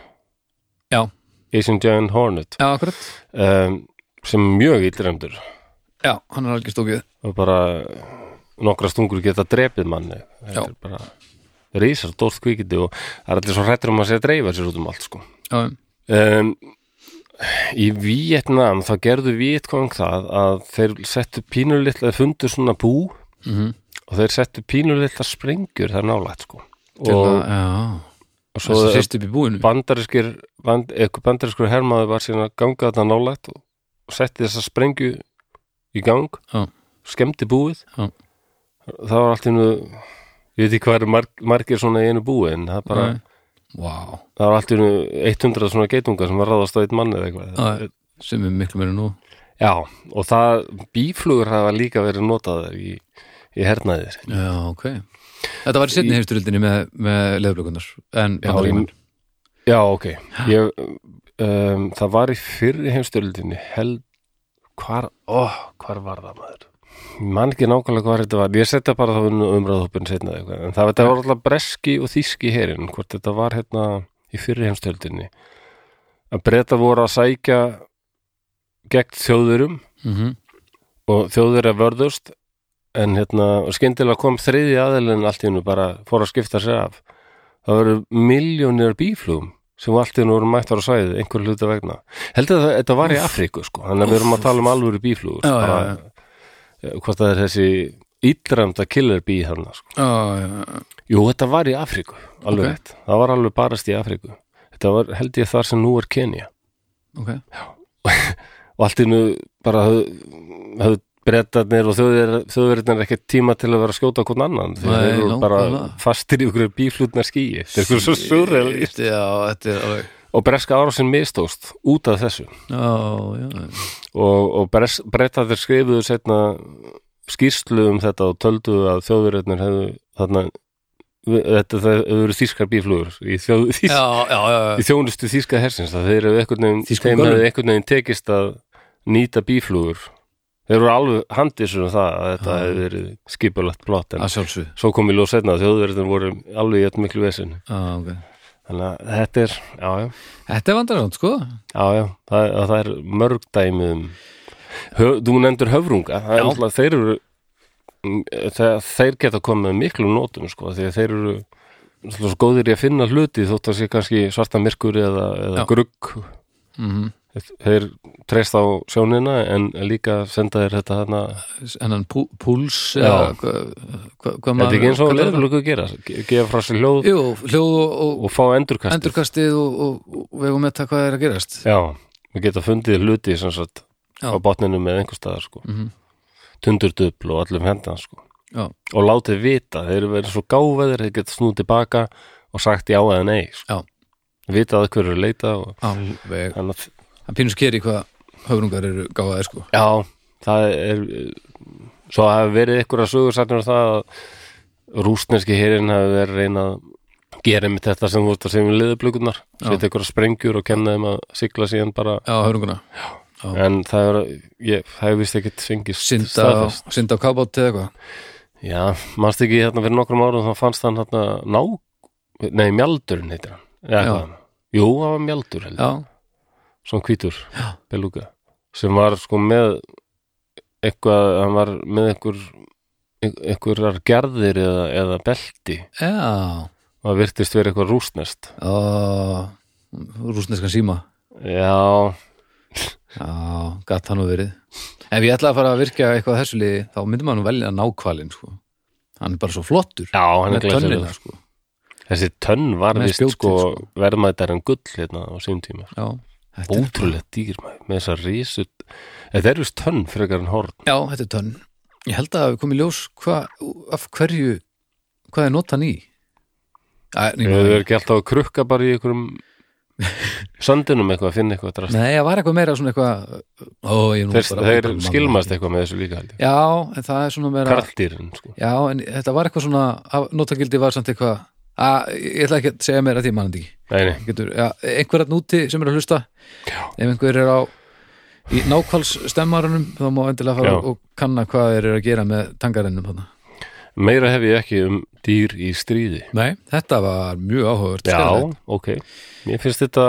B: Já.
A: Asian Giant Hornet
B: já, akkurat,
A: um, sem er mjög illremdur
B: já, hann er algjör stókið
A: og bara nokkra stungur geta drepið manni
B: Já.
A: þetta er bara risar dórst kvikindi og það er allir svo hrættur um að segja dreifa sér út um allt sko
B: já,
A: um, í Vietnam þá gerðu Vietkong það að þeir settu pínulitla þeir fundu svona bú
B: mm -hmm.
A: og þeir settu pínulitla sprengjur það er nálægt sko
B: og,
A: og,
B: já
A: og svo
B: þessi sýst upp í búinu
A: bandarískir band, eitthvað bandarískur hermaður var síðan að ganga þetta nálægt og, og setti þessa sprengju í gang
B: Já.
A: skemmti búið
B: Já.
A: það var allt innu ég veit ekki hvað eru marg, margir svona í einu búi en það, bara,
B: Nei. Vá,
A: það var allt innu 100 svona geitunga sem var ráðast á einn mann eða eitthvað
B: Já, já. sem er miklu meira nú
A: Já, og það, bíflugur hafa líka verið notaðar í, í hernaðir.
B: já, ok þetta var í setni heimsturöldinni með, með leðurblökunar en
A: Já,
B: Bandaríkjamenn.
A: Já, ok. Ég, um, það var í fyrri heimstöldinni held, hvar, ó, hvar var það maður? Ég Man ekki nákvæmlega hvað þetta var. Ég setja bara þá umræðhópin setna eða eitthvað. En það, þetta var alltaf breski og þíski herin, hvort þetta var hérna í fyrri heimstöldinni. Að breyta voru að sækja gegn þjóðurum
B: Mhm.
A: og þjóðir að vörðust en hérna, og skyndilega kom þriði aðeilin allt í hennu bara fór að skipta sér af það voru miljónir bíflugum sem allt í hennu voru mættar á svæðið einhver hluta vegna heldur að þetta var í Afríku sko þannig að við erum að tala um alvöru bíflugur
B: Já,
A: bara,
B: já,
A: eh, hvort það er þessi ídramda killer bee þarna sko.
B: já, já, já.
A: jú, þetta var í Afríku, alveg
B: Ok.
A: rétt það var alveg barast í Afríku þetta var held ég þar sem nú er Kenya
B: ok
A: og allt innu bara höfðu brettarnir og þjóðverðirnir ekki tíma til að vera að skjóta hvern annan því
B: Nei,
A: þeir eru
B: nákvæmlega.
A: bara fastir í okkur bíflutnar skýi þeir eru svo surreal
B: Shit, Já, þetta er alveg
A: og breska árásin mistóst út af þessu
B: Já, já,
A: og, og bres, brettarnir skrifuðu setna skýrslu um þetta og töldu að þjóðverðirnir hefðu þarna þetta það eru þýskar bíflugur í, þjóð, þýsk,
B: já, já, já,
A: í þjónustu þýska hersins að þeir eru einhvern veginn
B: Þýskum
A: þeim
B: gönnum.
A: hefði einhvern veginn tekist að nýta bíflugur þeir eru alveg handisur um það að þetta
B: Já.
A: hefði verið skipulagt plott en
B: að sjálfsög
A: svo kom í ljós setna að þjóðverðin voru alveg í eitt miklu vesin
B: ah, okay.
A: þannig að þetta er, já já,
B: Þetta er vandaránd, sko
A: já, já það, að það er mörg dæmi um höf, þú nefndur höfrunga það
B: Já.
A: er alltaf, þeir eru þeir, þeir geta komið með miklu nótum sko, því að þeir eru náttúrulega svo góðir í að finna hluti þótt að sé kannski svarta myrkur eða,
B: Já.
A: eða grugg
B: mm
A: þeir treyst á sjónina en líka senda þeir þetta þarna
B: En hann pú, púls
A: Já.
B: eða hvað- hvað- Hvað
A: þetta er ekki eins og
B: kallar það?
A: leðurlöku gera ge- gefa frá sér hljóð
B: Jú, hljóð og, og
A: og fá endurkast
B: endurkastið og, og, og vegum með það hvað er að gerast
A: já, við geta fundið hluti sem sagt
B: Já.
A: á botninu með einhver staðar sko
B: Mhm.
A: tundurdubl og allum hendan sko
B: Já,
A: og látið vita, þeir eru verið svo gáfaðir þeir geta snúið tilbaka og sagt já eða nei sko.
B: Já.
A: vitað að hverju leita og
B: alveg
A: þannig að
B: Hann pínur skeri hvað höfrungar eru gáðaðir, sko
A: Já, það er svo hafi verið einhverja sögur sætnir það að rústneski herin hafi verið að reyna að gera með þetta sem þú veist að segja við liðublökunar
B: Já.
A: setja einhverja sprengjur og kenna þeim að sigla síðan bara,
B: Já, höfrunguna Já.
A: en það er ég, það er vist ekkit fengist
B: Synda á,
A: staðfest.
B: synda á kábátt eða eitthvað
A: Já, mannst ekki hérna fyrir nokkrum árum þá fannst hann hérna ná nei, mjaldurinn heitir hann Eða
B: Já.
A: hvað? Jú, það var mjaldur heldur
B: Já,
A: svona hvítur beluga sem var sko með eitthvað, hann var með einhver einhverjar gerðir eða, eða belti
B: já
A: og það virtist verið eitthvað rústnest
B: Ó, Rússneskan síma
A: já,
B: Já, gatt hann og verið Ef ég ætla að fara að virkja eitthvað að þessu liði þá myndi maður nú velja nákvalinn sko. Hann er bara svo flottur
A: já hann
B: með
A: er glæsilegur.
B: tönnina sko.
A: þessi tönn var
B: Með
A: vist
B: spjótin,
A: sko,
B: sko.
A: verðmættar en gull hérna á sínum tíma
B: Já, þetta er-
A: ótrúlega dýr maður, með þessar rísu þetta er vist tönn frekar en horn
B: Já, þetta er tönn Ég held að við komum í ljós hva, af hverju hvað er notan í? Æ, nei,
A: þau
B: maður-
A: eru ekki alltaf að krukka bara í einhverjum sandinum eitthvað, finna eitthvað drast
B: Nei, það var eitthvað meira svona eitthvað ó, ég er nú
A: þeir,
B: bara-
A: þeir skilmast eitthvað með þessu líka held ég.
B: Já, en það er svona meira
A: karldýrin sko.
B: Já, en þetta var eitthvað svona af- notagildi var samt eitthvað að, ég ætla ekki að segja meira því mannandi ekki
A: nei, nei.
B: getur, já, einhver að núti sem er að hlusta ef einhver er á í nákvæls stemmarunum þá má endilega fara
A: Já.
B: og kanna hvað þeir eru að gera með tangarinnum hana.
A: meira hef ég ekki um dýr í stríði
B: Nei, þetta var mjög áhugavert
A: já,
B: skemmtilegt.
A: ok mér finnst þetta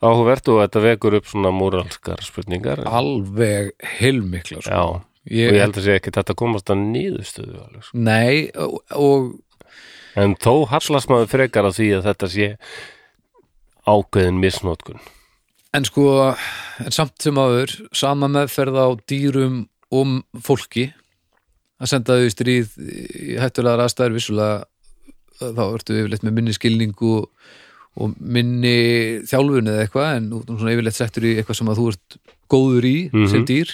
A: áhugavert og þetta vekur upp svona moralskar spurningar
B: alveg heilmikla Ah, sko.
A: já, og ég held að sé ekki þetta komast að nýðustuðu alveg, sko.
B: Nei, og, og
A: en þó hallast maður frekar að því að þetta sé ákveðin misnótkun
B: en sko en samt sem áður, sama meðferð á dýrum og fólki að senda þau í stríð í hættulegar aðstæður vissulega þá ertu yfirleitt með minni skilningu og minni þjálfun eða eitthvað en þú ert nú svona yfirleitt settur í eitthvað sem að þú ert góður í sem
A: Mhm.
B: dýr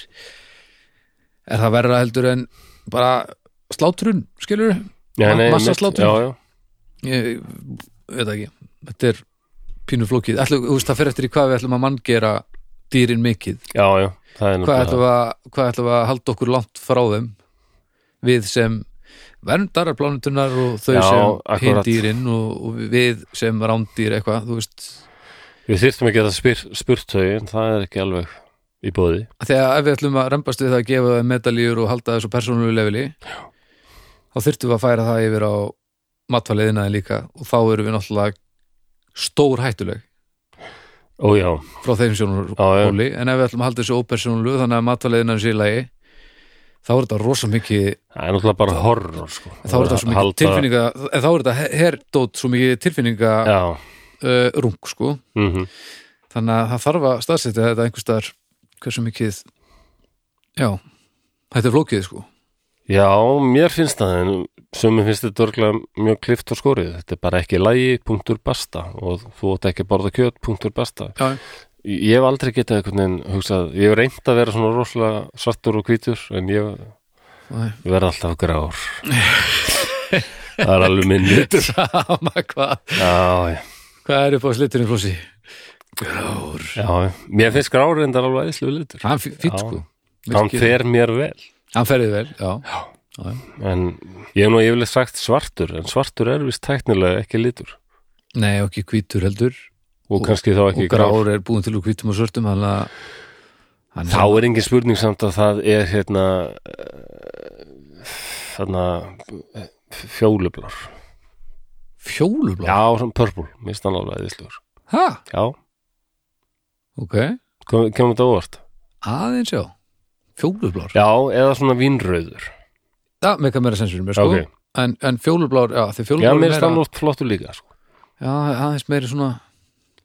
B: er það verra heldur en bara slátrun, skilur
A: Já,
B: Ma-
A: nei,
B: massaslátrun?
A: mitt- já, já.
B: ég veit það ekki þetta er pínu flókið ætlum, þú veist það fer eftir í hvað við ætlum að manngera dýrin mikið,
A: já, já, það er
B: hvað ætlum,
A: náttúrulega
B: við að, hvað ætlum við að halda okkur langt frá þeim við sem verndarar plánutunar og þau
A: Já,
B: sem hinn
A: akkurat.
B: dýrin og, og við sem rándýr eitthvað, þú veist
A: við þyrftum ekki að það spyr, spurt þau en það er ekki alveg í bóði
B: Af því að ef við ætlum að rembast við það að gefa þeim medalíur og halda þessu persónulegu leveli Já. þá þyrftum við að færa það yfir á matvaliðina líka og þá erum við náttúrulega stór hættuleg
A: ó já,
B: frá þeim sjónur
A: Já, já.
B: hóli en ef við ætlum að halda þessu ópersónlu þannig að matvaleiðinan sé í lagi þá er þetta rosa mikið
A: það er náttúrulega bara horror sko.
B: þá er þetta svo mikið
A: Halda-
B: tilfinninga eh, þá er þetta her- herdót svo mikið tilfinninga uh,
A: já,
B: rung sko
A: mhm
B: þannig að það þarf að staðsetja þetta einhvers staðar hversu mikið já, þetta er flókið sko
A: Já, mér finnst það en sumum finnst þetta örglega mjög klift og skorið þetta er bara ekki lægi, punktur, basta og þú átt ekki að borða kjöt, punktur, basta
B: já,
A: Ég ég hef aldrei getað einhvern veginn hugsað, ég hef reynd að vera svona rosalega svartur og hvítur en ég
B: Nei.
A: verð alltaf grár Það er alveg minn litur
B: sama hvað
A: Já, já,
B: hvað er upp á slitturinn flósi grár
A: já, já. mér finnst grár reyndar alveg æslu litur
B: hann fýtt
A: Já.
B: sko
A: Hann
B: Virkilega.
A: fer mér vel
B: hann ferðið vel, já,
A: en ég hef nú yfirleitt sagt svartur en svartur er vist tæknilega ekki litur
B: nei og ekki hvítur heldur
A: og,
B: Og-
A: kannski þá
B: og
A: ekki grár
B: grár er búin til úr hvítum og svörtum þannig að hann
A: Þá er engin spurning samt að það er hérna eh, þarna eh, fjólublar
B: fjólublá
A: Já, svona purple, mér stann alveg aðeinslegur
B: ha,
A: Já,
B: ok,
A: kom- kemur þetta á óvart
B: aðeins já fjólublár,
A: Já, eða svona vínrauður
B: það meika meira sensur mér sko,
A: Ok.
B: en, en fjólublár já, því
A: Já,
B: fjólublár
A: mér
B: er
A: stann
B: meira
A: alveg flottur líka sko.
B: já, aðeins meira svona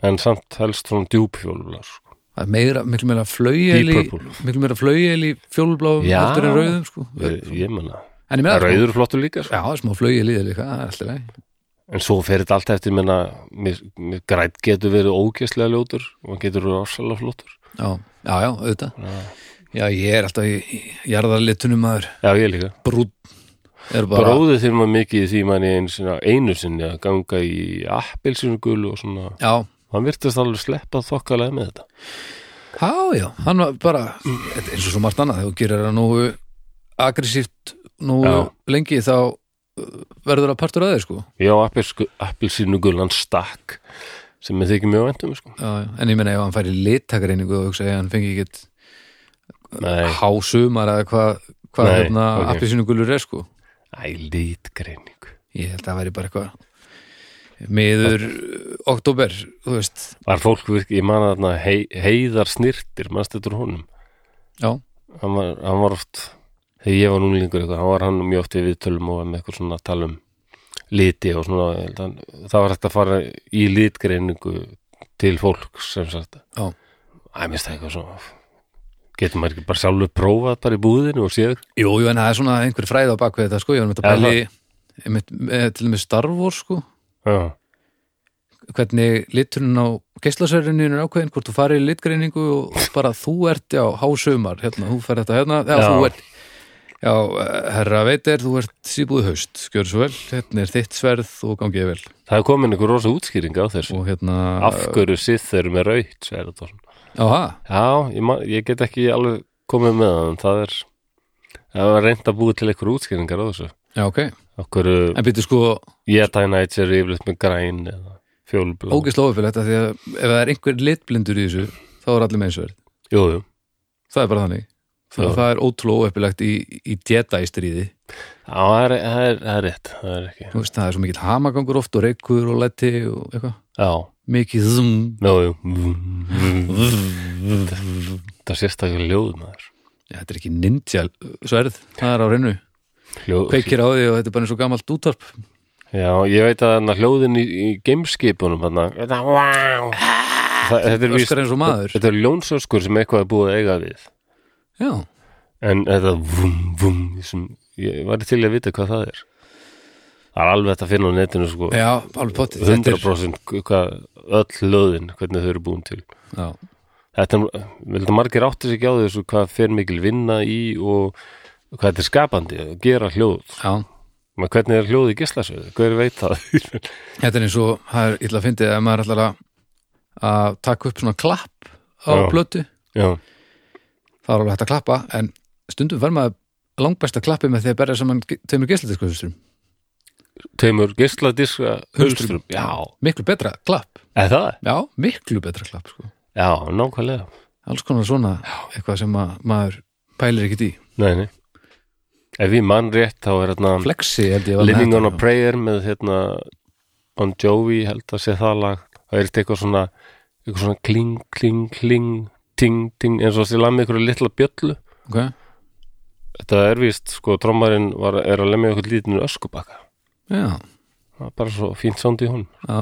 A: En samt helst svona djúp fjólublar sko.
B: það er meira, miklu meira
A: Deep
B: flaugjel í
A: purple
B: miklu meira flaugjel í fjólubláum
A: Já.
B: heldur en rauðum sko
A: Ég, ég menna,
B: en ég meina sko,
A: rauður er flottur líka sko.
B: já, smá flaugjel í það líka það er alltaf leið,
A: En svo fer þetta allt eftir menna, mér, mér grætt getur verið ógeðslega ljótur og hann getur verið rosalega flottur
B: já, já, já, auðvitað já, ég er alltaf í í jarðarlitunum maður,
A: Já, ég líka
B: brún er bara,
A: Bróðið þinn var mikið í því manni einu sinni, einu sinni að ganga í appelsínugulu og svona
B: já,
A: hann virtist alveg sleppa þokkalega með þetta
B: Já, já, hann var bara þetta er eins og svo margt annað, þegar þú gerir það nógu aggressíft nógu
A: Já.
B: lengi þá uh, verður það partur að þeir sko
A: Já, appelsínugulu hann stakk sem ég þykir mjög vendum sko.
B: já, já. en ég meina ef hann færi litakreiningu og hugsa ég hann fengi ekkit
A: Nei,
B: hásumar eða hvað hva,
A: Nei,
B: hérna,
A: ok.
B: okay. appelsínugulur er sko
A: æ, lítgreining
B: ég held að það væri bara eitthvað miður uh, oktober, þú veist
A: Var fólk virkið, ég man að þarna hei, heiðar snirtir, mannst þetta úr honum
B: já,
A: hann var, hann var oft þegar ég var núlingur eitthvað, hann var hann mjög oft í viðtölum og var með eitthvað svona að tala um liti og svona ég held að hann, það var hægt að fara í litgreiningu til fólks sem sagt
B: Já.
A: Æ, minnst það eitthvað svo getur maður ekki bara sjálfur prófað bara í búðinu og séð
B: jú, jú, en það er svona einhver fræð á bakvið þetta sko, ég var með
A: Já,
B: að pæli einmitt, eh, til og með starfvor sko
A: Já,
B: hvernig liturinn á geislasöruninu er ákveðin, hvort þú farir í litgreiningu og bara þú ert, já, hásumar hérna, þú fer þetta hérna, já,
A: Já.
B: þú ert Já, herra veitir, þú ert síbúð haust, skjör svo vel, hérna er þitt sverð og gangið vel
A: Það er komin einhver rosa útskýring á þessu
B: og hérna,
A: Af hverju sith eru með raut, segir þetta svona.
B: áha,
A: Já, ég, man, ég get ekki alveg komið með það en það er það var reynd að búi til einhver útskýringar á þessu
B: já ok
A: Af hverju
B: en byrju sko,
A: Jedi Knights eru yfirleitt með græn eða fjólblá
B: ógislega óöfilegt af því að ef það er einhver litblindur í þessu, þá er allir með eins sverð
A: Jú, jú,
B: það er bara þannig, þannig
A: Já.
B: að það er ótrúlega óöfilegt í, í Jedi stríði,
A: Já, það er, það er, það er rétt það er ekki,
B: þú veist, það er svo mikill hamagangur oft og reykur og leti og eitthvað
A: já,
B: mikið zum
A: jú, jú Það sést það ekki ljóð maður
B: Já, þetta er ekki ninja sverð, það er á reynu
A: Hljóð,
B: kveikir á því og þetta er bara eins og gamalt útvarp
A: Já, ég veit að hana, hljóðin í, í gameskipunum hana, þetta, wow. það, þetta er víst
B: öskar eins og maður
A: Þetta er ljónsöskur sem eitthvað er búið að eiga við
B: Já,
A: En þetta vum, vum sem, Ég var til að vita hvað það er Það er alveg hægt að finna á netinu sko,
B: já alveg pottið þetta er-
A: 100% hvað öll hljóðin hvernig þau eru búin til
B: Já,
A: Þetta er, vel þetta margir áttir sig ekki á því þessu hvað fer mikil vinna í og hvað þetta er skapandi að gera hljóð
B: já
A: Men hvernig er hljóð í gislasöðu, hver veit það
B: Þetta er eins og, það er illa að fyndið ef maður ætlar að, að taka upp svona klapp á
A: Já.
B: plötu
A: Já,
B: það er alveg hægt að klappa, en stundum verð maður langbest að klappi með því að berja saman ge- tveimur geisladiskosustrum,
A: tveimur gisladiska hulstrum Já,
B: miklu betra klapp
A: eða það?
B: Já, miklu betra klapp sko.
A: Já, nákvæmlega
B: Alls konar svona eitthvað sem að, maður pælir ekkert í
A: Nei, nei Ef ég mann rétt þá er hérna
B: Flexi held ég var með
A: Living on a
B: þetta.
A: Prayer með hérna Bon Jovi held að sé það lag það er eitthvað svona eitthvað svona kling, kling, kling ting, ting, eins og þessi lag með einhverju litla bjöllu
B: Ok.
A: þetta er víst, sko, trommarinn var, er að lemja eitthvað lítinu öskubakka
B: Já,
A: það er bara svo fínt sound í hún
B: já,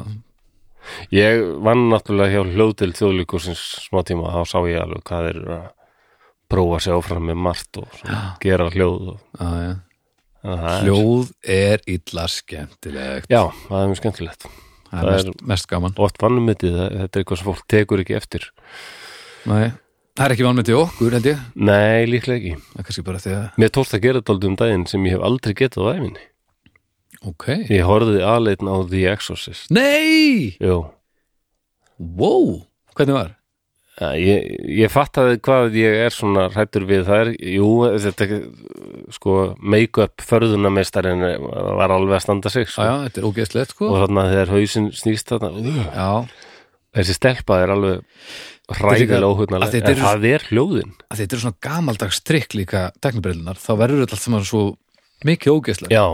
A: ég vann náttúrulega hjá hljóðdil þjóðlíkursins smá tíma, þá sá ég alveg hvað þeir eru að prófa sig áfram með margt og svona, gera hljóð og,
B: já, já.
A: þannig að það er-
B: Hljóð er illa skemmtilegt
A: já, það er mjög skemmtilegt
B: Það er
A: það
B: mest, mest gaman
A: oft vannmyndið, þetta er eitthvað sem fólk tekur ekki eftir
B: Nei, Það er ekki vanmyndið okkur held ég
A: Nei, líklega ekki.
B: Það er kannski bara því að
A: Mér tókst að gera þetta aldrei um daginn sem ég hef aldrei getað á æfinni.
B: Ok
A: Ég horfði aðleitn á The Exorcist.
B: Nei,
A: Jú.
B: wow, hvernig var?
A: Æ, Ég, ég fattaði hvað ég er svona hrættur við það er, jú, þetta sko, make-up förðunamestarinn var alveg að standa sig
B: Já,
A: sko.
B: já, þetta er ógeðslegt sko
A: og þarna þegar hausinn snýst þarna,
B: Já,
A: þessi stelpa er alveg
B: Þetta er
A: hræðilega
B: líka- að
A: óhugnalega,
B: þetta
A: en
B: eru-
A: það er hljóðin
B: að þetta eru svona gamaldags trikk líka teknibrillunar, þá verður þetta allt saman svo mikið ógeðslegt
A: Já,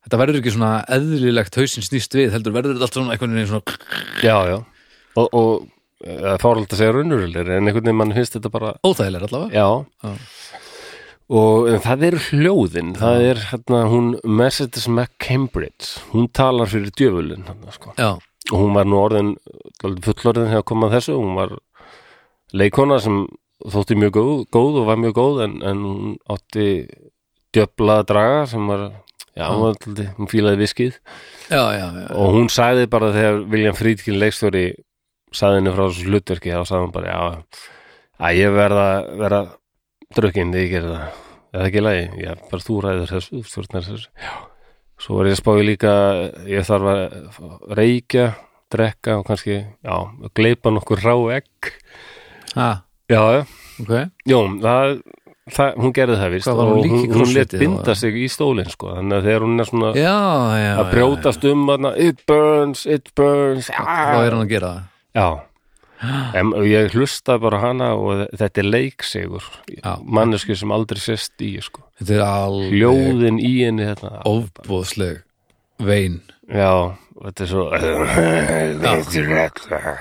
B: Þetta verður ekki svona eðlilegt hausinn snýst við heldur verður þetta allt svona einhvern veginn svona
A: já, já og, og það er fáralt að segja raunurullir en einhvern veginn mann finnst þetta bara
B: óþægilega allavega
A: Já.
B: Já.
A: Og en það eru hljóðin, það er hérna hún Mercedes McCambridge, hún talar fyrir djöfulinn hérna sko.
B: Já,
A: Og hún var nú orðin dálítið fullorðin þegar kom að þessu, hún var leikona sem þótti mjög góð, góð og var mjög góð en, en hún átti djöfla draga sem var, já, hún, var, dálítið- hún fílaði viskið
B: já, já, já.
A: og hún sagði bara þegar William Friedkin leikstjóri sagði henni frá þessu hlutverki þá sagði hún bara, já, að ég verða verða drukkinn þegar ég gerði það eða ekki í lagi, já, bara þú ræður þessu, stjórnar þessu já. svo var ég að spáði líka ég þarf að reykja drekka og kannski, já, gleipa nokkur rá egg
B: Ha,
A: já, já,
B: ok
A: Jó, það, það, hún gerði það vist
B: Hvað
A: og
B: var hún lík
A: hún,
B: í
A: hún let
B: krossfiti þá,
A: binda
B: eða?
A: sig í stólinn sko, þannig að þegar hún er svona
B: Já, já,
A: að brjótast um hana, it burns, it burns ah.
B: já. Þá er hann að gera það
A: Já en, Ég hlusta bara á hana og þetta er leiksegur
B: Já.
A: manneski sem aldrei sest í sko.
B: Þetta er alveg
A: hljóðin í henni þetta
B: ofbóðsleg vein
A: Já, þetta er svo Þetta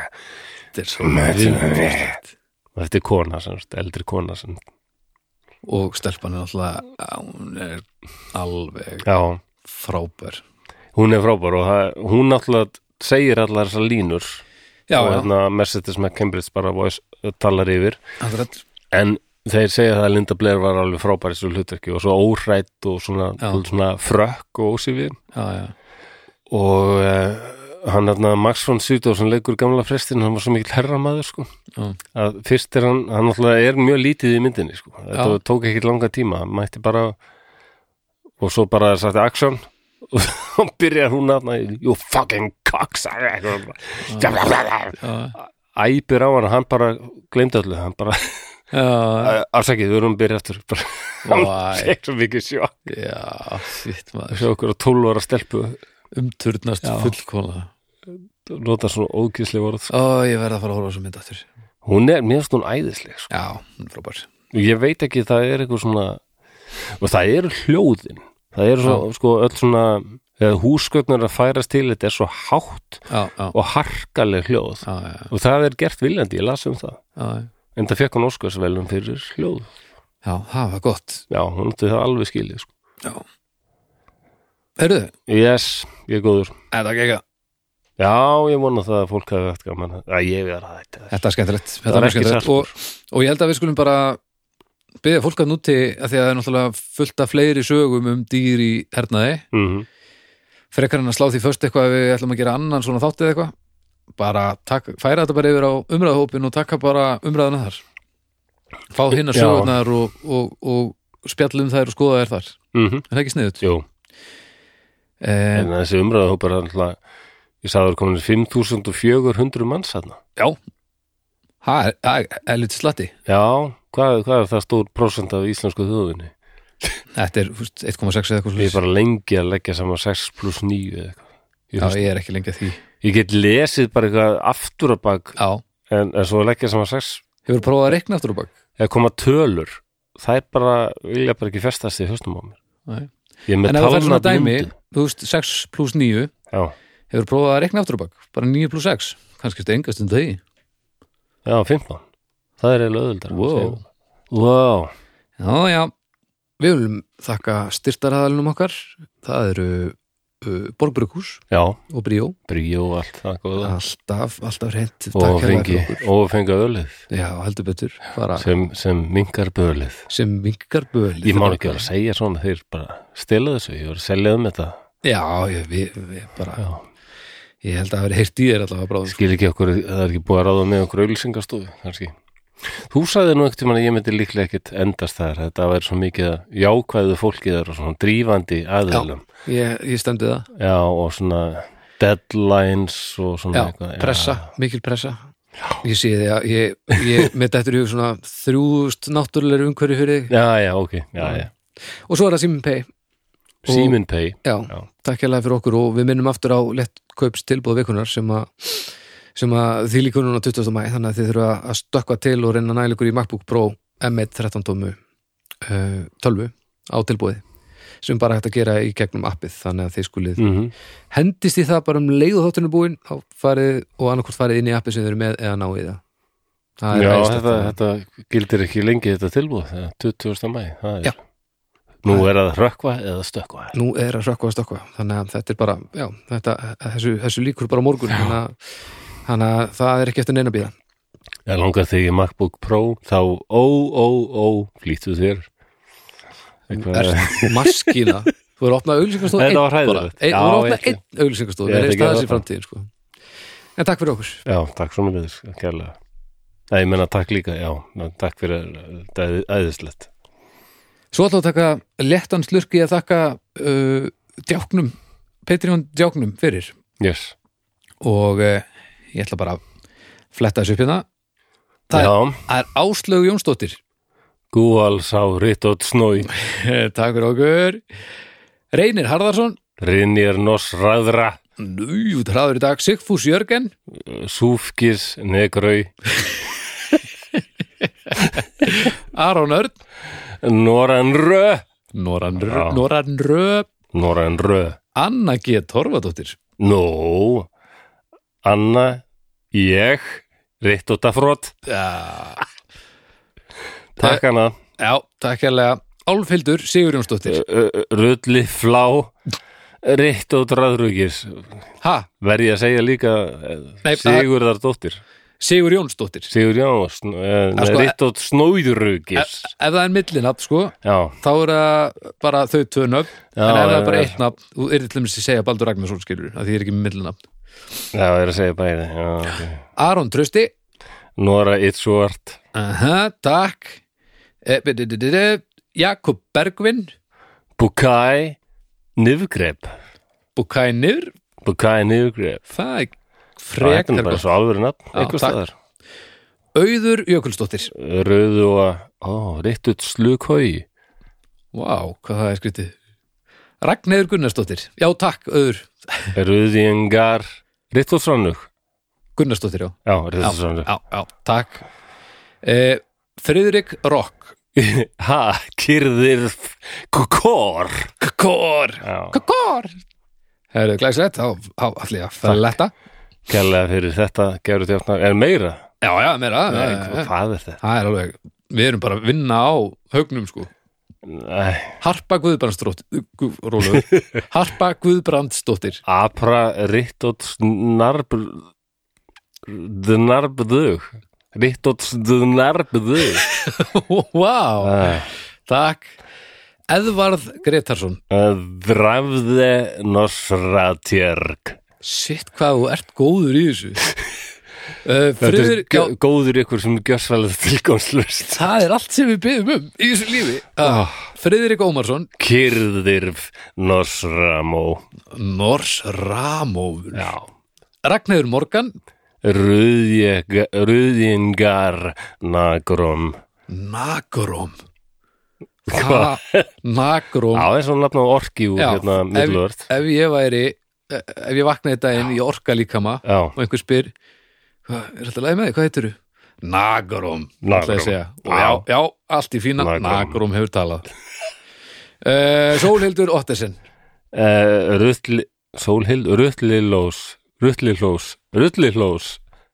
B: Þetta er svo viðbjóðslegt.
A: er kona sem, sagt, eldri kona sem,
B: og stelpan er alltaf hún er alveg
A: Já,
B: frábær
A: hún er frábær og það, hún náttúrulega segir allar þessar línur
B: Já,
A: og
B: já.
A: hérna Mercedes með Cambridge bara voice, talar yfir
B: Það er rétt.
A: en þeir segja það að Linda Blair var alveg frábær í þessu hlutverki og svo órætt og svona,
B: Já.
A: svona frökk og ósifin
B: já, já,
A: og uh, hann þarna Max von Sydow sem leikur gamla prestin, hann var svo mikill herramaður sko.
B: Já.
A: að fyrst er hann, hann náttúrulega er mjög lítið í myndinni sko. þetta
B: Já.
A: tók ekki langa tíma, hann mætti bara og svo bara er sagt action og þá byrjar hún að you fucking cocksucker
B: já,
A: æpir á hann, hann bara gleymdi öllu, hann bara
B: já,
A: afsakið, við erum að byrja eftir bara, hann
B: Why?
A: fekk svo mikið sjokk
B: já, shit maður
A: sjá okkur á 12 ára stelpu
B: umturnast
A: Já.
B: fullkóla
A: nota svona ógísli vorð sko.
B: ó, ég verð að fara að horfa á svo mynd aftur
A: hún er, mér finnst hún æðisleg sko.
B: já, hún er frábær
A: ég veit ekki, það er eitthvað svona og það eru hljóðin það eru svo, sko, öll svona eða húsgögnar að færast til þetta er svo hátt
B: já, já,
A: og harkaleg hljóð
B: já, já,
A: og það er gert viljandi, ég las um það
B: já, já.
A: en það fekk hún óskarsvelum fyrir hljóð
B: já það var gott
A: já, hún átti það alveg skilið sko.
B: já Hörðu,
A: yes, ég er góður
B: þetta gekk að
A: já, ég vona það að fólk hafi eftir gaman að ég er að þetta
B: Þetta er skemmtilegt,
A: Það
B: þetta
A: er
B: er mjög
A: ekki sko.
B: skemmtilegt og, og ég held að við skulum bara byggja fólk að núti að því að það er náttúrulega fullt af fleiri sögum um dýr í hernaði
A: mm
B: frekar en að slá því först eitthvað að við ætlum að gera annan svona þátt eða eitthvað bara tak, færa þetta bara yfir á umræðahópin og taka bara umræðuna þar fá hinn að
A: Já.
B: sögurnar og, og, og spjallum þær og skoða þær þar
A: Mm -hmm.
B: er það ekki sniðut?
A: Jú,
B: Eh,
A: en þessi umræðahópar er alltaf, ég sagði það er komin 5400 manns þarna.
B: já það er, það er, er lítið slatti
A: Já, hvað, hvað er það stór prósent af íslensku þjóðinni?
B: þetta er þú veist, 1,6 eða
A: Ég
B: eitthvað
A: er
B: svoleiðis.
A: bara lengi að leggja saman 6 pluss 9 eða eitthvað. Ég,
B: já,
A: já, ég...
B: ég er ekki lengi að því
A: get lesið bara eitthvað aftur að bak
B: já,
A: en, en svo að leggja saman 6
B: hefur prófað að reikna aftur á bak
A: eða koma tölur. Það er bara, vilja bara ekki festast í höstum á mér.
B: Nei.
A: Ég er með
B: en ef það fer svona
A: talnað
B: dæmi,
A: myndum.
B: þú veist 6 pluss 9
A: Já,
B: hefur prófað að reikna aftur á bak bara 9 pluss 6, kannski þetta engast um því
A: já, 15. Það er eiginlega öðuldar.
B: Wow.
A: Wow.
B: Já, já, við viljum þakka styrtaraðalinum okkar það eru uh, Borgbrukus
A: Já,
B: og Bríó
A: bríó og allt það góða.
B: alltaf, alltaf reynt
A: og fengi, og fengi ölið
B: Já, heldur betur bara
A: sem, sem mingar bölið
B: sem vingar böli
A: ég má ekki vera að segja svona þeir bara stela þessu, ég voru að selja um þetta
B: Já, ég, við, við bara,
A: Já.
B: ég held að hafa heyrt í þér allavega bráðum
A: skil ekki okkur, það er ekki búið að ráða með okkur auðlýsingastofu, kannski þú sagði nú ekkert um að ég myndi líklega ekkert endast þar, þetta væri svo mikið að jákvæðu fólkið þar og svona drífandi aðeilum,
B: Ég, ég stemdi það,
A: já. og svona deadlines og svona
B: já,
A: eitthvað Já.
B: pressa, mikil pressa Ég sé því að ég, ég með þetta eru svona þrjúst náttúrulega umhverju fyrir þig
A: já, já, ok, já, já,
B: og svo er það Simon Pay
A: Simin Pay
B: Já,
A: Já.
B: takk hérlega fyrir okkur og við minnum aftur á lett kaups tilbúð vikunar sem að sem að því líkur núna 20. mæ þannig að þið þurfa að stökkva til og reyna að næla ykkur í MacBook Pro M1 13 tómu uh, tölvu á tilbúði sem bara hægt að gera í gegnum appið þannig að þið skulið
A: mm
B: hendist í það bara um leið og þáttunum búin þá farið og annarkvort farið inn í appið sem þið eru með eða náið það það
A: Já,
B: æðislegt.
A: þetta, þetta gildir ekki lengi þetta tilbúð, það er 20. mæ það
B: Já.
A: er. Nú er að rökkva eða stökkva
B: nú er að sökka að stökkva þannig að þetta er bara, já, þetta, þessu, þessu líkur bara á morgun þannig að, þannig að það er ekki eftir neina að býða
A: Ég langar þig í MacBook Pro þá ó, ó, ó, flýttu þér Eitthvað
B: er maskína þú er að opna auðlýsingarstofu
A: Þetta var hræðilegt.
B: þú er
A: Já,
B: að opna
A: ég ætla-
B: einn auðlýsingarstofu
A: Ég
B: við
A: ætla
B: reist
A: ekki að
B: aðeins í
A: gera
B: framtíðin sko. en takk fyrir okkur
A: Já, takk svo mér þess, kærlega Nei, ég menna takk líka, já, ná, takk fyrir þetta er æðislegt
B: svo ætlum við að taka lettan slurki að þakka uh, djáknum Patreon djáknum fyrir
A: Yes,
B: og uh, ég ætla bara að fletta þessu upp hérna Það er-
A: já,
B: það er Áslaug Jónsdóttir
A: Gúal sá Rittot Snói
B: takk fyrir okkur Reynir Harðarsson
A: Rinir Nos Ræðra
B: Nú, það hraður í dag Sigfús Jörgen
A: Súfkis Negrau
B: Aron Örn
A: Noran Rö
B: Noran,
A: Já.
B: Rö- Noran Rö
A: Noran Rö
B: Anna G. Torfadóttir
A: Nó, Anna, ég, Rittot Afrót
B: Já,
A: Takk hana
B: já takk hérlega Álfhildur Sigurjónsdóttir
A: Rulli flá Ritt og draðrugis
B: Ha,
A: Verð ég að segja líka
B: Nei,
A: Nei, Sigurðardóttir
B: Sigurjónsdóttir
A: Sigur Jóns eh,
B: Ja, sko, eh,
A: Ritt og snóðrugis
B: Ef það er millinafn, sko
A: Já,
B: þá er það bara þau tvö nöfn
A: Já,
B: en ef það
A: já,
B: er bara
A: já.
B: eitt nafn, þú er til dæmis að segja Baldur Ragnarsson skilur, að því ég er ekki með millinafn
A: Já, það er að segja bæði já, okay.
B: Aron Trösti
A: Nora Itzúart
B: Aha, takk Eh, byrju, byrju, byrju, Jakob Bergvin
A: Bukai Nifgrep
B: Bukai Nýr
A: Bukai Nifgrep
B: það er
A: Það er nú
B: frekar
A: bara
B: gott
A: svo alvöru nafn
B: Já,
A: einhvers
B: takk.
A: staðar
B: Auður Jökulsdóttir
A: Rauðu og að, ó, réttut slukhói
B: Vá, hvað það er skrítið Ragnheður Gunnarsdóttir Já, takk, Auður
A: Rauðingar Réttut fránug
B: Gunnarsdóttir, já
A: Já, réttut
B: Já,
A: fránug
B: já, já takk eh, Friðrik Rock
A: Ha, kyrðir Kukor
B: Kakor
A: Já,
B: Kakor Herðu, glæsilegt, þá þá ætla ég að fletta
A: kærlega fyrir þetta Gerðu tjáfnar, er meira?
B: Já, já, meira
A: Nei,
B: eh, eh,
A: hvað er þetta?
B: Það er alveg, við erum bara að vinna á haugnum sko.
A: Nei,
B: Harpa Guðbrandsdóttir Guð, Rólaugur. Harpa Guðbrandsdóttir
A: apra Réttut snarb Dnarbðug Réttut dnarbðug
B: Vá,
A: Æ
B: takk Edvarð Gretarsson
A: Eh, Drafði Nosratjörg
B: Sitt hvað þú ert góður í þessu uh,
A: Þetta er
B: Friður
A: gó-
B: já,
A: góður ykkur sem gjörsvalið tilgangslust
B: Það er allt sem við byggum um í þessu lífi
A: Ah.
B: uh, Friðrik Ómarsson
A: Kyrðirf Nosramó
B: Nors Ramófur
A: Já
B: Ragnhildur Morgan
A: Rúðingar Nagrum
B: Nagrom
A: Hvað?
B: Ha, Nagrom
A: Já, það er svona nafn á orki úr
B: Já,
A: hérna
B: ef,
A: middluvörð
B: ef ég væri eh, ef ég vaknaði daginn í orka líkama
A: Já,
B: og einhver spyr "Hva- er alltaf læg með þig, hvað heitir þú? Nagarum, ætla ég að
A: Nagarum.
B: segja Og
A: Já.
B: já, já, allt í fína,
A: Nagarum.
B: Nagarum hefur talað uh, Sólhildur Ottesen
A: uh, Rutli Sólhild, Rutlilós Rutlilós, Rutlilós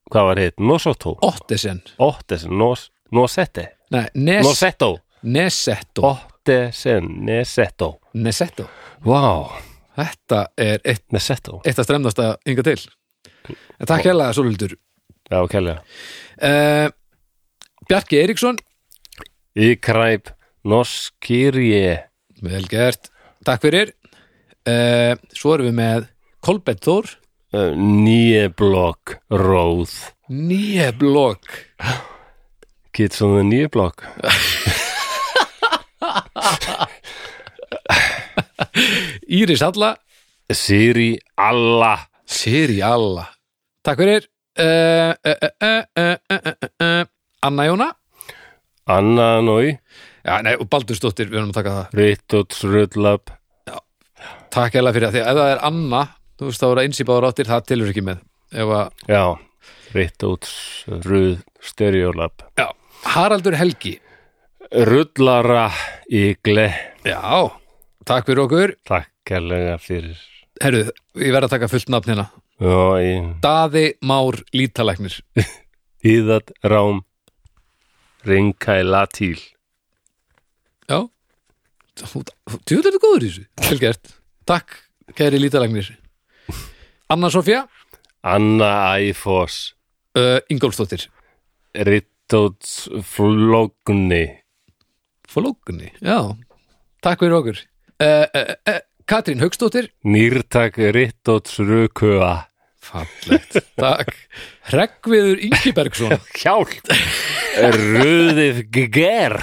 A: Hvað var hitt? Nosotó
B: Ottesen,
A: Óttesen, Nos, Nosette
B: nei, Nes,
A: Nosetto
B: Nesetto
A: Óttesen, Nesetto
B: Nesetto,
A: Vá,
B: þetta er eitt,
A: Nesetto
B: eitt að stremnasta ynga til en takk hérlega Sólhildur
A: Já, kærlega
B: uh, Bjarki Eiríksson
A: Íkræp Noskýrje
B: vel gert, takk fyrir uh, svo erum við með Kolbett Þór
A: eh, Nýjeblokk Róð
B: Nýje blokk
A: Kids on the Nýjeblokk
B: Íris Alla
A: Siri Alla
B: Siri Alla Takk fyrir uh, uh, uh, uh, uh, uh, uh. Anna Jóna
A: Anna Nói
B: Já, nei, og Baldursdóttir, við erum að taka það
A: Rittots Rullab
B: Takk hella fyrir það, því að ef það er Anna þú veist þá er að einsýpaður áttir, það tilur ekki með ef að,
A: Já, Rittots Ruð Stereolab
B: já, Haraldur Helgi
A: Rullara Ígle
B: Já, takk fyrir okkur
A: Takk kærlega fyrir
B: Herru, ég verð að taka fullt nafn hérna
A: Já, í-
B: Daði Már Lítalæknir
A: Íðat Rám Ringkæla Tíl
B: Já Tjóður þetta góður í þessu, vel gert Takk, kæri Lítalæknir Anna Sofía
A: Anna Æfoss
B: uh, Ingólfsdóttir
A: Rittots Flógni
B: Flókunni, já Takk fyrir okkur uh, uh, uh, Katrín Hauksdóttir
A: Nýrtak Rittots Rukua
B: Fallegt, takk Hreggviður Ingibergsson
A: Hjálp Röðið ger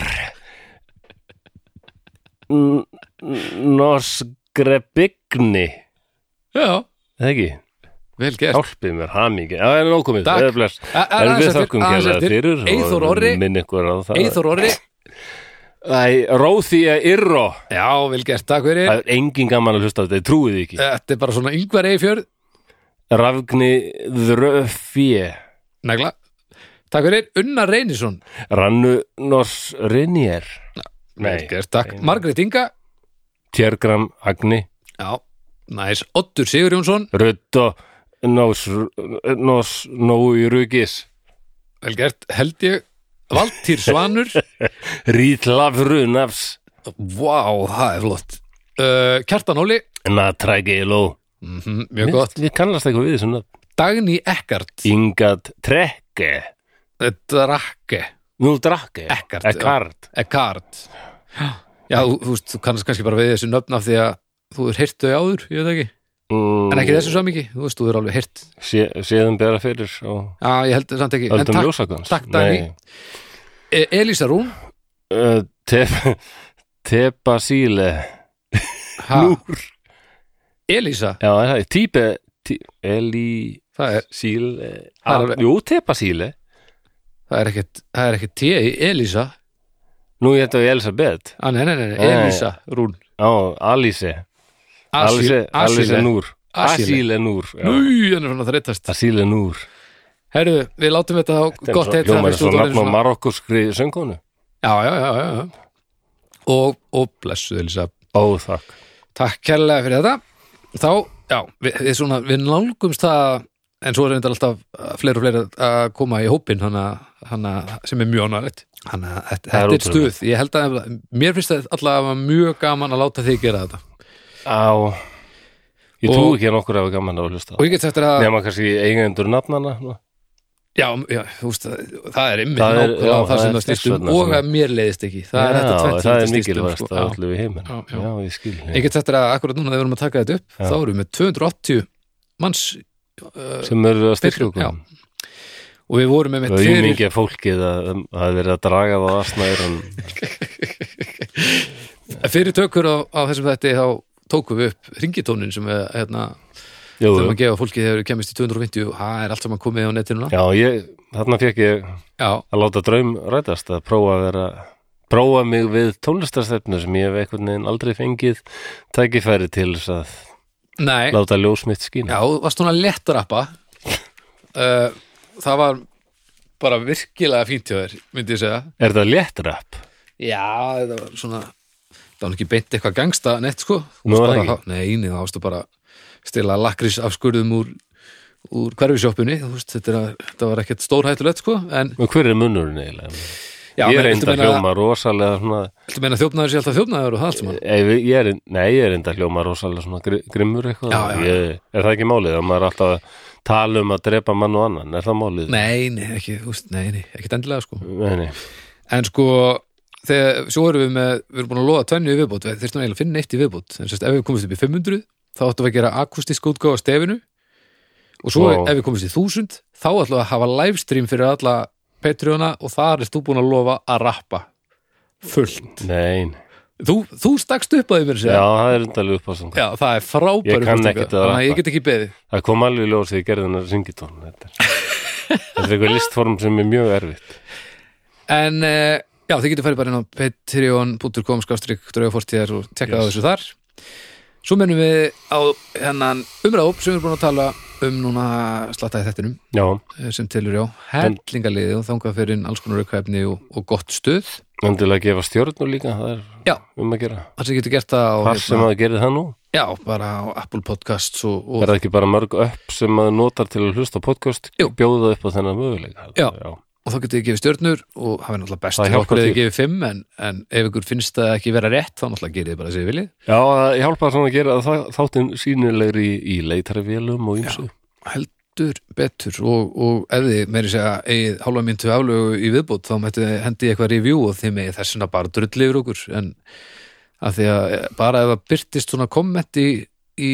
A: Norskrebygni
B: Já,
A: Það ekki,
B: vel gert
A: hjálpið mér hamingi Já, það er nókomið,
B: Takk.
A: það er bless
B: A- a-
A: En
B: aðeins
A: við
B: eftir,
A: þakkum
B: aðeins
A: kæra
B: eftir.
A: fyrir
B: Eyþór
A: og
B: Orri.
A: minn ykkur á það
B: Eithor Orri
A: Æ, Róþía Irro
B: Já, vel gert, takk fyrir
A: Það er engin gaman að hlusta á þetta, ég trúið ekki
B: Þetta er bara svona yngvar Eifjörð
A: Rafgni Þröfje
B: Negla Takk fyrir, Unna Reynisson
A: Rannu Nors Rinnér
B: Vel gert, takk Margrét Inga
A: Tjergram Agni
B: Já, næs Oddur Sigurjónsson
A: Röddo Nós Nós Nói Rugis
B: Vel gert, held ég Valtýr Svanur
A: Rýtlafru Nafs
B: Vá, það er flott uh, Kjartan Óli
A: Natrægiló
B: mm Mjög gott
A: Við kannast eitthvað við þessum nafn
B: Dagný Ekkart
A: Ingat Trekke
B: Eh, Drakke
A: Nú drakke
B: Ekkert,
A: Ekkart
B: Ekkart Já, þú, þú, veist, þú kannast kannski bara við þessi nöfn af því að þú er hirt þau áður, ég veit ekki
A: mm,
B: en ekki þessu svo mikið, þú veist, þú er alveg hirt
A: sé, séðum bera fyrir og
B: já, ég held samt ekki, en
A: öldum
B: takk,
A: ljósakans
B: takk, Dani. e Elisa Rún
A: te, Tepa síle
B: ha,
A: Núr
B: Elisa,
A: Já, er það er típe tí, Eli
B: það er,
A: síle
B: Það er alveg-
A: Jú, tepa síle
B: það er ekkert það er ekkert T í Elisa
A: Nú ég þetta við Elisabeth
B: ah, nei, nei, nei, nei,
A: Nei.
B: Elisa Rún
A: Já, Alice Alice, Alice
B: Asile,
A: Núr
B: Asile.
A: Asile Núr já.
B: nú, hann er svona þreytast
A: Asile Núr
B: herru, við látum þetta þá gott heita
A: Ljómar er
B: fyrst út
A: svona
B: orðin
A: nafn á marokkuskri söngkonu
B: já, já, já, já, já. og, og blessuð Elisa
A: Ó, þakk
B: Takk kærlega fyrir þetta Þá, já, við, við, svona, við nálgumst það en svo er þetta alltaf fleiri og fleiri að koma í hópin hana, hana, sem er mjög ánægilegt Þannig að þetta,
A: Það er
B: þetta er
A: ótrúlegt.
B: stuð Ég held að, mér finnst það allavega mjög gaman að láta þig gera þetta
A: Á Ég trú
B: Og-
A: ekki að nokkur hafa gaman að hlusta
B: Og ég get sagt þér að,
A: Nefna kannski eigendur nafnana nú.
B: já, já, þú veist það, það er einmitt
A: Það er-
B: nákvæmlega
A: já,
B: það
A: það
B: sem
A: er
B: það snýst um
A: þess vegna
B: og
A: sem-
B: að mér leiðist ekki Það er
A: Já,
B: þetta tvennt sem
A: það
B: þetta
A: er
B: snýst um,
A: mikilvægast
B: sko.
A: að
B: Já.
A: öllu við heiminn
B: Já, já.
A: Já, ég skil
B: Ég get sagt þér að akkurat núna þegar við erum að taka þetta upp
A: Já.
B: þá erum við með 280 manns
A: Sem eru að styrkja
B: Já.
A: okkur
B: og við vorum með með
A: Það er ymmingja fólkið að um, að það er verið að draga það að snæður
B: Fyrir tökur á, á þessum þætti þá tókum við upp ringitónin sem við, hérna,
A: Jú,
B: þegar maður gefa fólki þegar við kemist í 250 og það er allt saman komið á netinu núna.
A: já, ég, þarna fekk ég
B: Já,
A: að láta draum rætast að prófa að vera prófa mig við tónlistarstefnu sem ég hef einhvern veginn aldrei fengið tækifæri til þess að
B: nei,
A: láta ljós mitt skína
B: já, þú varst svona lett að rappa uh, Það var bara virkilega fínt hjá þér, myndi ég segja
A: Er það léttrapp?
B: Já, þetta var svona það var nú ekki beint eitthvað gangsta nett sko
A: Nú,
B: Þú
A: það
B: varst
A: ekki.
B: bara, Nei, nei, það varstu bara stila lakrís afskurðum úr úr hverfisjóppunni, þú veist, þetta, er- þetta var ekkert stórhættulegt sko, en
A: Og hver er munnurinn eiginlega?
B: já,
A: ég
B: menn,
A: er
B: viltu
A: enda að
B: meina-
A: hljóma rosalega svona,
B: Þú meina þjófnaður sé alltaf þjófnaður og það allt saman
A: ef, ég er, Nei, ég er enda að hljóma rosalega svona gri- grimmur eitthvað
B: Já, já, já.
A: Ég, Er það ekki málið? Að maður er alltaf að tala um að drepa mann og annan Er það málið?
B: Nei, nei, ekki, úst, nei, nei, ekki endilega sko
A: Nei, nei.
B: En sko, þegar, svo erum við með við erum búin að loða tvennu í viðbót, við þyrstum eiginlega að finna eitt í viðbót, en sérst, ef við komumst upp í 500 þá ættum við að gera akustísk útgáfa af stefinu og svo
A: Vá.
B: ef við komumst í 1000 þá ætlum við að hafa livestream fyrir alla Patreona og þar er þú búin að lofa að rappa fullt
A: Nei, nei.
B: Þú, þú stakst upp að því mér að
A: Já,
B: segja
A: það er enda alveg upp á sem
B: Já, það er frábæru
A: Ég kann
B: uppástunga,
A: ekkert að
B: þannig að
A: rappa.
B: ég get ekki beðið
A: Það kom alveg í ljós þegar ég gerði hennar syngitón Þetta er, þetta er eitthvað listform sem er mjög erfitt
B: En uh, já, þið getur farið bara inn á patreon.com skástrík draugafortíðar og tekka á
A: Yes.
B: þessu þar Svo mennum við á hennan umræðup sem við erum búin að tala um núna slattaði þettinum
A: Já,
B: eh, sem telur já, hellingarliði og þangað fyrir inn alls konar aukvæfni og, og gott stuð
A: endilega að gefa stjórn og líka það er
B: Já,
A: um að gera
B: það sem getur gert það á, hérna,
A: Hvar sem að gera það nú
B: já, bara á Apple Podcasts og, og
A: Er það ekki bara mörg upp sem maður notar til að hlusta á podcast
B: Jú.
A: bjóða upp á þennan möguleika
B: Já.
A: Já,
B: og þá getið þið gefið stjörnur og hafið náttúrulega best
A: Það
B: fyrir
A: hjálpar
B: okkur eða þið
A: til.
B: gefið fimm en, en ef ykkur finnst það ekki vera rétt þá náttúrulega gerið þið bara þessi viljið
A: Já það hjálpar svona að gera það, þáttinn sínilegri í, í leitarvélum og ýmsu
B: heldur betur og, og ef þið meiri segja eigið hálfa myndu aflögu í viðbót þá mættu þið hendi í eitthvað review og þið megið þessuna bara drulli yfir okkur en að því að eh, bara ef það byrtist svona komment í, í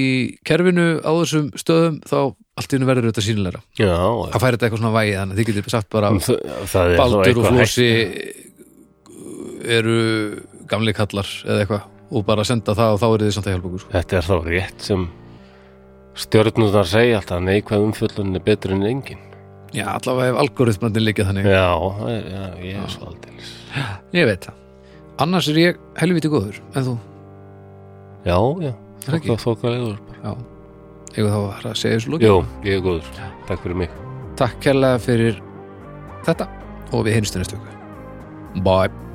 B: kerfinu á þessum stöðum þá allt í hennu verður þetta sínilegra
A: Já,
B: það færi þetta eitthvað svona vægi þannig að þið getið sagt bara
A: það, það er þá
B: baldur og
A: eitthvað hægt
B: flósi eru gamli kallar eða eitthvað og bara senda það og þá eru þið samt að hjálpa okkur
A: Þetta er þá rétt sem stjórnundar segja alltaf neikvæð umfjöllun er betri en engin
B: já allavega ef algoritmandin líka þannig
A: Já, það er- já ég er svo aldeilis
B: Ég veit það Annars er ég helviti góður En þú,
A: Já, já,
B: er ekki?
A: það þókalegur
B: Já Ég þá var að segja þessu lóki
A: Jú, ég er góður, takk fyrir mig
B: Takk kærlega fyrir þetta Og við hinstu næstu ykkur Bye